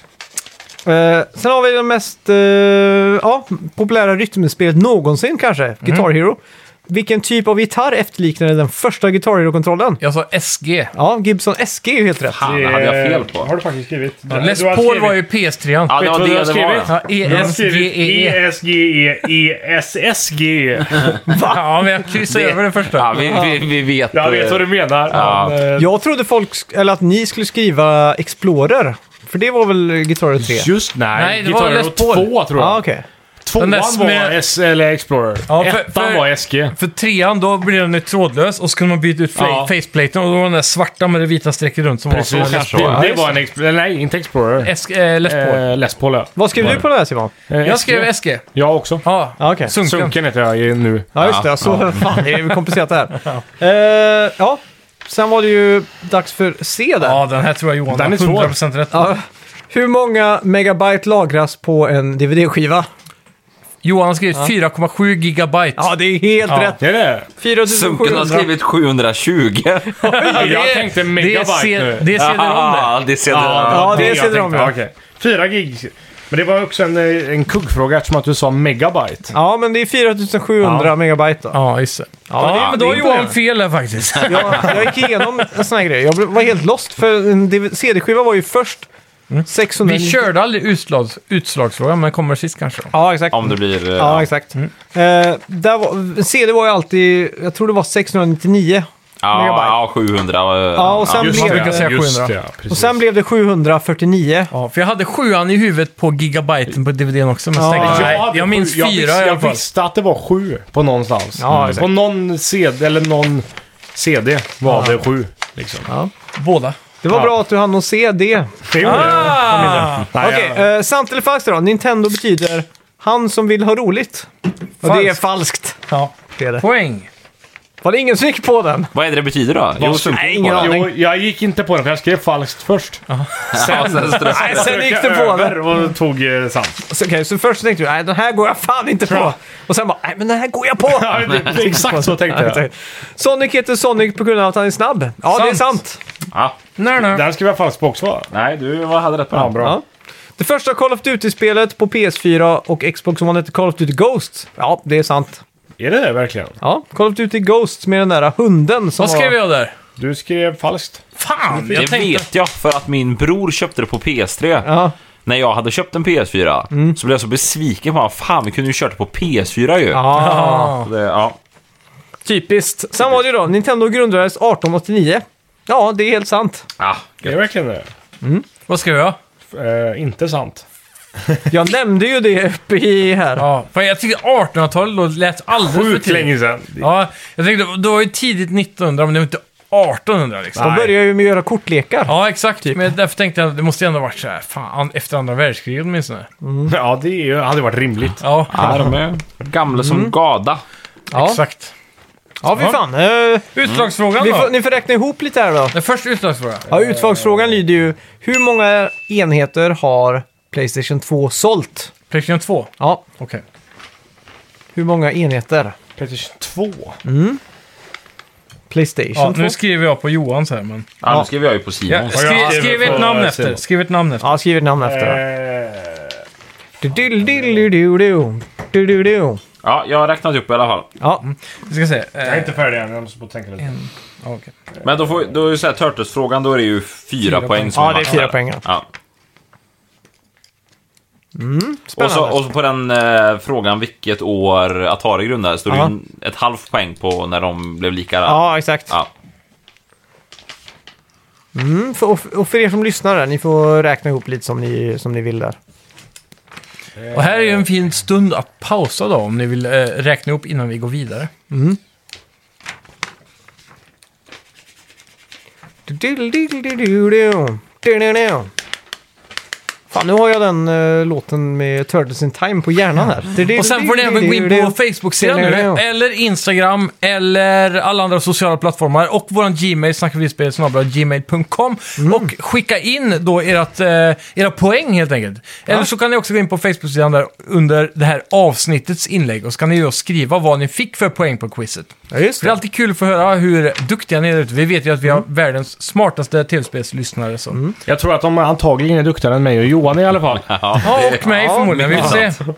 Eh, sen har vi det mest eh, ja, populära rytmspelet någonsin kanske, Guitar Mm. Hero. Vilken typ av gitarr efterliknade den första Guitar Hero-kontrollen? Jag sa SG. Ja, Gibson SG är ju helt rätt. Fan, det hade jag fel på. Har du faktiskt skrivit? Du- Les du har Paul skrivit- var ju PS3. Ja, det Vet var du vad det jag det skrivit? var. ja. Ja, E. E Du har skrivit ESGE. E. ESGE. Ja, men jag kryssar över det första. Ja, vi, vi, vi vet. Jag vet vad du menar. Ja. men, eh, Jag trodde folk, sk- eller att ni skulle skriva Explorer. För det var väl Guitar Hero 3? Just nej, Nej, det Guitar var Hero Les Paul. 2 tror jag. Ja, okej. Tvåan Den där var smä- S eller Explorer. Ja, för- Ettan för- var SG. För trean, då blev den ju trådlös och så kunde man byta ut fla- Ja. faceplaten och då var den där svarta med det vita strecket runt som Precis, var så kanske det, det var en Explorer. Nej, inte Explorer. S- eh, Les Paul. Eh, Les Paul, ja. Vad skrev du på det här Simon? Eh, Jag SG. skrev SG. Jag också. Ja, Ja, okej. sunken. Sunken heter jag ju nu. Ja, just det. Jag såg, [laughs] fan, det är ju komplicerat det här. ja. ja, sen var det ju dags för C där. Ja, den här tror jag Johan Den har är svår. 100% rätt. Ja. Hur många megabyte lagras på en DVD-skiva? Johan har skrivit 4,7 gigabyte. Ja, det är helt Ja. rätt. Det är det. 4700. Sunken har skrivit [laughs] 720. jag tänkte megabyte det är, C- nu. det är CD-ROM det. Ah, det ser du. Ja, det är jag CD-ROM, tänkte. ja. Okej. Fyra gig. Men det var också en, eh, en kuggfråga eftersom att du sa megabyte. Ja, men det är 4700 megabyte då. Ja, just det. Ja, Ja, det är men då har imponerande. Johan fel där faktiskt. Jag, jag gick igenom en sån här grej. Jag blev- var helt lost, för en DV- CD-skiva var ju först 600... Vi körde aldrig utslags, utslagsfrågan, men kommer sist kanske. Ja, exakt. Om det blir... eh, Ja, exakt. Eh, där var, CD var ju alltid, jag tror det var 699. Ja, megabyte. ja eh, 700. Ja, och sen Just blev brukar säga det, just 700. det. ja, precis. Och sen blev det 749. Ja, för jag hade sjuan i huvudet på gigabyten på DVDn också, men Ja. stängde. Jag Nej, hade jag minns sju- jag fyra visste- i alla Jag fall. visste att det var sju på någonstans. Ja, Mm. exakt. på någon CD, eller någon CD var det sju. Liksom. Båda. Det var Ja. bra att du hann att se det. Det gjorde jag. Ah! Nej, Okej, jag- eh, sant eller falskt då? Nintendo betyder han som vill ha roligt. Och det är Falskt. falskt. Ja. Det är det. Poäng. Var det ingen som gick på den? Vad är det det betyder då? Jo, skulle- symptom ingen bara. [laughs] aning. Jo, jag gick inte på den för jag skrev falskt först. [laughs] Ja, sen stress. Nej, sen gick Jag det på den. över och tog eh, [laughs] sant. Så, okej, så först tänkte du, nej den här går jag fan inte på. Och sen bara, nej men den här går jag på. [laughs] Ja, det- Exakt så tänkte jag. Sonic heter Sonic på grund av att han är snabb. Ja, det är Sant. sant. Ja. Nej, nej. [laughs] Den skrev jag falskt på också va? Nej, du hade rätt på Ja, den. bra. Ja. Det första Call of Duty-spelet på PS4 och Xbox som hette Call of Duty Ghosts. Ja, det är sant. Är det det verkligen? Ja, Call of Duty Ghosts med den där hunden som Vad skrev var... jag där? Du skrev falskt. Fan! Det Jag tänkte... vet jag för att min bror köpte det på PS3. Ja, Mm. När jag hade köpt en PS4 så blev jag så besviken på honom. Fan, vi kunde ju kört det på PS4 ju. ja. Det, ja. typiskt. Sen var det ju då, Nintendo grundades 1889. Ja, det är helt sant. Ah, Det är verkligen det. Vad skrev jag? Eh, inte sant. Jag nämnde ju det uppe i här. Ja, för jag tyckte 1800-talet låt- lät alldeles för Sjukt länge tidigt. sedan. Ja, jag tänkte, det var ju tidigt 1900, men det var inte 1800 liksom. De började ju med att göra kortlekar. Ja, exakt. Men därför tänkte jag, det måste ju ändå ha varit så här, fan, efter andra världskriget åtminstone. Ja, det är ju- hade varit rimligt. Ja, Ja, de är gamla Mm. som gada. Ja, exakt. ja fy fan. Eh, Utslagsfrågan vi får, då? ni får räkna ihop lite här då. Den första utslagsfrågan. Ja, utslagsfrågan lyder ju, hur många enheter har Playstation 2 sålt? Playstation 2. Ja, Okej. hur många enheter? Playstation 2. Playstation Ja, 2? nu skriver jag på Johans här, men... Ja, nu skriver jag ju på Simon. Ja, skriv, skriver skriv på ett namn efter. Simon. Skriv ett namn efter. Ja, skriv ett namn Eh, efter. då. Du- du- du- du- du. Du- du- du. Ja, jag har räknat upp i alla fall. Ja, mm, Vi ska se. Jag är Eh, inte färdig än, jag måste bara tänka lite. ja, okej. Men då, får, då är ju så här, Turtles-frågan, då är det ju fyra, Fyra poäng. poäng som Ja, det är max fyra där. poäng, ja. Ja. Och, spännande. så, och så på den eh, frågan vilket år Atari grundades, då är det ju Ja. en- ett halvt poäng på när de blev lika. ja exakt. Ja. Mm, för, och f- och för er som lyssnar, där, ni får räkna ihop lite som ni, som ni vill där. Eh, Och här är ju en fin stund att pausa då, om ni vill eh, räkna ihop innan vi går vidare. Du- du- du- du- du- du- du. Du- du- du. Fan, nu har jag den eh, låten med Turtles in Time på hjärnan här. Du- du- Och sen får ni du- även du- gå in du- på du. Facebook-sidan nu, eller Instagram, eller alla andra sociala plattformar. Och vår Gmail, snackavidspel.gmail.com. Och skicka in då ert, eh, era poäng helt enkelt. Eller så kan ni också gå in på Facebook-sidan där under det här avsnittets inlägg. Och så kan ni då skriva vad ni fick för poäng på quizet. Ja, just Det är det. alltid kul att få höra hur duktiga ni är ute. Vi vet ju att vi har världens smartaste tv-spelslyssnare. Så. Jag tror att de antagligen är duktigare än mig och Johan i alla fall. Ja, Ja, det- och mig Ja, förmodligen. Vi får se. Okej,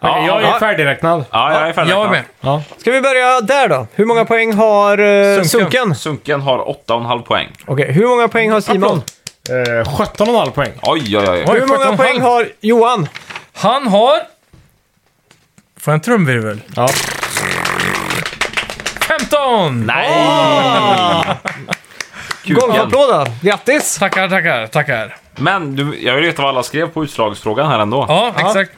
jag är färdigräknad. ja, jag är färdig. Jag är med. Ska vi börja där då? Hur många poäng har eh, Sunken. Sunken? Sunken har 8,5 poäng. Okej, hur många poäng har Simon? Eh, 17,5 poäng. Oj, oj, oj. Oj. Hur många 17,5. poäng har Johan? Han har... Får jag en trumvirvel? Ja. 15! Nej! Kuken. Golvapplåd då. Grattis! Tackar, tackar, tackar. Men du, jag vill veta vad alla skrev på utslagsfrågan här ändå. Ja, exakt.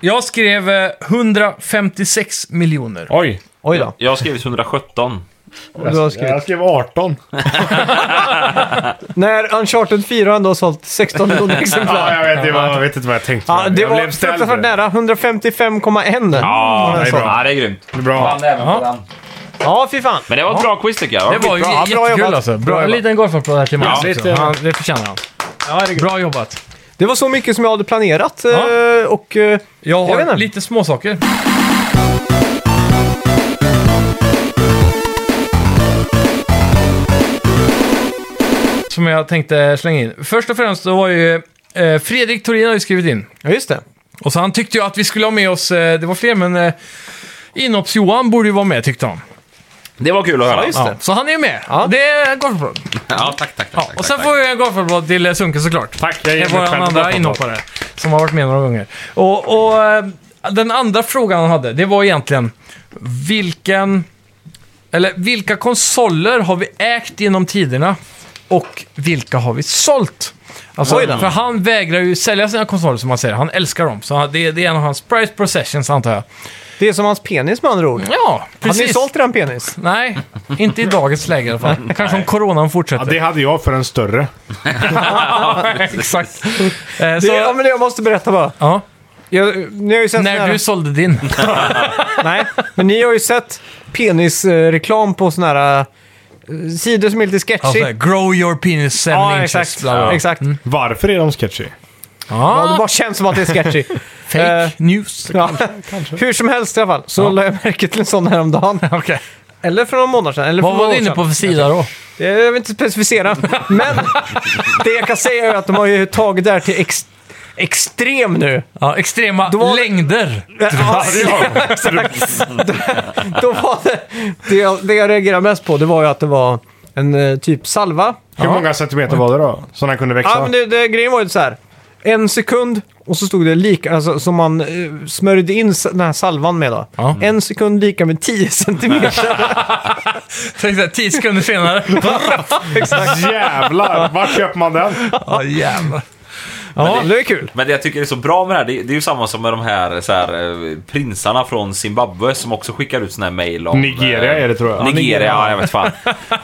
Jag skrev eh, 156 miljoner. Oj. Oj då. Jag har skrivit 117. Du har skrivit. Jag skrev 18. När Uncharted 4 ändå har sålt 16 miljoner exemplar. Ja, jag vet, det var, jag vet inte vad jag tänkte. Ja, det jag var blev ställd. fruktansvärt nära. 155,1. Ja, det är bra. Ja, det är grymt. Det är Bra. ja, fy fan. Men det var ett bra quiz tycker jag. Det var ju Skitbra. Ja, bra jättekul jobbat. alltså. Bra, Bra en jobbat. liten golfapplåd här till Mats. Ja, också. lite. Han- det förtjänar han. Bra jobbat. Det var så mycket som jag hade planerat. eh, Ja. Och eh, Jag Jag vet har inte. lite småsaker. Som jag tänkte slänga in. Först och främst så var ju eh, Fredrik Thorin har ju skrivit in. ja, just det. Och så han tyckte ju att vi skulle ha med oss, eh, det var fler, men eh, Inops-Johan borde ju vara med tyckte han. Det var kul att höra. just Ja, Så han är ju med. Ja. Det går bra. tack, tack, tack. Ja, tack, och sen tack. får jag en golfapplåd till eh, Sunke såklart. Tack, jag Det ger är mig vår själv en andra applåd. inhoppare som har varit med några gånger. Och, och eh, den andra frågan han hade, det var egentligen vilken Eller vilka konsoler har vi ägt genom tiderna? Och vilka har vi sålt? Alltså, Oj då. för han vägrar ju sälja sina konsoler som man säger. Han älskar dem. Så han- det är, det är en av hans price processions antar jag. Det är som hans penis med andra ord. Ja, Har precis. ni sålt den penis? Nej, inte i dagens läge i alla fall. Kanske om coronan Ja, fortsätter. det hade jag för en större. [laughs] [laughs] Exakt. Eh, Det, ja, så, men jag måste berätta bara. ja, Jag, ni har ju sett sån när här, du sålde [laughs] din. Nej, men ni har ju sett penisreklam på såna här eh, sidor som är lite sketchy. Alltså, grow your penis 7 ja, inches. exakt. bla, bla. exakt. Mm. Varför är de sketchy? Ja, det Ja, bara känns som att det är sketchy. fake eh, news. ja. Hur som helst i alla fall, så Ja. la jag märke till en sån häromdagen. Okej. Eller för några månader sedan. Eller Vad för några var du år inne sedan. på för sida då? Det- Jag vill inte specificera. Men det jag kan säga är att de har ju tagit det här till ex extrem nu. Ja, extrema Då var- längder. Ja, Då var det, det, jag, det jag reagerade mest på det var ju att det var en eh, typ salva. Hur många centimeter var det då? Så den kunde växa? Ja, men det, det, grejen var ju så här. En sekund och så stod det lika, alltså som man eh, smörjde in s- den här salvan med då. Ja. En sekund lika med 10 centimeter. Tänk såhär, tio [laughs] sekunder senare. [laughs] Jävlar! Var köper man den? Ja, jävlar. ja, det är kul. Men det jag tycker är så bra med det här, det, det är ju samma som med de här, så här eh, prinsarna från Zimbabwe som också skickar ut såna här mejl om... eh, Nigeria är det, tror jag. Nigeria, ja, jag vet [laughs] fan.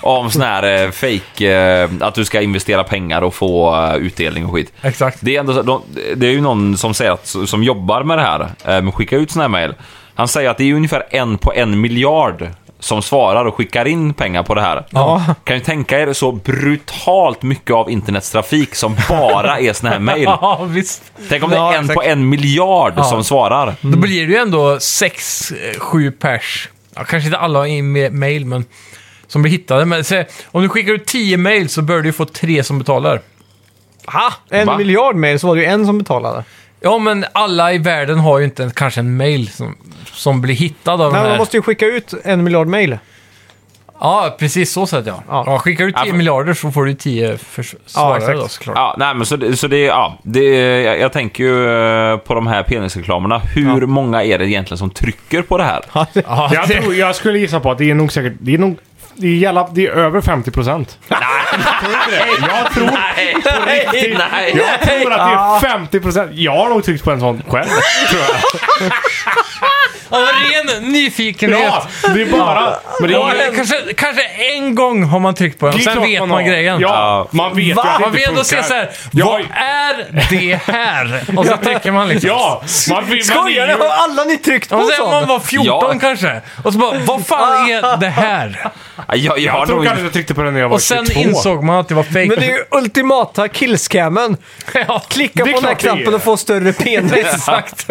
om sån här eh, fake eh, att du ska investera pengar och få eh, utdelning och skit. Exakt. Det är, ändå, så- de, det är ju någon som säger att, som jobbar med det här, eh, med att skicka ut såna här mejl. Han säger att det är ungefär en på en miljard som svarar och skickar in pengar på det här. Ja. Kan ju tänka er så brutalt mycket av internets trafik som bara är såna här mejl. Ja, visst. Tänk om det Ja, är en exakt. på en miljard Ja. som svarar. Då blir det ju ändå sex, eh, sju pers. Ja, kanske inte alla i ma- mail, men som blir hittade. Men se, om du skickar ut tio mail så bör du ju få tre som betalar. Ha, en Va? miljard mer så var det ju en som betalade. Ja, men alla i världen har ju inte en, kanske en mail som, som blir hittad av Nej, den man här. måste ju skicka ut en miljard mejl. Ja, precis så sett ja. Ja. ja. skickar du 10 Ja, för- miljarder så får du 10 förs- svarare exakt. då såklart. Ja, nej, men så, det- så det, ja, det, jag, jag tänker ju eh, på de här penisreklamerna. Hur många är det egentligen som trycker på det här? Ja, Jag, tror, jag skulle gissa på att det är nog säkert... Det är nog... Det är, jävla, det är över 50 procent. [laughs] Jag tror, Nej, [laughs] nej. jag tror att det är 50 procent. Jag har nog tryckt på en sån själv, tror [laughs] jag. Av ren nyfikenhet. Ja, det är bara... Men det Ja, är, eller kanske, kanske en gång har man tryckt på den, det är sen klart vet man, har. grejen. Ja, man vet ju att det inte Man vill ändå se funkar. så här, Ja, vad är det här? Och så trycker man liksom. Ja, man vill... Skojar ni? man är Har ju- alla ni tryckt på Och sen om man sånt? var 14 Ja. kanske. Och så bara, vad fan är det här? Jag, jag, har Jag tror nog kanske inte... jag tryckte på den när jag var Och sen 22. insåg man att det var fake. Men det är ju ultimata killscammen. [laughs] ja, Klicka Det är på den här klart det är. knappen och få större penis exakt.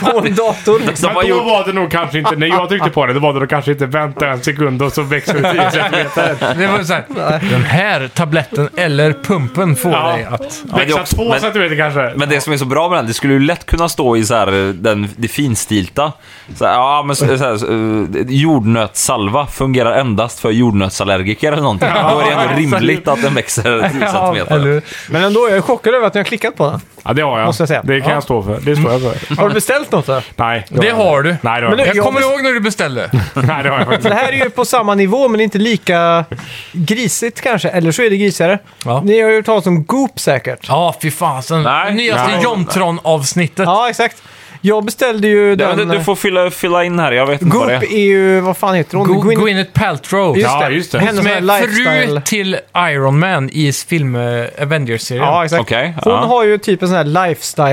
på en dator. De Men har då gjort, var det nog kanske inte, när jag tryckte på det, då var det nog kanske inte vänta en sekund och så växer [laughs] det 10 centimeter. Det var så här, den här tabletten eller pumpen får Ja. dig att... men, det är Växa också, 2 men, centimeter kanske. men det som är så bra med den, det skulle ju lätt kunna stå i så här, eh, den, det finstilta. Så här, ja, men så, så här, eh, jordnötssalva fungerar endast för jordnötsallergiker eller någonting. Då är det ändå rimligt att den växer 10 eller centimeter. hur? Men ändå, jag är chockad över att ni har klickat på den. Ja, det har jag. Måste jag säga. Det kan jag stå för. Det står jag för. Har du beställt något då? Nej. Det har du. Nej, Men det nu- har jag Jag inte. Ja, kommer men- ihåg när du beställde. Nej, det har jag faktiskt Det inte. här är ju på samma nivå men inte lika grisigt kanske. Eller så är det grisigare. Ja. Ni har ju hört talas om Goop säkert. Ja, Ja, fy fasen. Nej. Nyaste Nej. Jontron-avsnittet. exakt. Jag beställde ju Ja, den... du, du får fylla, fylla in här, jag vet inte vad Goop det är. [laughs] är ju... Vad fan heter hon? Go- Gwyn- Gwyneth Paltrow. Just Ja, det. just det. Hennes Som sån här är fru lifestyle... till Iron Man i film eh, Avengers-serien. Ja, exakt. Okej, hon ja. har ju typ en sån här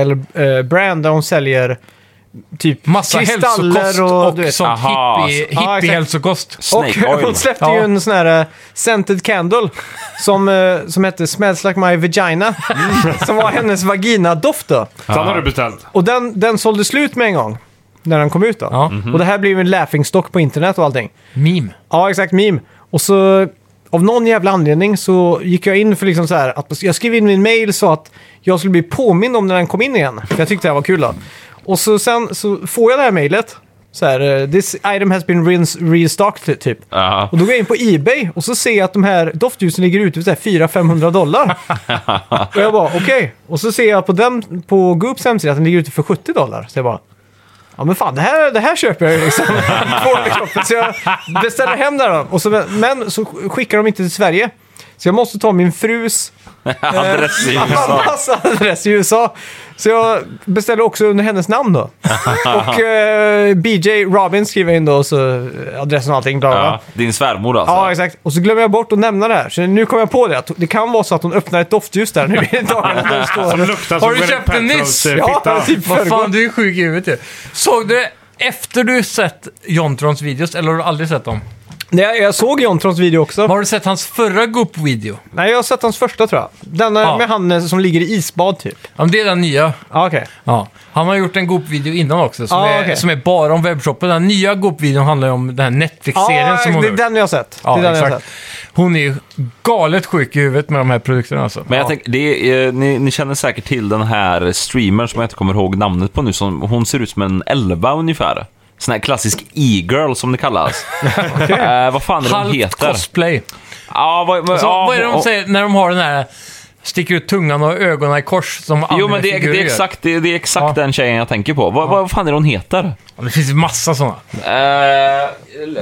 lifestyle-brand där hon säljer typ Massa hälsokost kristaller och, och, du vet. sånt Aha. hippie, Ja, exakt. hippie-hälsokost. Och Snake oil. hon släppte ju Ja. en sån här eh, scented candle som, eh, som hette Smells like my vagina. Mm. [laughs] som var hennes vagina-doft då. Sen har du beställt. Och den, den sålde slut med en gång. När den kom ut då. Ja. Och det här blev ju en laughingstock på internet och allting. Meme. Ja, exakt. Meme. Och så av någon jävla anledning så gick jag in för liksom så här att jag skrev in min mail så att jag skulle bli påmind om när den kom in igen. För jag tyckte det här var kul då. Och så sen så får jag det här mejlet. Så här, eh, this item has been rins- restocked typ. Ja. Och då går jag in på Ebay och så ser jag att de här doftljusen ligger ute för 400-500 dollar. och jag bara okej. Och så ser jag på, dem, på Goops hemsida att den ligger ute för 70 dollar. Så jag bara ja men fan det här, det här köper jag [laughs] ju liksom. Får det i kroppen. så jag beställer hem det här då. Och så, men så skickar de inte till Sverige. Så jag måste ta min frus Adress i USA. massa adress i USA. Så jag beställde också under hennes [laughs] namn då. och eh, BJ Robin skriver jag in då, så eh, adressen och allting. Bla, bla. Ja, Ja. din svärmor alltså. Ja, exakt. Och så glömmer jag bort att nämna det här. Så nu kom jag på det. att Det kan vara så att hon öppnar ett doftljus där nu [laughs] i dagarna. när hon står- Som luktar Har som du Gwyneth köpt den Paltrows, nyss? eh, Ja, fitta. typ Vad föregår. fan, du är sjuk i huvudet ju. Såg du det efter du sett Jontrons videos, eller har du aldrig sett dem? Nej, jag såg Jontrons video också. Har du sett hans förra Goop-video? Nej, jag har sett hans första tror jag. Den eh, Ja. med han eh, som ligger i isbad typ. Ja, men det är den nya. Ja, okej. Ja. Han har gjort en Goop-video innan också, som, Ja, är, okej. som är bara om webbshoppen. Den nya Goop-videon handlar ju om den här Netflix-serien Ja, som hon det har är gjort. den jag har sett. Ja, det är den jag har exakt. sett. Hon är ju galet sjuk i huvudet med de här produkterna alltså. Men jag ja. tänker, det är, eh, ni, ni känner säkert till den här streamern som jag inte kommer ihåg namnet på nu. Som, hon ser ut som en elva ungefär. Sån här klassisk e-girl som det [laughs] kallas. eh, vad fan är det hon Halvt heter? cosplay. Ja, vad, vad, Så, ja, vad är det de och- säger när de har den här sticker ut tungan och ögonen i kors som Jo, anime-figurer men det är, det är gör? exakt, det är, det är exakt Ja. den tjejen jag tänker på. Vad, vad fan är det hon heter? Ja, det finns ju massa sådana. Eh,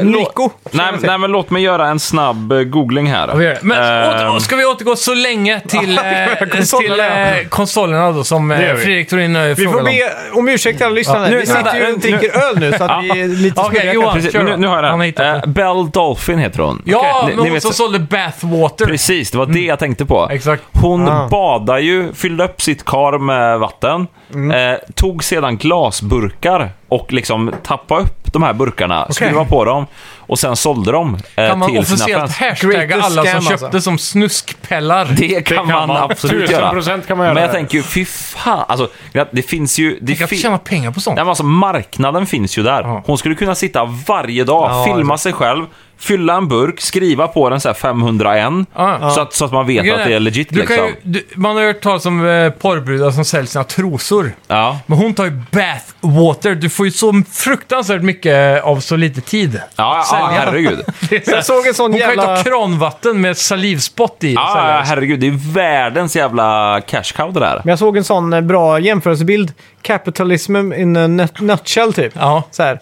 Nico. nej, nej, men låt mig göra en snabb eh, googling här. Ja, vi gör det. Men Ehm, åter, ska vi återgå så länge [laughs] till, eh, till konsolerna. eh, konsolerna då, som gör eh, vi. Fredrik Thorin eh, Vi får frågade om? be om ursäkt till alla lyssnare. nu- vi sitter vänta, ju och nu- dricker öl nu så att vi är lite Okej, snurriga Johan. Precis, kör men då. nu, nu har Han jag har den. hittat Eh, Bell Dolphin heter hon. Ja, Ni- men ni hon vet- som sålde bathwater. Precis, det var det jag tänkte på. Mm. Exakt. Hon Ah. badade ju, fyllde upp sitt kar med vatten, eh, tog sedan glasburkar och liksom tappade upp de här burkarna, skruvade på dem och sen sålde dem eh, Kan man till sina officiellt fans. hashtagga Greatest alla som scam, köpte alltså. som snuskpellar? Det kan, man, absolut göra. 1000% kan man göra Men jag det. tänker ju, fy fan. Alltså, det finns ju... Det Tänk att fin- tjäna pengar på sånt. Nej, men alltså, marknaden finns ju där. Ja. Hon skulle kunna sitta varje dag, filma sig själv, fylla en burk, skriva på den så här 501. Ja. Så, att, så att man vet Grejen att det är legit du kan liksom. ju, du, man har hört talas om eh, porrbrudar som säljer sina trosor. Ja. Men hon tar ju bathwater. Du får ju så fruktansvärt mycket eh, av så lite tid. [laughs] Ja, ja, Sälja. herregud. Jag såg en sån Hon kan ju jävla... ta kranvatten med salivspott i. och sälja Ja, det. herregud. Det är världens jävla cash cow det där. Men jag såg en sån eh, bra jämförelsebild. Capitalism in a nut- nutshell typ. Ja. Så här.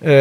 eh,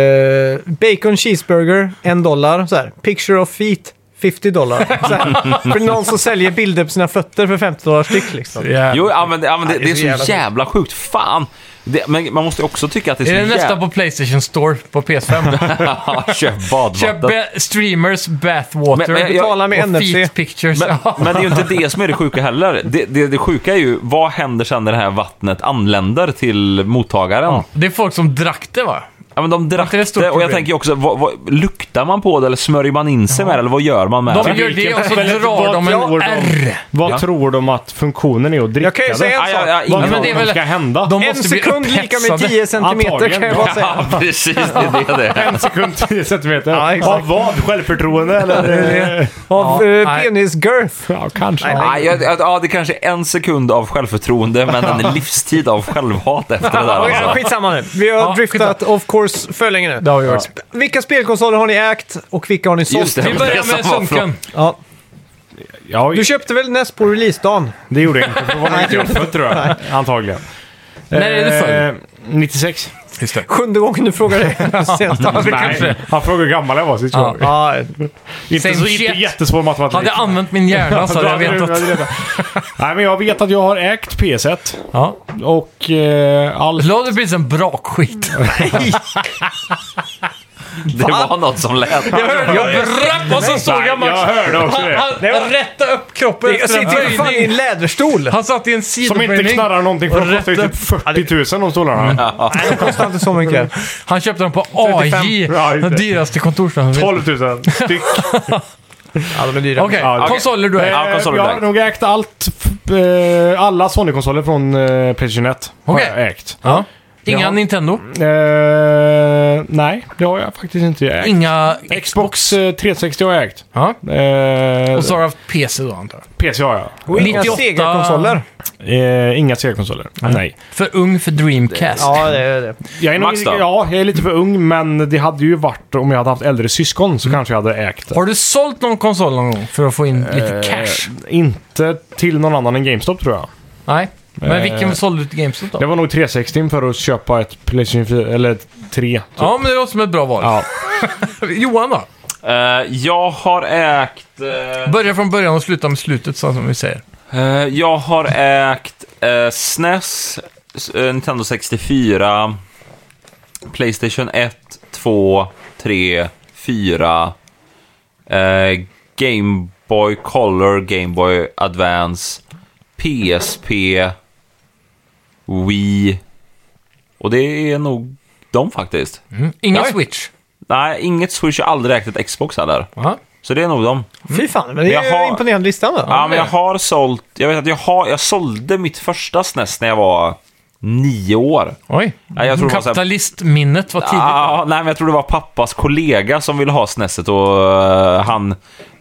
bacon cheeseburger, en dollar. Så här. Picture of feet, 50 dollar. Så här. [laughs] för någon som säljer bilder på sina fötter för 50 dollar styck liksom. Yeah. Jo, ja, men, det- ja, men det, det är så jävla, sjukt. sjukt. Fan! Det, men man måste ju också tycka att det är så Är det nästa jävla... på Playstation Store på PS5? [laughs] Ja, Köp Köp badvatten. ba- streamers, bathwater, Men- men jag- Betala med och NFC. feet pictures. Men, [laughs] Ja. men det är ju inte det som är det sjuka heller. Det, det, det sjuka är ju, vad händer sen när det här vattnet anländer till mottagaren? Ja, Det är folk som drack det va? men de drack inte det ett det, stort och jag problem? tänker ju också, vad, vad, luktar man på det eller smörjer man in sig med det eller vad gör man med De [laughs] det? gör det och så drar de en R. Vad tror de att funktionen är att dricka Jag kan ju säga en Aj, aj, sak. aj, Vad ingen tror men aning. det är de väl- ska hända? De En måste bli sekund lika med upphetsade. 10 centimeter kan jag bara Antagligen, säga. Ja, precis. Det är det det är. [laughs] En sekund, 10 centimeter. Ja, exakt. Av vad? Självförtroende [laughs] eller? Av eh, nej. penis girth. ja, kanske. Ja, jag, jag, ja, det kanske är en sekund av självförtroende, men en livstid av självhat efter det där. Okej, Alltså. skitsamma nu. Vi har Ja, driftat of course för länge nu. Det har vi gjort. Vilka spelkonsoler har ni ägt och vilka har ni sålt? Just det, Vi börjar det med som var sunken. Ja. Ja, Du köpte väl NES på releasedagen? det gjorde jag inte. För då var nog inte jag född tror jag. Antagligen. När är du född? Eh, 96. Just det. Sjunde gången du [laughs] frågar det. Senast. Nej, han frågade hur gammal jag var sist jag. Ja, Inte Same så shit. inte jättesvår matematik. Hade jag använt min hjärna så hade jag Då hade vetat. du- hade du [laughs] Nej, men jag vet att jag har ägt PS1 Ja. och eh, all... Lade du precis en [laughs] brakskit? Det var något som lät. Jag hörde jag brack och så såg jag Jag Max. hörde också Han, det. han rättade upp kroppen jag efter en sitter ju fan i böjning. en läderstol. Han satt i en Som inte sidoböjning. knarrar någonting för de kostar ju Rätt typ 40 000 de Mm. stolarna. Det kostar inte så mycket. Han köpte dem på AJ, 35. Ja, den just det. dyraste kontorsstationen. 12 000 styck. [laughs] Ja, de är dyra. Okej, Ja, okej. konsoler du äger. Ja, Eh, konsoler jag direkt. har nog ägt allt. f- eh, Alla Sony-konsoler från eh, Playstation 1 har Okej. jag ägt. Ja. Inga Ja. Nintendo? Mm. Eh, nej, det har jag faktiskt inte ägt. Inga... Xbox eh, 360 har jag ägt. Ja. Eh, Och så har du haft PC då antar jag. PC har jag. Inga 98. segerkonsoler. Eh, inga Sega-konsoler. Nej. För ung för Dreamcast. Ja, det är det. Jag är, nog, Max då? ja, jag är lite för ung, men det hade ju varit om jag hade haft äldre syskon så kanske jag hade ägt det. Har du sålt någon Eh, konsol någon gång för att få in lite cash? Inte till någon annan än GameStop tror jag. Nej. Men vilken Eh, sålde du till GameStop då? Det var nog 360 för att köpa ett Playstation 4, eller 3. Typ. Ja, men det låter som ett bra val. Ja. [laughs] Johan då? Eh, jag har ägt... eh, Börja från början och sluta med slutet, så som vi säger. Eh, jag har ägt eh, SNES, s- eh, Nintendo 64, Playstation 1, 2, 3, 4, eh, Game Boy Color, Game Boy Advance, PSP, Wii. Och det är nog de faktiskt. Ingen Nej. Switch. Nej, inget Switch. Jag har aldrig ägt ett Xbox heller. Aha. Så det är nog dem. Fy fan, men det är Jag har- ju imponerande listan då. Ja, men jag har sålt... Jag vet att jag har... Jag sålde mitt första SNES när jag var nio år. Oj. Ja, jag tror det var så här- Kapitalistminnet var tidigt. Ah, nej, men jag tror det var pappas kollega som ville ha SNESet och eh, han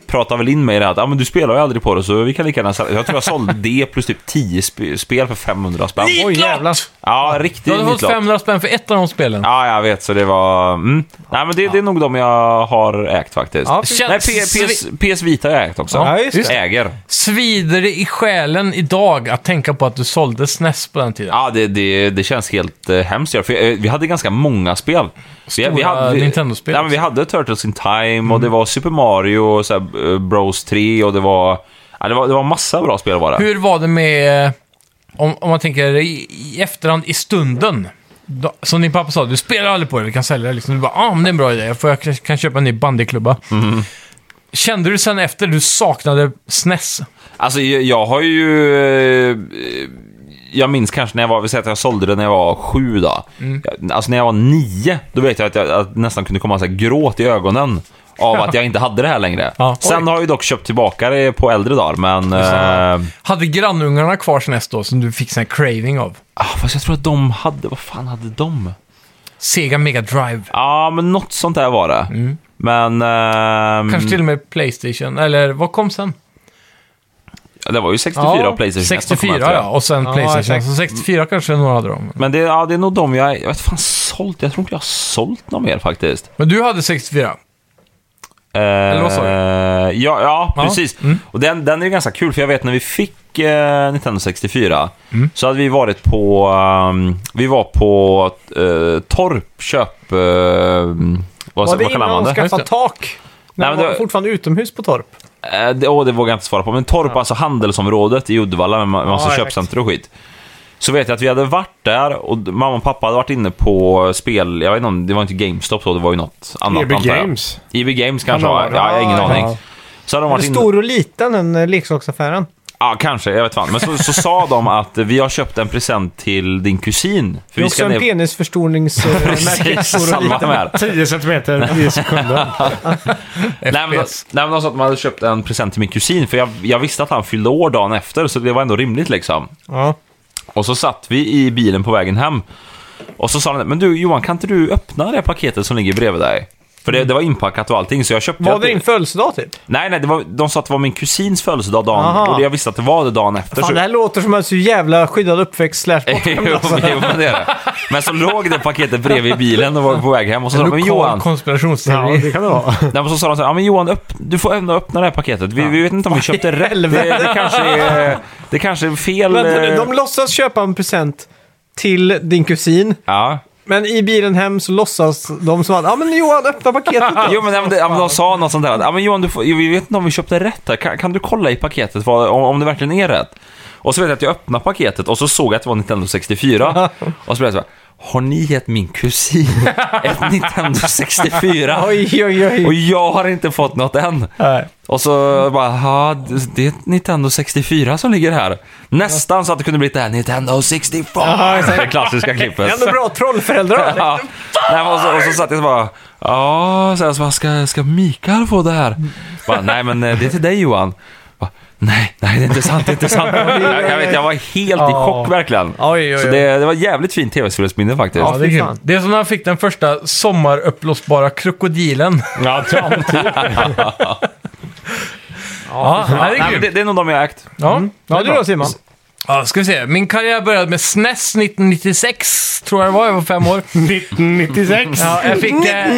pratade väl in mig i det här att ah, men du spelar ju aldrig på det så vi kan lika gärna sälja. Jag tror jag sålde det plus typ 10 sp- spel för 500 spänn. Oj jävlar. Ja, Du riktigt hade fått nitlott. 500 spänn för ett av de spelen. Ja, jag vet, så det var... Mm. Nej, men det, det är nog de jag har ägt faktiskt. Ja, precis. Nej, P- PS, PS Vita har jag ägt också. Ja, just det. Äger. Svider det i själen idag att tänka på att du sålde SNES på den tiden? Ja, det, det, det känns helt eh, hemskt. För, eh, vi hade ganska många spel. Vi, vi Stora hade, Nintendo-spel Mm. Ja, men vi hade Turtles in Time och det var Super Mario och så här, eh, Bros 3 och det var... Ja, det var, det var massa bra spel var det. Hur var det med, eh, om, om man tänker i, i efterhand, i stunden? Då, som din pappa sa, du spelar aldrig på det, vi kan sälja det. Liksom. Du bara, ah, men det är en bra idé, jag, får, jag kan- kan köpa en ny bandyklubba. Mm. Kände du sen efter du saknade SNES? Alltså, jag, jag har ju... eh, Jag minns kanske när jag var, vi säger att jag sålde det när jag var sju då. Mm. Jag- Alltså när jag var nio, då vet jag att jag att nästan kunde komma så här gråt i ögonen av [laughs] att jag inte hade det här längre. Ja. Sen har jag ju dock köpt tillbaka det på äldre dagar, men... eh, Hade grannungarna kvar SNES då, som du fick sån här craving av? Ah, fast jag tror att de hade, vad fan hade de? Sega Mega Drive. Ja, men något sånt där var det. Men... ehm, Mm. Kanske till och med Playstation, eller vad kom sen? Det var ju 64 och Playstation 1 som kom 64 efter det. ja, och sen Ja, Playstation. exakt. Så 64 kanske några hade de. Men det, ja, det är nog de jag... Jag vet fan sålt. Jag tror inte jag har sålt någon mer faktiskt. Men du hade 64? Eller vad sa du? Eh, Ja, ja, Ja. mm. precis. Och den, den är ju ganska kul, för jag vet när vi fick eh, Nintendo 64 Mm. så hade vi varit på... ehm, vi var på eh, Torp köp... Eh, vad, Var det vad kallar man innan de det? Just skaffade det. tak? Nej, När men de var det- fortfarande utomhus på torp? Eh, det, åh, det vågar jag inte svara på, men Torp, alltså handelsområdet i Uddevalla med ma- massa Ja, exakt. köpcenter och skit. Så vet jag att vi hade varit där och d- mamma och pappa hade varit inne på spel, jag vet inte om, det var inte GameStop då, det var ju något E annat EB antar jag. Games. EB Games kanske Kan det var, ja, jag vara. har ingen Ja, aning. ja. Så hade de Eller varit inne, stor och liten, den eh, leksaksaffären. ja kanske, jag vet fan. Men så, så sa de att vi har köpt en present till din kusin. För Det är också en eh, [laughs] penisförstoringsmärke. Precis, samma här. [laughs] 10 [laughs] centimeter, 10 sekunder. Nej men, FPS. nej men de sa att man hade köpt en present till min kusin, för jag, jag visste att han fyllde år dagen efter, så det var ändå rimligt liksom. ja. Och så satt vi i bilen på vägen hem. Och så sa han men du Johan, kan inte du öppna det här paketet som ligger bredvid dig? För det, det var inpackat och allting, så jag köpte... Var jag- det din födelsedag typ? Nej, nej, det var, de sa att det var min kusins födelsedag dagen, Aha. och jag visste att det var det dagen efter. Fan, så... det här låter som en så jävla skyddad uppväxt slash [laughs] bortglömd [laughs] jo, alltså. jo, men det är det. Men så låg det paketet bredvid bilen och var på väg hem och så sa de, Lokal men Johan, konspirationsteori. det kan det [laughs] vara. nej, men så sa de så här, ja men Johan, öpp, du får ändå öppna det här paketet. Vi, vi vet inte om vi köpte rätt. Det, det, kanske, är, det kanske är fel. Vänta nu, eh, de låtsas köpa en present till din kusin, Ja. men i bilen hem så låtsas de som att ja men Johan öppna paketet [laughs] då." Jo men, nej, men, det- ja, men de sa något sånt där. att, Ja men Johan, du får, jo, vi vet inte om vi köpte rätt här. Kan, kan du kolla i paketet vad, om, om det verkligen är rätt? Och så vet jag att jag öppnade paketet och så såg jag att det var Nintendo 64. och så blev jag så här, har ni gett min [laughs] kusin ett Nintendo 64? Oj, oj, Och oj. jag har inte fått något än. Nej. Och så bara, ja, det- det är ett Nintendo 64 som ligger här. Nästan så att det kunde bli det här Nintendo 64. Det klassiska klippet. Ändå bra trollföräldrar. Ja. Nej, men och, så, och så satt jag och bara, ja, så här, så bara, ska, ska Mikael få det här? Bara, nej, men eh, det är till dig Johan. Bara, nej, nej, det är inte sant, det är inte sant. Jag, jag, vet, jag var helt i chock verkligen. oj, oj, Så oj. det, det var jävligt fint tv-spelsminne faktiskt. Ja, det, är fy grymt. fan. det är som när han fick den första sommarupplåsbara krokodilen. Ja, tant. [laughs] Ja, det är nej, men det, grymt. det är nog de jag ägt. Ja. Ja, du då Simon? Ja, ska vi se. Min karriär började med SNES 1996, tror jag det var. Jag var fem år. 1996. Ja, jag fick det,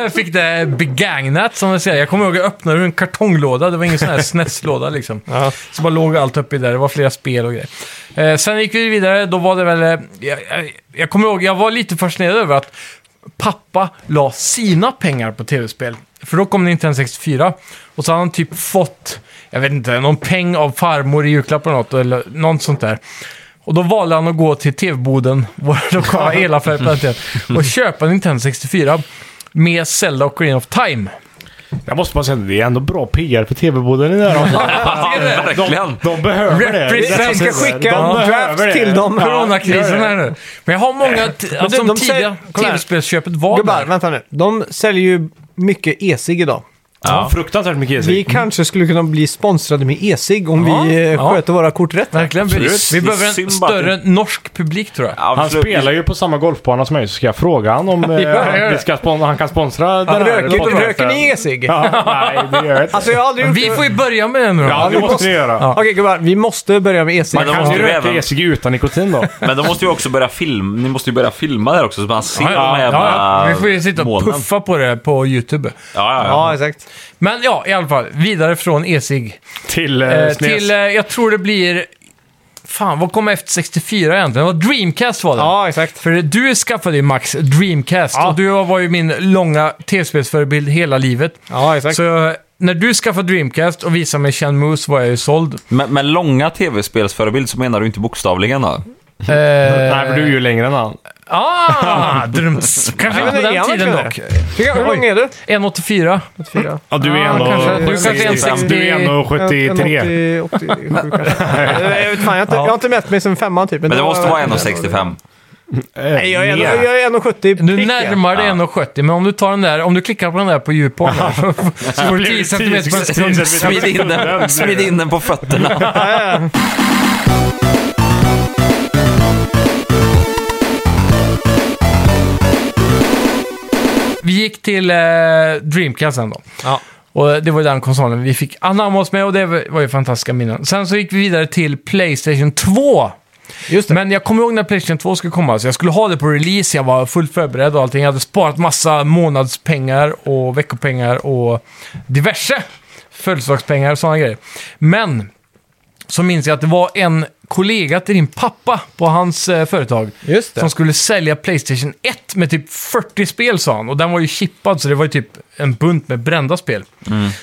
jag fick det begagnat, som jag säger. Jag kommer ihåg att jag öppnade ur en kartonglåda. Det var ingen sån här SNES-låda liksom. Så bara låg allt uppe i där. Det var flera spel och grejer. Eh, sen gick vi vidare. Då var det väl... Eh, jag, jag, jag kommer ihåg, jag var lite fascinerad över att pappa la sina pengar på tv-spel. För då kom Nintendo 64. Och så hade han typ fått, jag vet inte, någon peng av farmor i julklapp eller något, eller något sånt där. Och då valde han att gå till [laughs] TV-boden, vår lokala elaffär på den tiden, och köpa Nintendo 64 med Zelda och Green of Time. Jag måste bara säga det är ändå bra PR för TV-boden i det här [laughs] avsnittet. Ja, verkligen. De behöver det. Represent. Detta Jag ska skicka De en behöver draft det. till dem. Coronakrisen här nu. Men jag har många, t- alltså, du, de de säger- tidiga kolla här. tv-spelsköpet var Gubbar, där. vänta nu. De säljer ju mycket e-cig idag. Ja, fruktansvärt mycket Vi Jessica. kanske skulle kunna bli sponsrade med e-cig om Ja, vi eh, ja. sköter våra kort rätt. här. Verkligen. Vi, Absolut. vi Det är behöver en synd bara att större norsk publik tror jag. Han spelar ju på samma golfbana som mig, så ska jag fråga han om eh, gör det. han, vi ska spon- han kan sponsra den här Röker, podcasten. röker ni e-cig? Ja, nej, det gör jag inte. Alltså jag har aldrig gjort Vi det. får ju börja med det nu då. Ja, det vi måste måste- ni göra. Ja. Okej gubbar, vi måste börja med e-cig. Men de Kan måste ni ju röka även... e-cig utan nikotin då? Men då måste ju också börja filma, ni måste ju börja filma där också så man ser de här ja, jävla vi får ju sitta och molnen. puffa på det på YouTube. Ja, ja, ja. Ja, exakt. Men ja, i alla fall. Vidare från e-cig. Till eh, Eh, snes. till, eh, jag tror det blir... Fan, vad kom efter 64 egentligen? Det var Dreamcast var det. Ja, exakt. För du skaffade ju Max Dreamcast Ja. och du var ju min långa tv-spelsförebild hela livet. Ja, exakt. Så eh, när du skaffade Dreamcast och visade mig Shenmue så var jag ju [laughs] såld. Eh, Men, men långa tv-spelsförebild så menar du inte bokstavligen då? Nej, för du är ju längre än han. [laughs] Ah! drömts. Kanske Ja, men inte på är den han tiden dock. verkligen Tycker jag, hur lång är du? 1,84. Ja, du är Ja, ändå... kanske. Du Du kanske är en 60. Du är ändå 73. 80, 87 kanske. Jag vet fan, jag har, inte, jag har inte mätt mig sen femman typ. Men det måste vara en 1,65. Nej, jag är en- jag är 1,70 Du prick, ja. närmar dig 1,70, men om du tar den där, om du klickar på den där på djupon [laughs] här, så så får du 10 cm på en sekund. Smid in den, smid in den på fötterna. Vi gick till eh, Dreamcast sen då. Ja. Och det var ju den konsolen vi fick anamma oss med och det var ju fantastiska minnen. Sen så gick vi vidare till Playstation 2. Just det. Men jag kommer ihåg när Playstation 2 skulle komma, så jag skulle ha det på release. Jag var fullt förberedd och allting. Jag hade sparat massa månadspengar och veckopengar och diverse födelsedagspengar och sådana grejer. Men så minns jag att det var en kollega till din pappa på hans eh, företag Just det. som skulle sälja Playstation 1 med typ 40 spel sa han. Och den var ju chippad så det var ju typ en bunt med brända spel.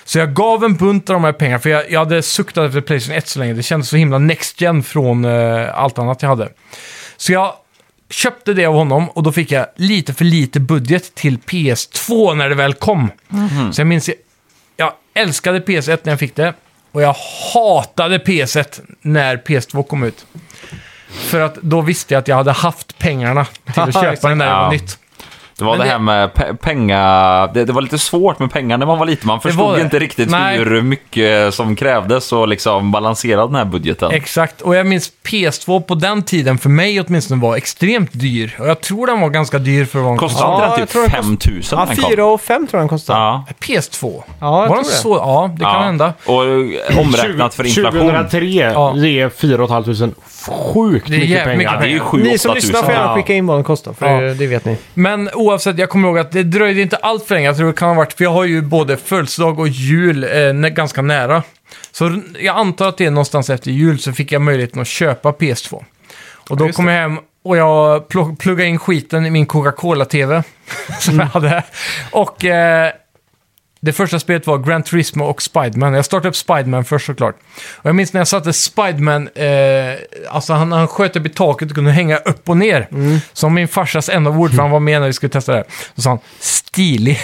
Så jag gav en bunt av de här pengarna för jag, jag hade suktat efter Playstation 1 så länge. Det kändes så himla next gen från eh, allt annat jag hade. Så jag köpte det av honom och då fick jag lite för lite budget till PS2 när det väl kom. Så jag minns, jag älskade PS1 när jag fick det och jag hatade PS1 när PS2 kom ut. För att då visste jag att jag hade haft pengarna till att köpa Exakt. den när det var Ja. nytt. Det var Men det det- här med pe- pengar, det, det var lite svårt med pengar när man var liten. Man var förstod det. inte riktigt Nej. hur mycket som krävdes och liksom balansera den här budgeten. Exakt, och jag minns PS2 på den tiden för mig åtminstone var extremt dyr. Och jag tror den var ganska dyr för att vara en konsol. Kostade Ja, inte den jag tror typ det 5 000 Ja, den kom? 4 och 5 tror jag den kostar. Ja. PS2? Ja, jag var den tror det. så? Ja, det kan Ja. hända. Och eh, omräknat för inflation. 2003, Ja. det är 4 500 sjukt Det är mycket jävligt pengar. Det är ju 7 Ni som lyssnar får 000. gärna Ja. skicka in vad den kostar, för Ja. det, det vet ni. Men oavsett, jag kommer ihåg att det dröjde inte allt för länge. Jag tror det kan ha varit, för jag har ju både födelsedag och jul eh, nä- ganska nära. Så r- jag antar att det är någonstans efter jul så fick jag möjligheten att köpa PS2. Och då kom jag hem och jag pl- pluggade in skiten i min Coca-Cola-TV. [laughs] som Mm. jag hade. Och eh, det första spelet var Gran Turismo och Spiderman. Jag startade upp Spiderman först såklart. Och jag minns när jag satte Spiderman, eh, alltså han, han sköt upp i taket och kunde hänga upp och ner. Som min farsas enda ord, för han var med när vi skulle testa det här. Då sa han stilig.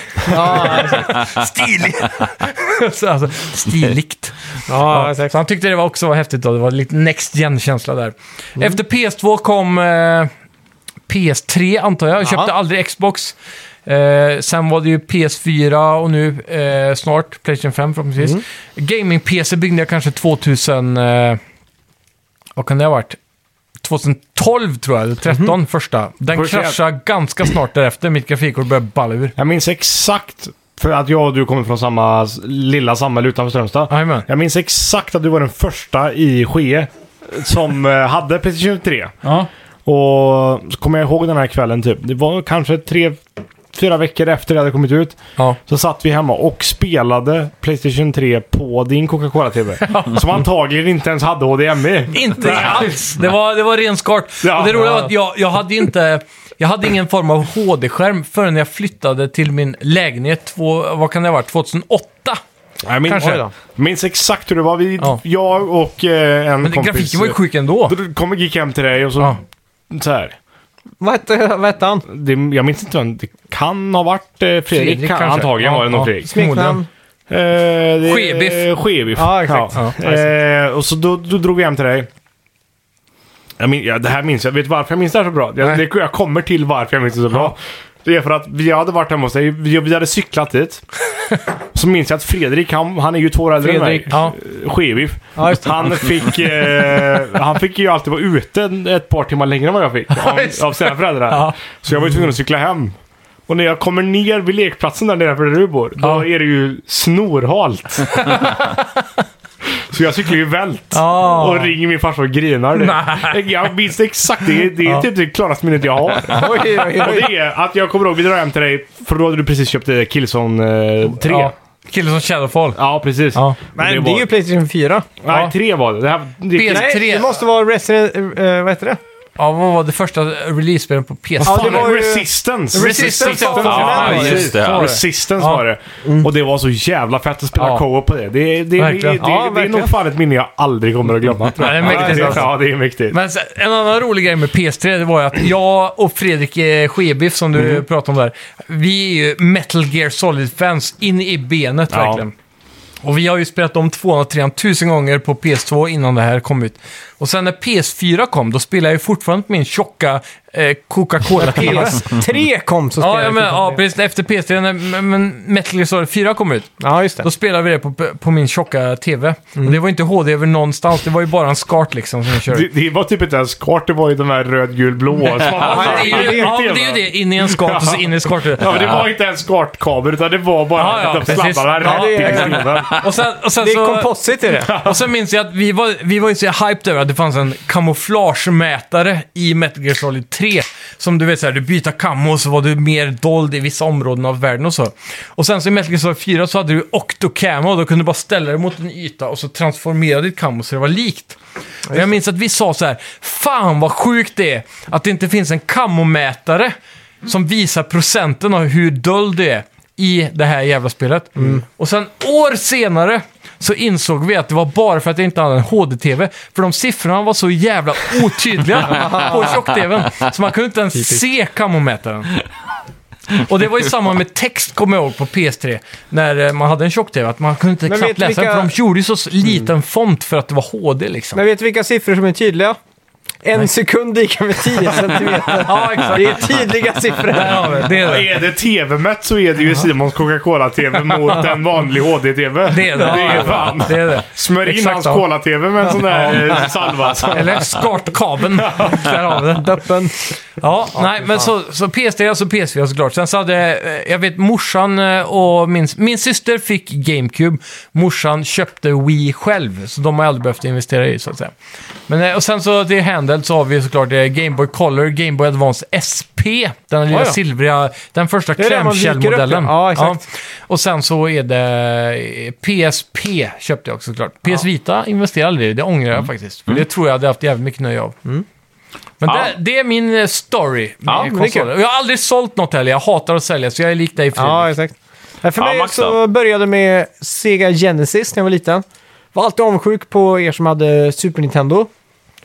stilig. [laughs] så, alltså, stiligt. Ja, Ja, så han tyckte det var också var häftigt då. Det var lite next gen-känsla där. Efter PS2 kom eh, PS3 antar jag. Jag köpte aldrig Xbox. Eh, sen var det ju PS4 och nu eh, snart Playstation 5 förhoppningsvis. Gaming-PC byggde jag kanske 2000... Eh, vad kan det ha varit? 2012 tror jag, eller 13 första. Den Får se. kraschade ganska snart därefter. Mitt grafikkort började balla ur. Jag minns exakt, för att jag och du kommer från samma s- lilla samhälle utanför Strömstad. Jajamän. Jag minns exakt att du var den första i Ske som eh, hade Playstation 3. Ja. Och så kommer jag ihåg den här kvällen typ. Det var kanske tre, fyra veckor efter det hade kommit ut. Ja. Så satt vi hemma och spelade Playstation 3 på [laughs] din Coca-Cola-TV. som antagligen inte ens hade HDMI. Inte alls! Det var, det var ren skart. Ja. och det roliga var att jag, jag hade inte... Jag hade ingen form av HD-skärm förrän jag flyttade till min lägenhet, två, vad kan det ha varit, 2008? Jag minns, Kanske. Oj då. minns exakt hur det var. Vi, Ja. Jag och eh, en Men det, kompis... grafiken var ju sjuk ändå. Då kom och gick hem till dig och så... Ja. Så här. Vad hette vad hette han? Det, jag minns inte vem. Det kan ha varit eh, Fredrik. Fredrik kan, kanske. antagligen Ja, var det nog ja. Fredrik. Förmodligen. Smeknamn? Eh, det- eh, Skebiff. Skebiff. Ja, exakt. Ja. Eh, och så då, då drog vi hem till dig. Jag min, ja, det här minns jag. Vet du varför jag minns det här så bra? Jag, det, jag kommer till varför jag minns det så bra. Det är för att vi hade varit hemma hos dig. Vi, vi hade [laughs] cyklat dit. så minns jag att Fredrik, han, han är ju två år äldre än mig. Fredrik, ja. Eh, Skebiff. Ja, just det. han, fick, eh, han fick ju alltid vara ute en- ett par timmar längre än vad jag fick. Av, av sina föräldrar. Ja. Så jag var ju tvungen att cykla hem. Och när jag kommer ner vid lekplatsen där nere för där du bor, då Ja. är det ju snorhalt. Så jag cyklar ju vält. Ah. Och ringer min farsa och grinar. Det. Jag minns exakt. Det, det är typ det klaraste minnet jag har. Oj, oj, oj. Och det är att jag kommer ihåg, vi drar hem till dig. För då hade du precis köpt eh, Killzone eh, 3. Ja. Ja, Killen som Shadowfall. precis. Ja. Men Det är ju Playstation 4. Nej, 3 var det. det, här, det PS3. Nej, det måste vara Resident... eh, vad heter det? Ja, vad var det första release-spelet på PS? Fan, det var ju- Resistance. Resistance, ja. Ja, Fan, just det. så var det. Resistance Ja. Mm. var det. Och det var så jävla fett att spela Ja. co-op på det. Det, det, det, det, Verkligen. det, Ja, är nog verkligen. fan ett minne jag aldrig kommer att glömma. Ja, det är mäktigt Ja, alltså. Ja, det är mäktigt. Men sen, en annan rolig grej med PS3 det var ju att jag och Fredrik eh, Skebiff som du pratade om där, vi är ju Metal Gear Solid-fans in i benet Ja. verkligen. Och vi har ju spelat om 200-300 tusen gånger på PS2 innan det här kom ut. Och sen när PS4 kom, då spelade jag ju fortfarande på min tjocka eh, Coca-Cola-TV. PS3 kom så ja, spelade ja, vi men, på ja, det. precis. Efter PS3, när men- men Metal Gear Solid 4 kom ut, ja, just det. då spelade vi det på, på min tjocka TV. Och det var inte HD över någonstans, det var ju bara en skart liksom som jag körde. Det, det var typ inte ens kart, det var ju de här röd, gul, blå. som [laughs] Ja, var men det är ju ja, men det, är ju det. In i en skart och så in i skartet. Ja, men det var inte ens kartkabel utan det var bara Ja, ja, att de precis. sladdarna Ja, rätt det in i är- skroven. Och sen, och sen Det är så... komposit i det. [laughs] Och sen minns jag att vi var, vi var ju så hyped över att det fanns en kamouflagemätare i Metal Gear Solid 3. Som du vet såhär, du byter kammo och så var du mer dold i vissa områden av världen och så. Och sen så i Metal Gear Solid 4 så hade du Octocamo och då kunde du bara ställa dig mot en yta och så transformera ditt kammo så det var likt. Och jag minns att vi sa så här: fan vad sjukt det är att det inte finns en kammomätare som visar procenten av hur dold det är i det här jävla spelet. Mm. Och sen år senare så insåg vi att det var bara för att jag inte hade en HD-TV. För de siffrorna var så jävla [laughs] otydliga på tjock-TVn. Så man kunde inte ens se kammomätaren. Och det var ju samma med text, kommer jag ihåg, på PS3. När eh, man hade en tjock-TV. Att man kunde inte Men knappt vet du läsa den. För vilka- Mm. de gjorde ju så s- liten font för att det var HD liksom. Men vet du vilka siffror som är tydliga? En sekund lika med [laughs] 10 centimeter. Ja, exakt. Det är tydliga siffror. Där har vi det. Det är det. Är det tv-mätt så är det ju Simons [laughs] Coca-Cola-tv mot en vanlig HD-tv. Det är det. är fan. Det är det. Smörj in Exakt hans så. cola-tv med en sån där eh, salva. Eller skartkabeln. Där har vi det. Döppen. Ja, nej, men så, så PS3 och så PS4 såklart. Sen så hade jag, eh, jag vet morsan eh, och min, min syster fick GameCube. Morsan köpte Wii själv, så de har jag aldrig behövt investera i så att säga. Men, eh, och sen så till handheld så har vi såklart eh, Game Boy Color, Game Boy Advance SP. Den lilla Oj då. silvriga, den första är det man viker upp, klämkällmodellen. ja. Ja, exakt. Och sen så är det eh, PSP köpte jag också såklart. PS Vita investerade aldrig i, det ångrar Mm. jag faktiskt. För det tror jag hade haft jävligt mycket nöje av. Men Ja. det, det är min eh, story med Ja, men det är konsoler. Och jag har aldrig sålt något heller. Jag hatar att sälja, så jag är lik dig Fredrik. Ja, exakt. Nej, För Ja, mig Max så då? började med Sega Genesis när jag var liten. Var alltid avundsjuk på er som hade Super Nintendo.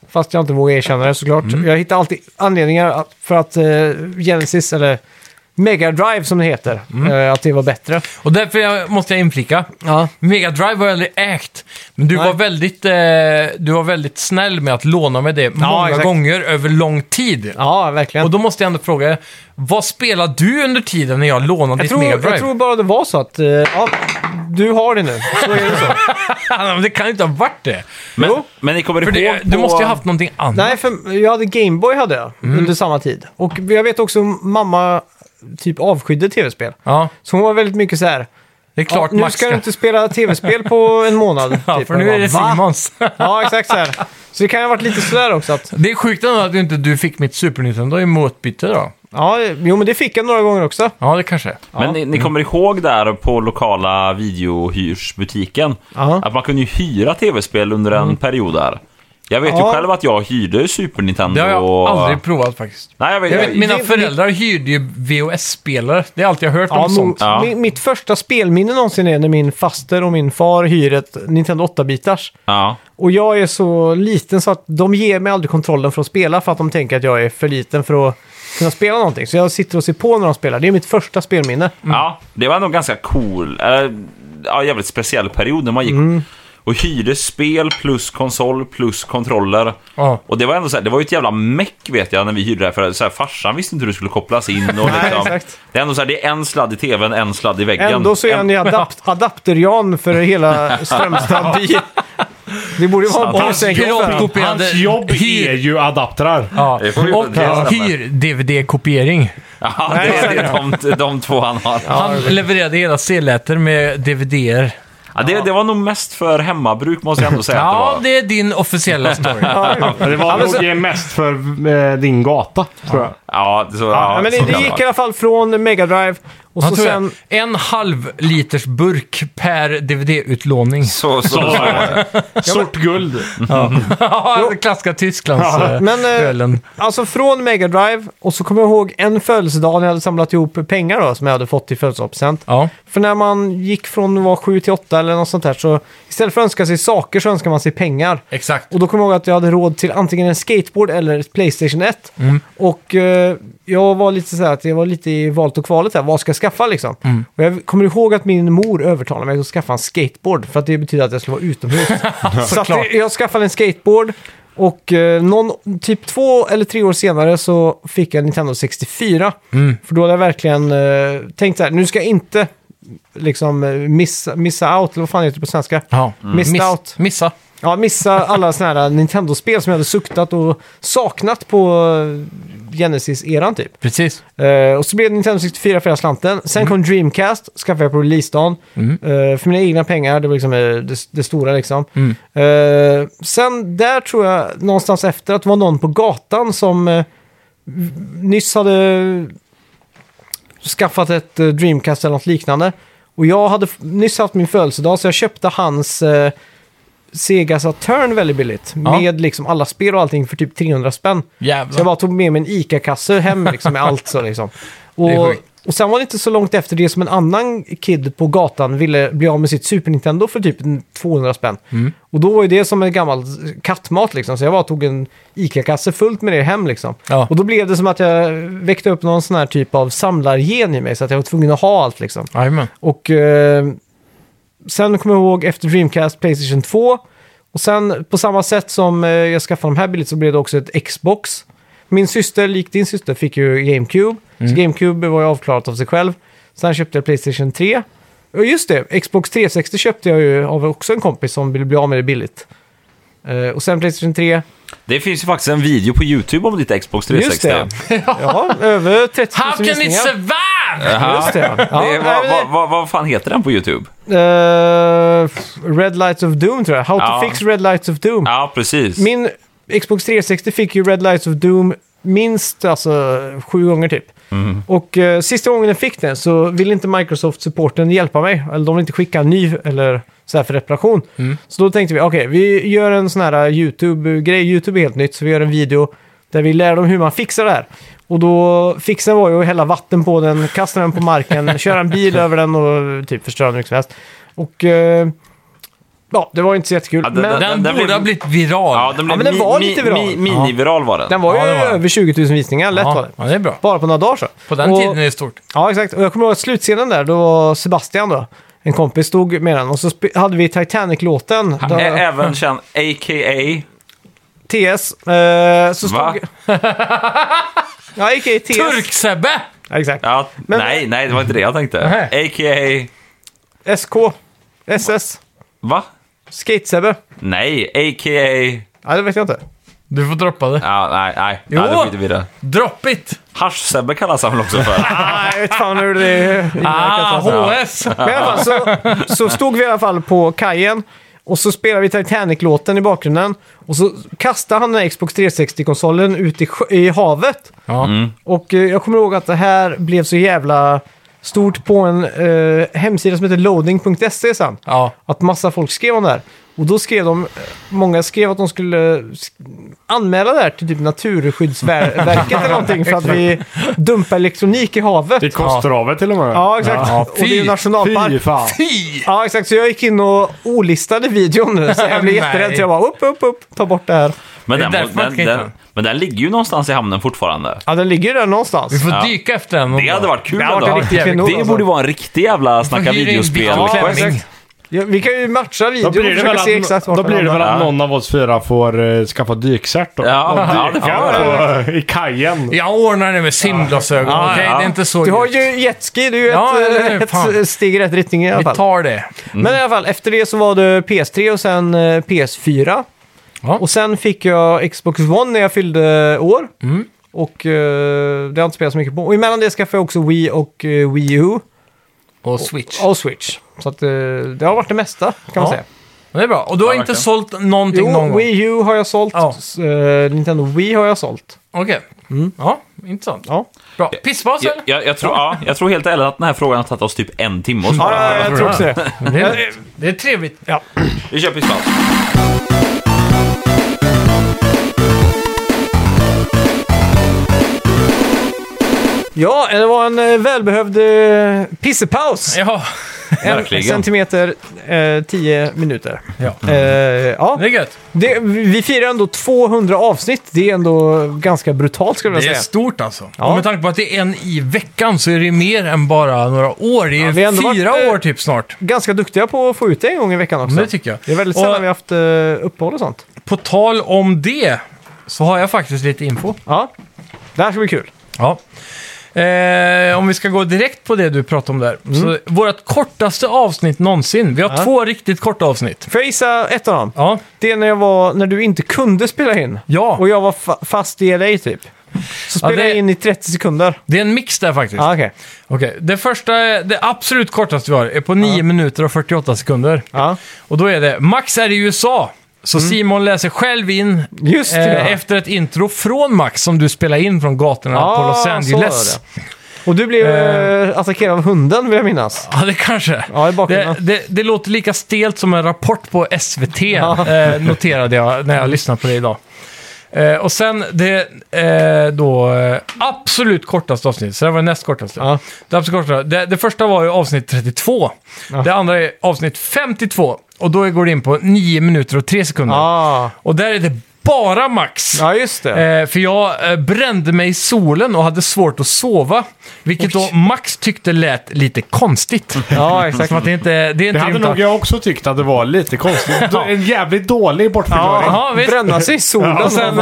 Fast jag inte vågar erkänna det såklart. Mm. Jag hittar alltid anledningar att- för att eh, Genesis, eller Mega Drive som det heter, Mm. eh, att det var bättre. Och därför jag, måste jag inflika. Ja. Mega Drive har jag aldrig ägt. Men du Nej. var, väldigt, eh, du var väldigt snäll med att låna mig det många exakt. gånger över lång tid. Ja, verkligen. Och då måste jag ändå fråga, vad spelade du under tiden när jag lånade jag, ditt tror, Mega Drive? jag tror bara det var så att, eh, ja, du har det nu. Så är det så. [laughs] Ja, men det kan ju inte ha varit det. Men, men ni kommer För ihåg det du på- måste ju ha haft någonting annat. Nej, för jag hade Gameboy hade jag Mm. under samma tid. Och jag vet också mamma typ avskydde tv-spel. Ja. Så hon var väldigt mycket så här. Det är klart ja, nu Max ska du inte spela tv-spel på en månad. [laughs] Ja, typ. för nu Jag är det bara, "Va?" Simons. [laughs] Ja, exakt så här. Så det kan ju ha varit lite sådär också att... Det är sjukt ändå att du inte du fick mitt Super Nintendo i motbyte då. Ja, jo men det fick jag några gånger också. Ja, det kanske är. Men ni, ni Mm. kommer ihåg där på lokala videohyrsbutiken? Ja. Att man kunde ju hyra tv-spel under Mm. en period där. Jag vet Ja. ju själv att jag hyrde Super Nintendo Det har jag och... aldrig provat faktiskt. Nej, jag vet, Jag vet, mina det- föräldrar hyrde ju VHS-spelare. Det är allt jag har hört Ja, om mo- sånt. Ja. mi- Mitt första spelminne någonsin är när min faster och min far hyr ett Nintendo 8-bitars. Ja. Och jag är så liten så att de ger mig aldrig kontrollen för att spela för att de tänker att jag är för liten för att kunna spela någonting. Så jag sitter och ser på när de spelar. Det är mitt första spelminne. ja, det var nog ganska cool. eh, Ja, jävligt speciell period när man gick och hyrde spel plus konsol plus kontroller. Ja. Och det var ändå så här, det var ju ett jävla meck vet jag när vi hyrde det här. För så här, farsan visste inte hur det skulle kopplas in. Och liksom, exakt. Det är ändå så här, det är en sladd i tvn, en sladd i väggen. Ändå så är En- han ju adapt- [laughs] adapter-Jan för hela Strömstad by. Det borde ju vara Hans en jobb- för honom. Kopierade Hans jobb hyr- är ju adaptrar. Ja. Det får vi Och uppleva. hyr-DVD-kopiering. Ja, det är de, de två han har. Ja. Han levererade hela CD-lätter med DVD-er. det, det var nog mest för hemmabruk måste jag ändå säga Ja, att det det är din [laughs] officiella story. Men Det var men så- nog mest för eh, din gata, tror jag. var. Ja, det- så, ja, Ja, men det, så det kan gick i vara. alla fall från Mega Drive och Han så tog sen... en halv liters burk [laughs] per DVD-utlåning. Så, så, så. Sort guld. Ja, klassiska Tysklands ja, Men, eh, ölen. Alltså från Mega Drive och så kommer jag ihåg en födelsedag när jag hade samlat ihop pengar då, som jag hade fått i födelsedagspresent. Ja. För när man gick från att vara 7 till 8 eller något sånt här så istället för att önska sig saker så önskar man sig pengar. Exakt. Och då kommer jag ihåg att jag hade råd till antingen en skateboard eller ett Playstation 1. Mm. Och eh, jag var lite så här att jag var lite i valet och kvalet här, vad ska jag skaffa liksom? Mm. Och jag kommer ihåg att min mor övertalade mig att skaffa en skateboard för att det betyder att jag skulle vara [laughs] utomhus. så att Såklart. jag skaffade en skateboard och eh, någon, typ två eller tre år senare så fick jag en Nintendo 64. Mm. För då hade jag verkligen eh, tänkt så här, nu ska jag inte liksom eh, missa, missa out, eller vad fan heter det på svenska? Ja. Missed out. Missa. Ja, missa alla såna här Nintendo-spel som jag hade suktat och saknat på eh, Genesis-eran typ. Precis. Eh, och så blev det Nintendo 64 för hela slanten. Sen kom Dreamcast, skaffade jag på releasedagen. Eh, för mina egna pengar, det var liksom eh, det, det stora liksom. Eh, sen där tror jag någonstans efter att det var någon på gatan som eh, v- nyss hade skaffat ett eh, Dreamcast eller något liknande. Och jag hade f- nyss haft min födelsedag så jag köpte hans eh, Sega Saturn väldigt billigt. Ja. Med liksom alla spel och allting för typ 300 spänn. Så jag Jävlar. bara tog med mig en ICA-kasse hem liksom, med allt. Så, [laughs] liksom. är och, sjukt. och sen var det inte så långt efter det som en annan kid på gatan ville bli av med sitt Super Nintendo för typ 200 spänn. Mm. Och då var ju det som en gammal kattmat liksom. Så jag bara tog en ICA-kasse fullt med det hem liksom. Ja. Och då blev det som att jag väckte upp någon sån här typ av samlargen i mig. Så att jag var tvungen att ha allt liksom. Jajamän. Och eh, sen kommer jag ihåg efter Dreamcast, Playstation 2. Och sen på samma sätt som eh, jag skaffade de här billigt så blev det också ett Xbox. Min syster, lik din syster, fick ju GameCube. Så GameCube var ju avklarat av sig själv. Sen köpte jag Playstation 3. Och just det, Xbox 360 köpte jag ju av också en kompis som ville bli av med det billigt. Eh, och sen Playstation 3. Det finns ju faktiskt en video på YouTube om ditt Xbox 360. Just det. [laughs] ja, över 30 000 How can it visningar. survive? Jaha. Just det. Ja, Det, nej, vad, men- vad, vad, vad fan heter den på YouTube? Eh, Red Lights of Doom tror jag. How Ja. to fix Red Lights of Doom. Ja, precis. Min Xbox 360 fick ju Red Lights of Doom minst alltså sju gånger typ. Och eh, sista gången jag fick den så ville inte Microsoft-supporten hjälpa mig. Eller de ville inte skicka en ny eller så här för reparation. Så då tänkte vi, okej, vi gör en sån här eh, YouTube-grej. YouTube är helt nytt, så vi gör en video där vi lär dem hur man fixar det här. Och då, fixen var ju att hälla vatten på den, kasta den på marken, köra en bil över den och typ förstöra den hur mycket som helst. Och eh, ja, det var inte så jättekul. Ja, det- men- Den, Den- den borde blev- ha blivit viral. Ja, den, blev men den mi- var mi- lite viral. Mi, miniviral var den. Den var ju Ja, det var den. över 20 000 visningar, lätt var ja. det. ja, det är bra. Bara på några dagar så. På den och, tiden är det stort. Ja, exakt. Och jag kommer ihåg att slutscenen där, då var Sebastian då, en kompis, stod med den. Och så sp- hade vi Titanic-låten, då- Ä- Även känd a.k.a. TS. Eh, så stod... Va? ja, a.k.a. TS. Turksebbe! Ja, exakt. Ja, Men- nej, nej, det var inte det jag tänkte. Nej. A.k.a. SK. SS. Va? Skatesebbe. Nej, a.k.a. Ja, det vet jag inte. Du får droppa det. Ja, nej, nej. Jo. nej det skiter vi i det. Drop it! Hasch-Sebbe kallas han väl också för? [laughs] Ah, jag vet fan hur [laughs] det Ah, inverkat. HS! Men i alla fall så, så stod vi i alla fall på kajen och så spelade vi Titanic-låten i bakgrunden. Och så kastade han den här Xbox 360-konsolen ut i, sjö- i havet. Ja. Och eh, jag kommer ihåg att det här blev så jävla stort på en eh, hemsida som heter loading.se sen. Ja. Att massa folk skrev om det här. Och då skrev de, eh, många skrev att de skulle eh, sk- anmäla det här till typ Naturskyddsverket eller någonting för att vi dumpar elektronik i havet. I Kosterhavet till och med. Ja, exakt. Ja, och det är ju fy- Fy nationalpark. fan. Fy! Ja, exakt. Så jag gick in och olistade videon nu, så jag blev Nej. jätterädd. Så jag bara upp, upp, upp, ta bort det här. Men Det är den, därför man den, inte kan den, hitta den. men den ligger ju någonstans i hamnen fortfarande. Ja, den ligger ju där någonstans. Vi får Ja. dyka efter den. Det hade varit kul Det hade varit ändå. en riktig det klenod, alltså. borde vara en riktig jävla Man snacka hyr in videospel. bil och Ja, klänning. exakt. Ja, vi kan ju matcha Då videon och blir det försöka väl se exakt att, vart då blir den det väl hamnar. att Ja. någon av oss fyra får eh, skaffa dykcert då. Ja, Och ja, det får dyka man på, I kajen. Jag ordnar det med simglasögon. Ja, Okej, ja. det är inte så Du har djupt. ju jetski, det är ju Ja, eller hur? ett, Fan. ett steg i rätt riktning i alla Vi fall. tar Mm. det. Men i alla fall, efter det så var det PS3 och sen eh, PS4. Ja. Och sen fick jag Xbox One när jag fyllde år. Mm. Och eh, det har jag inte spelat så mycket på. Och emellan det skaffade jag också Wii och eh, Wii U. Och switch. Och Switch. Så att, eh, det har varit det mesta kan man Ja. säga. Det är bra. Och du har Ja, inte verkligen. sålt någonting någon Jo, gång? Wii U har jag sålt. Ja. S- eh, Nintendo Wii har jag sålt. Okej. Ja, intressant. Ja. Bra. Pisspaus Jag, eller? jag, jag, tror, ja, jag tror helt ärligt att den här frågan har tagit oss typ en timme att svara. Ja, jag tror också det. Det är, det är trevligt. Ja. Vi kör pisspaus. Ja, det var en eh, välbehövd eh, pissepaus. ja. en Verkligen. centimeter, eh, tio minuter. Ja. Eh, ja. Det är gött. Det, vi firar ändå 200 avsnitt. Det är ändå ganska brutalt skulle jag Det är säga. stort alltså. Ja. Och med tanke på att det är en i veckan så är det mer än bara några år. Det är vi har ändå fyra varit, eh, år typ snart. Ganska duktiga på att få ut det en gång i veckan också. Men det tycker jag. Det är väldigt Och- sällan vi har haft eh, uppehåll och sånt. På tal om det så har jag faktiskt lite info. Ja, det här ska bli kul. Ja. Eh, om vi ska gå direkt på det du pratade om där. Så vårt kortaste avsnitt någonsin. Vi har två riktigt korta avsnitt. Får jag gissa ett av dem? Ja. Det är när, jag var, när du inte kunde spela in. Ja. Och jag var fa- fast i LA typ. Så spelade det- jag in i 30 sekunder. Det är en mix där faktiskt. Ja, okej. Okej, det första, är- det absolut kortaste vi har är på 9 minuter och 48 sekunder. Ja. Och då är det, Max är i USA. Så Simon läser själv in Mm. Just det, eh, ja. efter ett intro från Max som du spelar in från gatorna på Ah, Los så Angeles. var Och du blev eh, attackerad av hunden vill jag minnas. Ja, det kanske. Ja, i bakgrunden. det, det, det låter lika stelt som en rapport på SVT, eh, noterade jag när jag lyssnade på det idag. Eh, och sen det eh, då eh, absolut kortaste avsnittet, så det här var det näst kortaste. Ja. Det, absolut kortaste. Det, det första var ju avsnitt 32. Det andra är avsnitt 52. Och då går det in på 9 minuter och 3 sekunder. Ah. Och där är det bara Max. Ja, just det. Eh, för jag eh, brände mig i solen och hade svårt att sova. Vilket då Max tyckte lät lite konstigt. [laughs] Ja, exakt. Som att det inte... Det är Det inte hade rimligt. nog jag också tyckt att det var lite konstigt. En jävligt dålig bortförklaring. Jaha, visst. Bränna sig i solen. och, sen,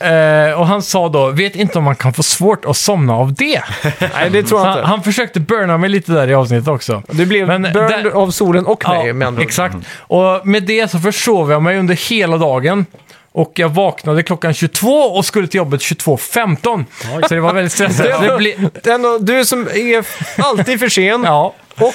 eh, eh, och han sa då, vet inte om man kan få svårt att somna [laughs] av det. Nej, det tror jag Han, inte. han försökte burna mig lite där i avsnittet också. Du blev Men burned där- av solen och mig med andra ord. Mm. exakt. Och med det så försov jag mig under hela dagen. Och jag vaknade klockan 22 och skulle till jobbet 22.15. Så det var väldigt stressigt. [laughs] Det Det var- blir- Den och- du som är f- alltid för sen. ja. Och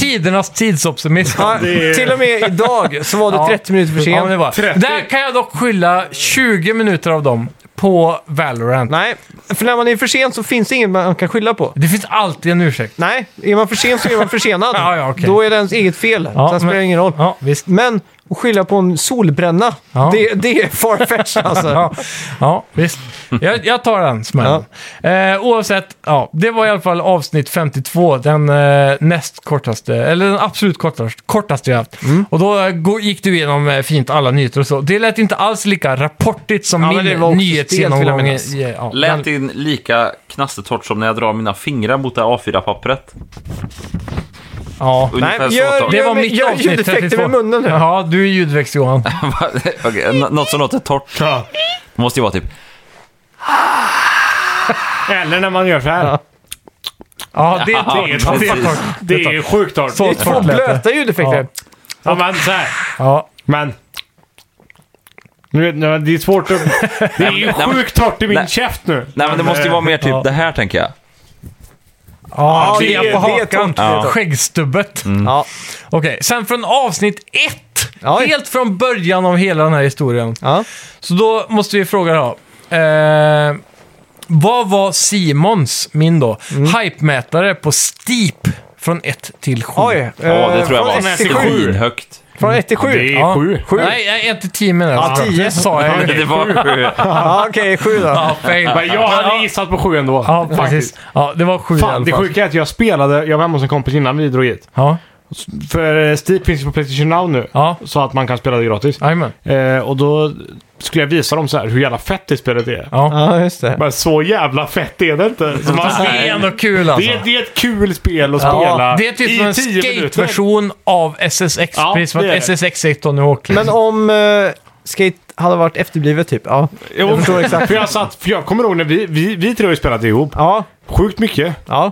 Tidernas tidsoptimism. ja, till och med idag så var du Ja. 30 minuter för sen. Ja, men det var. 30. Där kan jag dock skylla 20 minuter av dem på Valorant. Nej, för när man är för sen så finns det inget man kan skylla på. Det finns alltid en ursäkt. Nej, är man för sen så är man försenad. [laughs] Ja, ja, okej. Då är det ens eget fel. Ja, Sen spelar det men- ingen roll. Ja, visst. Men att skylla på en solbränna, Ja. det, det är farfetched alltså. [laughs] Ja, ja visst. Jag, jag tar den smällen. Eh, oavsett, ja, det var i alla fall avsnitt 52. Den eh, näst kortaste, eller den absolut kortaste, kortaste jag haft. Mm. Och då eh, gå- gick du igenom eh, fint alla nyheter och så. Det lät inte alls lika rapportigt som Ja, men det var min också stelt, vill nyhetsgenomgång. jag i- minnas. i- Ja, men- Lät in lika knastertorrt som när jag drar mina fingrar mot det här A4-papperet. ja. Nej, Ungefär så. gör, torrt. Det gör, var med- mitt gör avsnitt ljudeffekter 32. med munnen nu. Ja, du är ljudväxt Johan. [laughs] Okej, n- något som låter torrt. Ja. Det måste ju vara typ... Eller när man gör så här. Ja, det är Det, är, Ja, det, precis. är, det är sjukt torrt. Så Två torrt lät det. blöta ljudeffekter. Ja, men så här. Ja. Men. Nu vet- nej, Det är svårt att... Det är ju Nej, men- sjukt torrt i min Nej. käft nu. eh, Nej men det måste ju vara mer typ Ja. det här tänker jag. Ja, det- det är Mm. på det är hakan. Ja. Skäggstubbet. Mm. Ja. Okej, sen från avsnitt ett. Oj. Helt från början av hela den här historien. Ja. Så då måste vi fråga då. Eh, vad var Simons, min då, Mm. hypemätare på Steep från 1 till 7? Oj. Mm. Ja, det eh, tror jag från ett till var sju. svinhögt. Från 1 till 7? Det är sju. Sju? Nej, jag är inte 10 menar jag. Ja, 10. Det sa jag ju. Det var Ja, okej, 7 då. Ja, fail. Men jag hade gissat på sju ändå. Ja, precis. Ja, det var 7 i Fan, alla det fall. sjuka är att jag spelade, jag var hemma hos en kompis innan vi drog hit. Ja, För eh, Steep finns ju på Playstation Now nu. Ja. Så att man kan spela det gratis. jajamän. Eh, och då skulle jag visa dem så här hur jävla fett det spelet är. Ja. Ja, just det. Men så jävla fett är det inte. Så man, Det är ändå kul alltså. det, är, det är ett kul spel att spela Ja, det är typ som en 10 minuter. skateversion av SSX. Ja, precis som det är att det. SSX är ett Tony Hawk. liksom. Men om eh, Skate hade varit efterblivet typ? Ja. Jo, jag förstår exakt. För jag, satt, för jag kommer ihåg när vi, vi, vi tre har ju spelat ihop. Ja, Sjukt mycket. ja.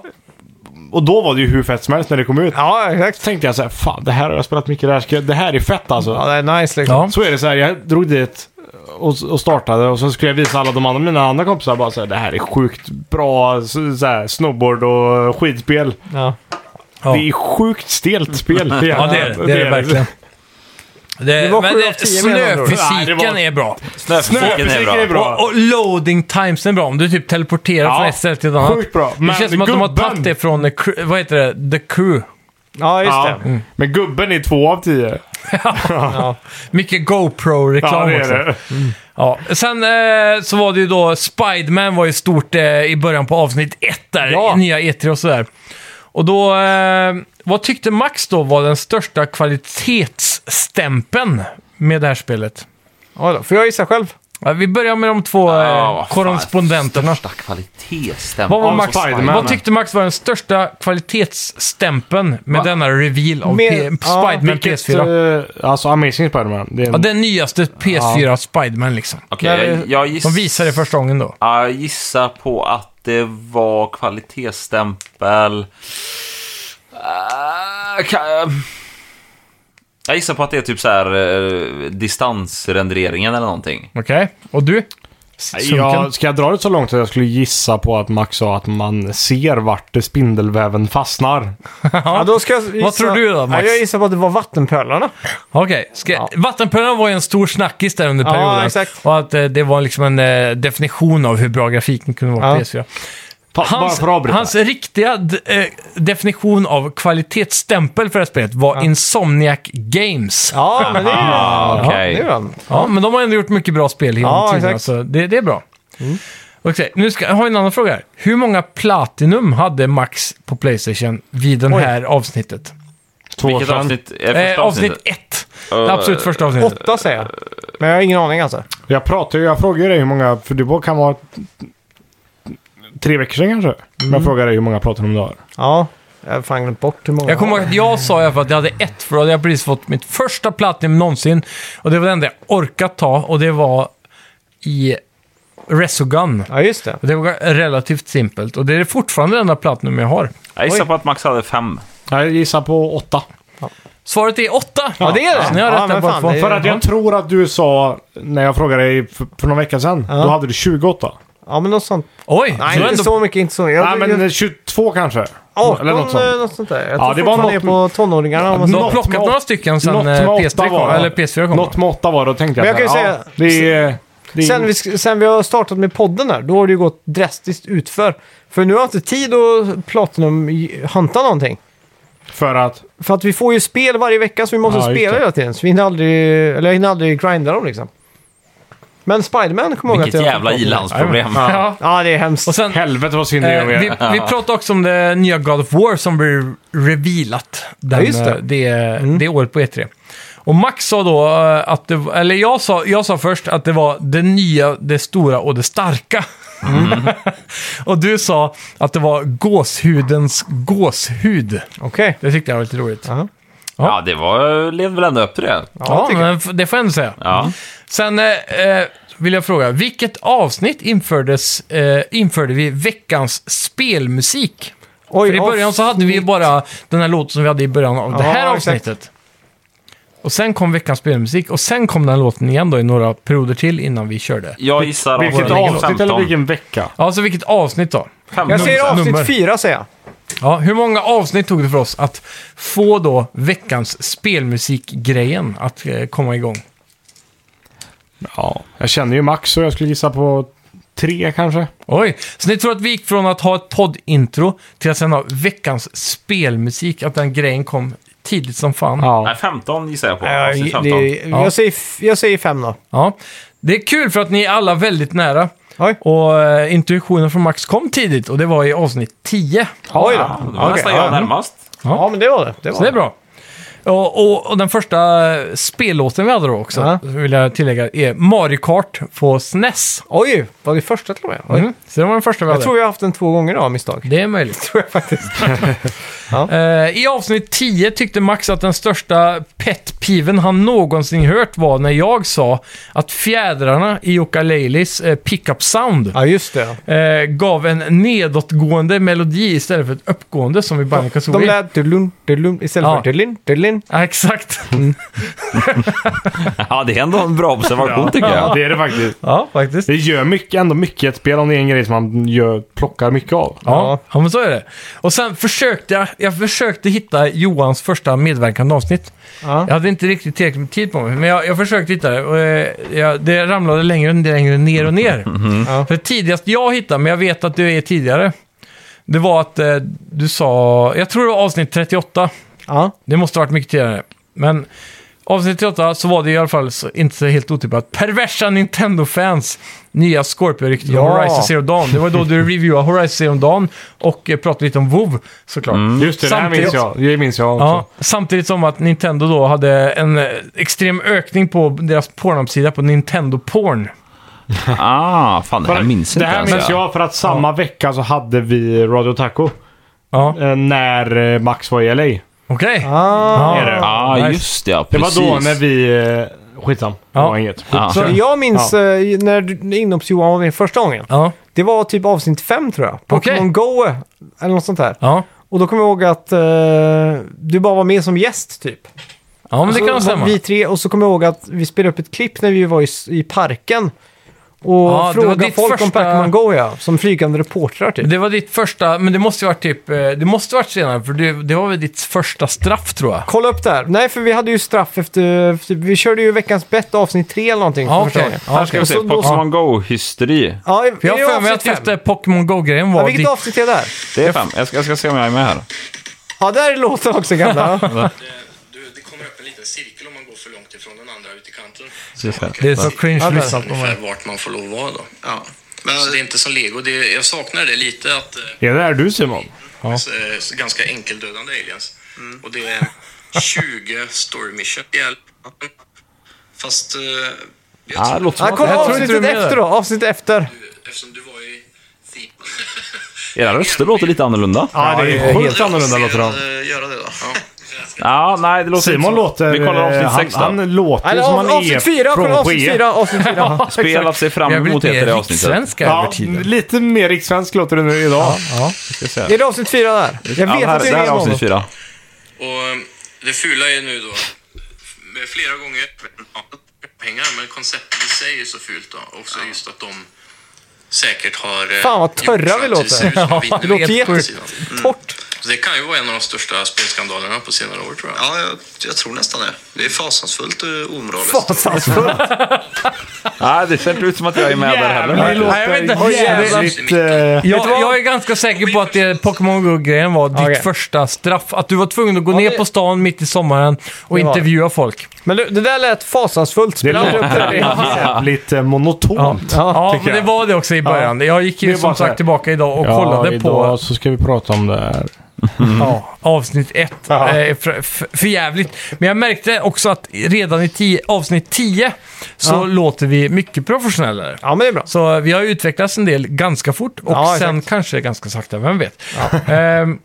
Och då var det ju hur fett som helst när det kom ut. Ja, Så exakt. tänkte jag så här, fan det här har jag spelat mycket, det här, ska, det här är fett alltså. Ja, det är nice liksom. Ja. Så är det så här, jag drog dit och, och startade och så skulle jag visa alla de andra mina andra kompisar bara så här, det här är sjukt bra så, så här, snowboard och skidspel. Ja. Ja. Det är sjukt stelt spel. [laughs] Ja, det är det. Det är det verkligen. Det, var men sju av det, tio menar du? Nej, snöfysiken det var- är bra. Snöfysiken är bra. Snöfysiken är bra. Och, och loading timesen är bra. Om du typ teleporterar Ja, från ett ställe till ett annat. sjukt bra. det Men känns som att de har gubben- tagit det från, eh, cr- vad heter det, the crew. ja, just Ja. det. Mm. Men gubben är två av tio. Ja. Mycket GoPro-reklam Ja, det är också. det. Ja. Sen eh, så var det ju då, Spiderman var ju stort eh, i början på avsnitt ett där, Ja. i nya E3 och sådär. Och då, eh, vad tyckte Max då var den största kvalitetsstämpeln med det här spelet? Oj då. Får jag gissa själv? Ja, vi börjar med de två Ja, eh, vad fan. korrespondenterna. Största kvalitetsstämpeln. Vad, var Av Max, Spider-Man. vad tyckte Max var den största kvalitetsstämpeln med denna reveal av Med- P- ja, Spiderman PS4? eh, alltså Amazing Spiderman. Det är en, Ja, den nyaste PS4 Spiderman liksom. Okej, jag, jag giss... De visade det första gången då. Ja, jag gissar på att det var kvalitetsstämpel. Eh, ka- Jag gissar på att det är typ så här eh, distansrenderingen eller någonting. Okej, och du? ja, ska jag dra det så långt att jag skulle gissa på att Max sa att man ser vart spindelväven fastnar? Ja, då ska jag gissa... Vad tror du då, Max? Ja, jag gissar på att det var vattenpölarna. Okej, ska... Vattenpölarna var ju en stor snackis där under Ja, perioden. exakt. Och att eh, det var liksom en eh, definition av hur bra grafiken kunde vara på Ja. PS4. Fast bara Hans, för att avbryta. hans riktiga d- eh, definition av kvalitetsstämpel för det här spelet var Insomniac Games. Ja, men det är ju Okej. det. är den. Ja, men de har ändå gjort mycket bra spel genom Ja, tiderna, exakt. så det, det är bra. Okej, nu ska, jag har en annan fråga här. Hur många Platinum hade Max på Playstation vid det Oj. här avsnittet? Två år Vilket sedan. avsnitt är första Eh, avsnitt avsnittet? Eh. 1. Det absolut första avsnittet. Åtta säger jag. Men jag har ingen aning alltså. Jag pratar ju, jag frågar dig hur många, för det kan vara tre veckor sedan kanske. Men jag frågar dig hur många pratar om du har. Ja, jag har fan glömt bort hur många. Jag kommer ihåg att jag sa i alla fall att jag hade ett, för då hade jag precis fått mitt första Platinum någonsin. Och det var det enda jag orkat ta, och det var i Resogun. Ja, just det. Och Det var relativt simpelt, och det är fortfarande det enda Platinum jag har. Jag gissar på att Max hade fem. Jag gissar på åtta. Svaret är åtta! Ja, det är det. Så ni har Ja, rätt där men båda fan, två. det är- För att Ja. jag tror att du sa, när jag frågade dig för, för någon vecka sedan, då hade du 28. Ja, men något sånt. Oj! Nej, så inte ändå så mycket. Inte så. Jag, Nej men jag, eh, 22 kanske? 18, eller något sånt. eh, något sånt där. Jag Ja, tror det var fortfarande något- det är på tonåringarna. om man De säger. har Något plockat med några åtta- stycken något sen med eh, åtta PS3 kom, var det. eller PS4 kom. Något med 8 var det, då tänkte jag. Men jag så här, kan ju ja, det är... Det är Sen vi, sk- sen vi har startat med podden här, då har det ju gått drastiskt utför. För nu har jag inte tid att Platinum-hunta någonting. för att... För att vi får ju spel varje vecka så vi måste Ja, just spela det. hela tiden. Så vi hinner aldrig, eller jag hinner aldrig grinda dem liksom. Men Spiderman kommer jag ihåg att Vilket jag... jävla i-landsproblem. Ja. Ja, det är hemskt. Och sen, Helvete vad synd det eh, är om vi, er. vi pratade också om det nya God of War som blir revealat den, Ja, just det. Mm. eh, Det, det året på E3. Och Max sa då eh, att det, eller jag sa, jag sa först att det var det nya, det stora och det starka. Mm. [laughs] och du sa att det var gåshudens gåshud. Okej. Det tyckte jag var lite roligt. Jaha. Ja, det var, levde väl ändå upp till det. Ja. Ja, tycker men f- det får jag ändå säga. Sen eh, eh, vill jag fråga, vilket avsnitt infördes, eh, införde vi veckans spelmusik? Oj, oh, För i början så hade vi ju avsnitt- bara den här låten som vi hade i början av det Ja, exakt. här avsnittet. Och sen kom veckans spelmusik och sen kom den låten igen då i några perioder till innan vi körde. Jag gissar Vilket avsnitt avsnitt eller 15. vilken vecka? Ja, så vilket avsnitt då? Jag Nummer- säger nummer. avsnitt fyra, säger jag. Ja, hur många avsnitt tog det för oss att få då veckans spelmusikgrejen att eh, komma igång? Ja. Jag känner ju Max så jag skulle gissa på tre kanske. Oj, så ni tror att vi gick från att ha ett poddintro till att sen ha veckans spelmusik, att den grejen kom tidigt som fan. Nej, 15 gissar jag på. Nej, Avsnitt 15. det, Ja. jag, säger, f- jag säger fem då. Ja. Det är kul för att ni är alla väldigt nära. Oj. Och eh, intuitionen från Max kom tidigt och det var i avsnitt 10. Oj då. Ja, det var Okej, nästan ja. jag närmast. Ja, men det var det. Det var Så det är bra. Och, och, och den första eh, spellåten vi hade då också, Ja. vill jag tillägga, är Mario Kart på SNES. Oj, var det första till och med? Oj. Mm. Så det var den första vi Jag hade. tror jag har haft den två gånger då, av misstag. Det [laughs] är möjligt. Tror jag faktiskt. [laughs] Ja. I avsnitt 10 tyckte Max att den största pet-piven han någonsin hört var när jag sa att fjädrarna i Ukuleles eh, pickup sound Ja, just det. eh, gav en nedåtgående melodi istället för ett uppgående som i Banjo De Kazooie. lät dulun, dulun istället Ja. för dulun, dulun. Ja, exakt. Ja, det är ändå en bra observation tycker Ja, jag. det är det faktiskt. Ja, faktiskt. Det gör mycket, ändå mycket i ett spel om det är en grej som man gör, plockar mycket av. Ja, ja, men så är det. Och sen försökte jag, jag försökte hitta Johans första medverkande avsnitt. Ja. Jag hade inte riktigt tillräckligt med tid på mig, men jag, jag försökte hitta det. Och, eh, jag, det ramlade längre och längre ner och ner. Ja. För tidigast jag hittade, men jag vet att du är tidigare, det var att eh, du sa, jag tror det var avsnitt 38, Ja. det måste ha varit mycket tidigare. Men avsnitt 38 så var det i alla fall så, inte så helt otippat. Perversa Nintendo-fans nya Scorpio-ryktet om Ja. Horizon Zero Dawn. Det var [laughs] då du reviewade Horizon Zero Dawn och eh, pratade lite om WoW såklart. Mm. Mm. Just det, Samtidigt- det här minns jag. Det minns jag också. Ja, samtidigt som att Nintendo då hade en eh, extrem ökning på deras pornhemsida på Nintendo Porn. Ah, fan det här minns det inte här ens minns jag för att samma vecka så hade vi Radio Taco. Ja, eh, När eh, Max var i LA. okej. Ah. Är det. Ah, Nice. just det. Ja, Det precis. var då när vi... eh, Skitsam. Ja. Det var inget. Ja. Så jag minns eh, när du- när inhopps-Johan var med första gången. Ja, Det var typ avsnitt fem tror jag. Okej. Pokémon Go eh, eller något sånt där. ja. Och då kommer jag ihåg att eh, du bara var med som gäst typ. Ja, men det Så kan nog stämma. Vi tre, och så kommer jag ihåg att vi spelade upp ett klipp när vi var i, s- i parken. Och Ja, det var frågade ditt folk om första- Pokémon Go ja, som flygande reportrar typ. Det var ditt första, men det måste ju varit typ, eh, det måste varit senare, för det, det var väl ditt första straff tror jag. Kolla upp där. Nej, för vi hade ju straff efter... efter- Vi körde ju veckans bett avsnitt 3 eller någonting. för Ja, första okej. gången. Ja, Här ska vi se. Och så då- Pokémon Go-hysteri. Ja, För jag är det har för mig att avsnitt fem? just det Pokémon Go-grejen var Ja, vilket ditt... avsnitt är det här? Det är fem. Jag ska, jag ska se om jag är med här. Ja, där är låten också [laughs] gamla. ja. Du, det kommer upp en liten cirkel om man går för långt ifrån den andra ut i kanten. eh, Det är så cringe att där. lyssna på Ungefär mig. vart man får lov att vara då. Ja. Men, så det är inte som lego. Det är, jag saknar det lite att eh, Är det här du Simon? s- eh, s- ganska enkeldödande aliens. Och det är 20 story mission. Hjälp. Fast eh, jag Ja, det tror, låter som att... kolla Jag tror inte avsnittet du är med efter där. då. Avsnittet efter. eftersom du var i Theme. Era röster låter lite annorlunda. Ja, det är sjukt annorlunda låter de. eh, Göra det då. Ja. Ja, nej, det låter inte Simon så. låter... Vi kollar eh, avsnitt 6 då. Han, han låter Eller som han av, är avsnitt 4, från från avsnitt E? Skee. 4, avsnitt 4. Spel att se fram Jag har emot blivit heter mer det avsnittet. rikssvenska över Ja, tiden. lite mer rikssvensk låter du nu idag. Ska se. är det avsnitt 4 där? Jag Ja, vet här, att det är där med är honom. avsnitt fyra. Och eh, det fula är nu då med flera gånger pengar, men konceptet i sig är så fult då. Också just att de säkert har... eh, Fan, vad törra gjort så vi att det ser [laughs] ut som en låter. Ja, det vinner- låter på jätte- sidan. E Torrt. Så Det kan ju vara en av de största spelskandalerna på senare år tror jag. Ja, jag, jag tror nästan det. Det är fasansfullt eh, och omoraliskt. Fasansfullt. Nej, det ser inte ut som att jag är med där Jävlar, heller. det Nej, jag vet inte. låter Oj, jävlar. jävligt... eh, Jag, jag är ganska säker på att det Pokémon Go-grejen var ditt Okej. första straff. Att du var tvungen att gå ner det- på stan mitt i sommaren och Det var det. intervjua folk. Men du, det där lät fasansfullt. Det Spela inte upp det. låter jävligt eh, monotont. Ja, Ja, tycker men det jag. var det också i början. Jag gick Det ju är som bara så här- sagt tillbaka idag och kollade på idag så ska vi prata om det här. Ja, avsnitt ett. Eh, Ja. för, för, för jävligt. Men jag märkte också att redan i tio, avsnitt 10 så låter vi mycket professionellare. Ja, men det är bra. Så vi har ju utvecklats en del ganska fort och Ja, sen kanske ganska sakta, vem vet. Ehm,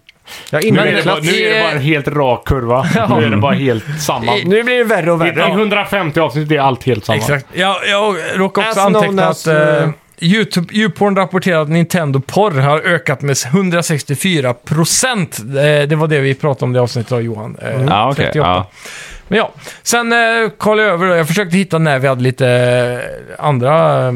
Jag Nu innan är, det bara, nu är det bara en helt rak kurva. Nu är det bara helt samma. I- Nu blir det värre och I värre. 150 avsnitt är allt helt samma. Exakt. Jag, jag råkar också As known anteckna as, att eh, eh, YouTube, YouPorn rapporterar att Nintendo Porr har ökat med 164 procent. Eh, Det var det vi pratade om i det avsnittet av Johan. Eh, Ja, okej. 38. ja. Men ja, sen eh, kollade jag över då. Jag försökte hitta när vi hade lite eh, andra eh,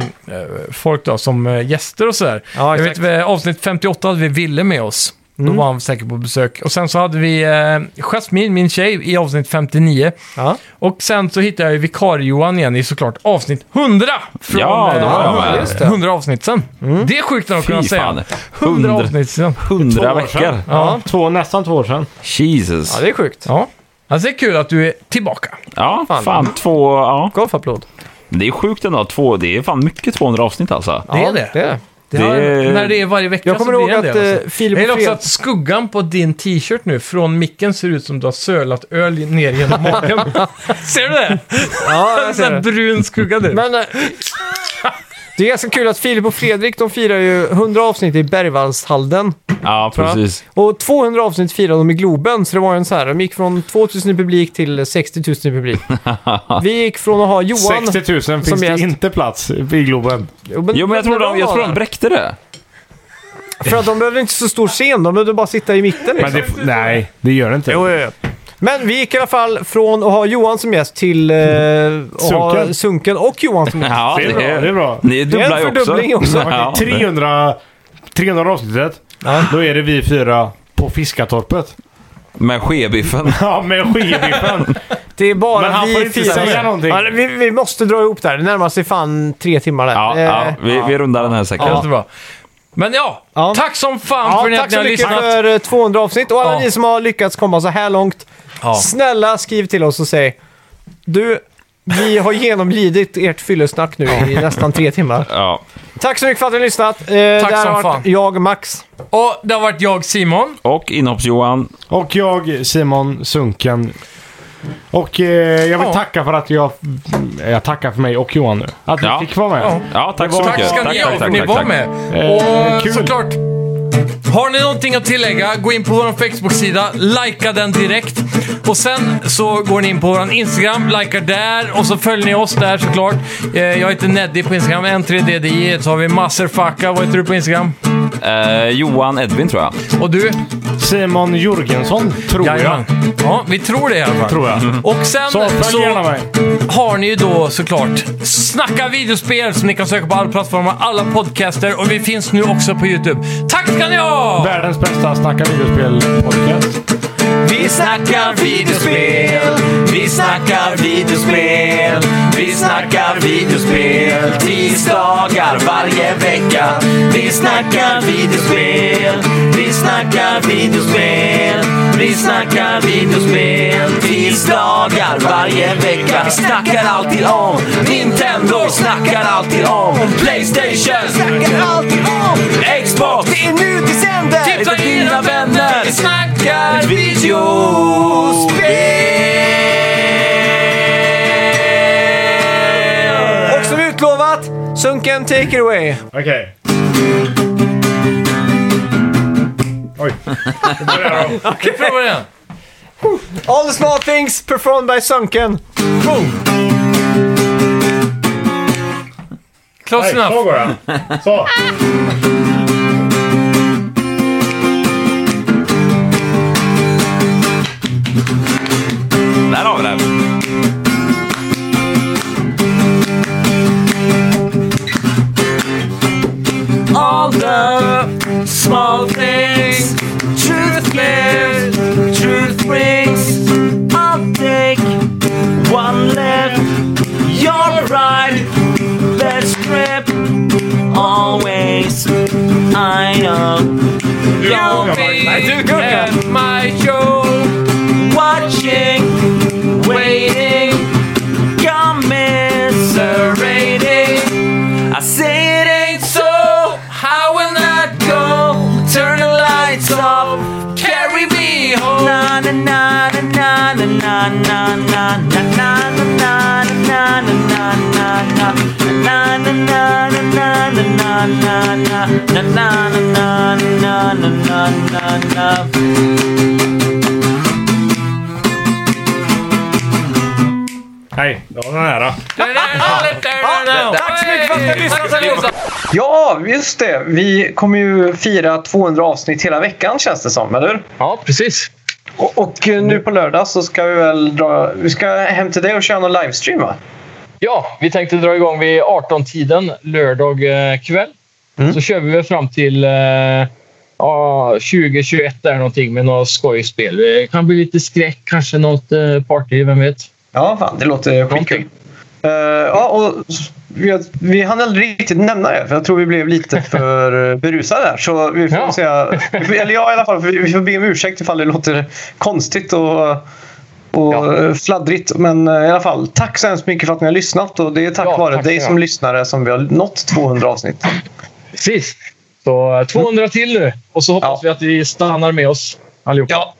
folk då, som eh, gäster och sådär. Ja, jag vet, exakt. Mm. eh, avsnitt 58 hade vi Ville med oss. Då var han säkert på besök. Och sen så hade vi eh, Jasmine, min tjej, i avsnitt 59. Ja. Och sen så hittade jag ju vikarie-Johan igen i såklart avsnitt 100! Från, Ja, då eh, var jag med. just det. Mm. 100 avsnitt sen. Det är sjukt att Fy kunna säga. fan. 100, 100 avsnitt sen. Hundra Två år sedan. veckor. Ja. Två, nästan två år sedan. Jesus. Ja, det är sjukt. Ja. Alltså det är kul att du är tillbaka. Ja, fan två... Ja. Golfapplåd. Men Det är sjukt ändå. Två, det är fan mycket 200 avsnitt alltså. Det är ja, det. det är det. Det Det- har- när det är varje vecka Jag kommer så blir ihåg det en att del, eh, alltså. Jag Filip gillar också Fred... att skuggan på din t-shirt nu från micken ser ut som du har sölat öl ner genom [laughs] magen. ser du det? Ja, jag En ser sån här det. brun skugga du. Men... eh, Det är ganska kul att Filip och Fredrik de firar ju 100 avsnitt i Bergvallshalden. Ja, precis. Och 200 avsnitt firade de i Globen, så det var ju en så här, de gick från 2000 i publik till 60 000 i [laughs] publik. Vi gick från att ha Johan... 60 000 finns det gäst. inte plats i Globen. Jo, men jag tror de, jag tror de var där. bräckte det. För att de behövde inte så stor scen, de behövde bara sitta i mitten. Men Liksom. det, nej, det gör det inte. Jo, jo, jo. Men vi gick i alla fall från att ha Johan som gäst till eh, att ha Sunken. Sunken och Johan som gäst. [laughs] Ja, det är bra, det är bra. Ni Det är en dubblar ju också. fördubbling också. Ja, det- 300, 300 avsnittet. Då är det vi fyra på Fiskatorpet. Med skebiffen. Ja, med skidbiffen. Det är bara Men han vi får inte fyra. säga någonting. Ja, vi, vi måste dra ihop det här. Det närmar sig fan tre timmar där. Ja, Eh, ja, vi, vi rundar den här säkert. Känns det bra? Men ja, Ja. tack som fan Ja, för att tack ni så har mycket lyssnat. för eh, 200 avsnitt. Och alla Ja. ni som har lyckats komma så här långt, Ja. snälla skriv till oss och säg Du, vi har genomlidit ert fyllesnack nu i nästan tre timmar. Ja. Tack så mycket för att ni har lyssnat. Eh, det här som har fan. varit jag, Max. Och det har varit jag, Simon. Och inhopps-Johan. Och jag, Simon Sunken. Och eh, jag vill Ja. tacka för att jag... Jag tackar för mig och Johan nu. Att ni Ja. fick vara med. Ja, tack så Tack mycket. Tack ska ni ha för att ni var med. Eh, Och kul. såklart, har ni någonting att tillägga, gå in på vår Facebook-sida, likea den direkt. Och sen så går ni in på vår Instagram, likar där och så följer ni oss där såklart. Eh, Jag heter Neddy på Instagram, N3DDI. Så har vi Maserfaka, vad heter du på Instagram? Eh, Johan Edvin tror jag. Och du? Simon Jörgensson, tror jag. Jajamän. Ja, vi tror det i alla fall. Mm. Tror jag. Och sen Så följ gärna så mig. har ni ju då såklart Snacka videospel som ni kan söka på alla plattformar, alla podcaster och vi finns nu också på YouTube. Tack ska ni ha! Världens bästa snacka videospel-podcast. Vi snackar videospel, vi snackar videospel, vi snackar videospel. Tisdagar varje vecka. Vi snackar videospel, vi snackar videospel, vi snackar videospel. Tisdagar varje vecka. Vi snackar alltid om Nintendo, vi snackar alltid om Playstation, vi snackar alltid om Xbox. Det är nu det sänder. Tipsa dina vänner, vi snackar videospel. Och som utlovat, Sunken take it away. Okej. Oj. Nu börjar jag om. Vi provar igen. All the small things performed by Sunken. Close Nej, enough. så går det. Så. Där har vi den. all the small things. Truth lives, truth brings. I'll take one left, your right. Let's grip always. I know you'll be at my show, watching, waiting, commiserating. I say it ain't so. How will that go? Turn the lights off. Carry me home. Na na na na na na na na na na na na na na na na na. Na na na na na na na na na na na na na na na na na. Nej, det var den här. då. Tack mycket för att ni har lyssnat allihopa! Ja, just det. Vi kommer ju fira 200 avsnitt hela veckan känns det som, eller hur? Ja, precis. Och, och eh, nu på lördag så ska vi väl dra... Vi ska hem till dig och köra någon livestream, va? Ja, vi tänkte dra igång vid 18-tiden lördag eh, kväll. Mm. Så kör vi väl fram till eh, ja, 20-21 där någonting med några skojspel. Det kan bli lite skräck, kanske något eh, party, vem vet? Ja, fan, det låter skitkul. Någonting. Eh, ja, och vi, vi hann aldrig riktigt nämna det, för jag tror vi [laughs] blev lite för berusade där. Så vi får Ja. [laughs] säga, vi får- eller jag i alla fall, vi vi får be om ursäkt ifall det låter konstigt och, och fladdrigt. Men eh, i alla fall, tack så hemskt mycket för att ni har lyssnat. Och det är tack Ja, vare tack dig ska som jag. lyssnare som vi har nått 200 avsnitt. Precis. Så eh, 200 till nu och så hoppas Ja. vi att ni stannar med oss allihopa. Ja,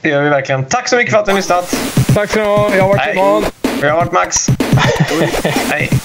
det gör vi verkligen. Tack så mycket för att ni har lyssnat. Tack så mycket. Jag har varit Hej. [laughs] Johan. Jag har varit Max. Hej.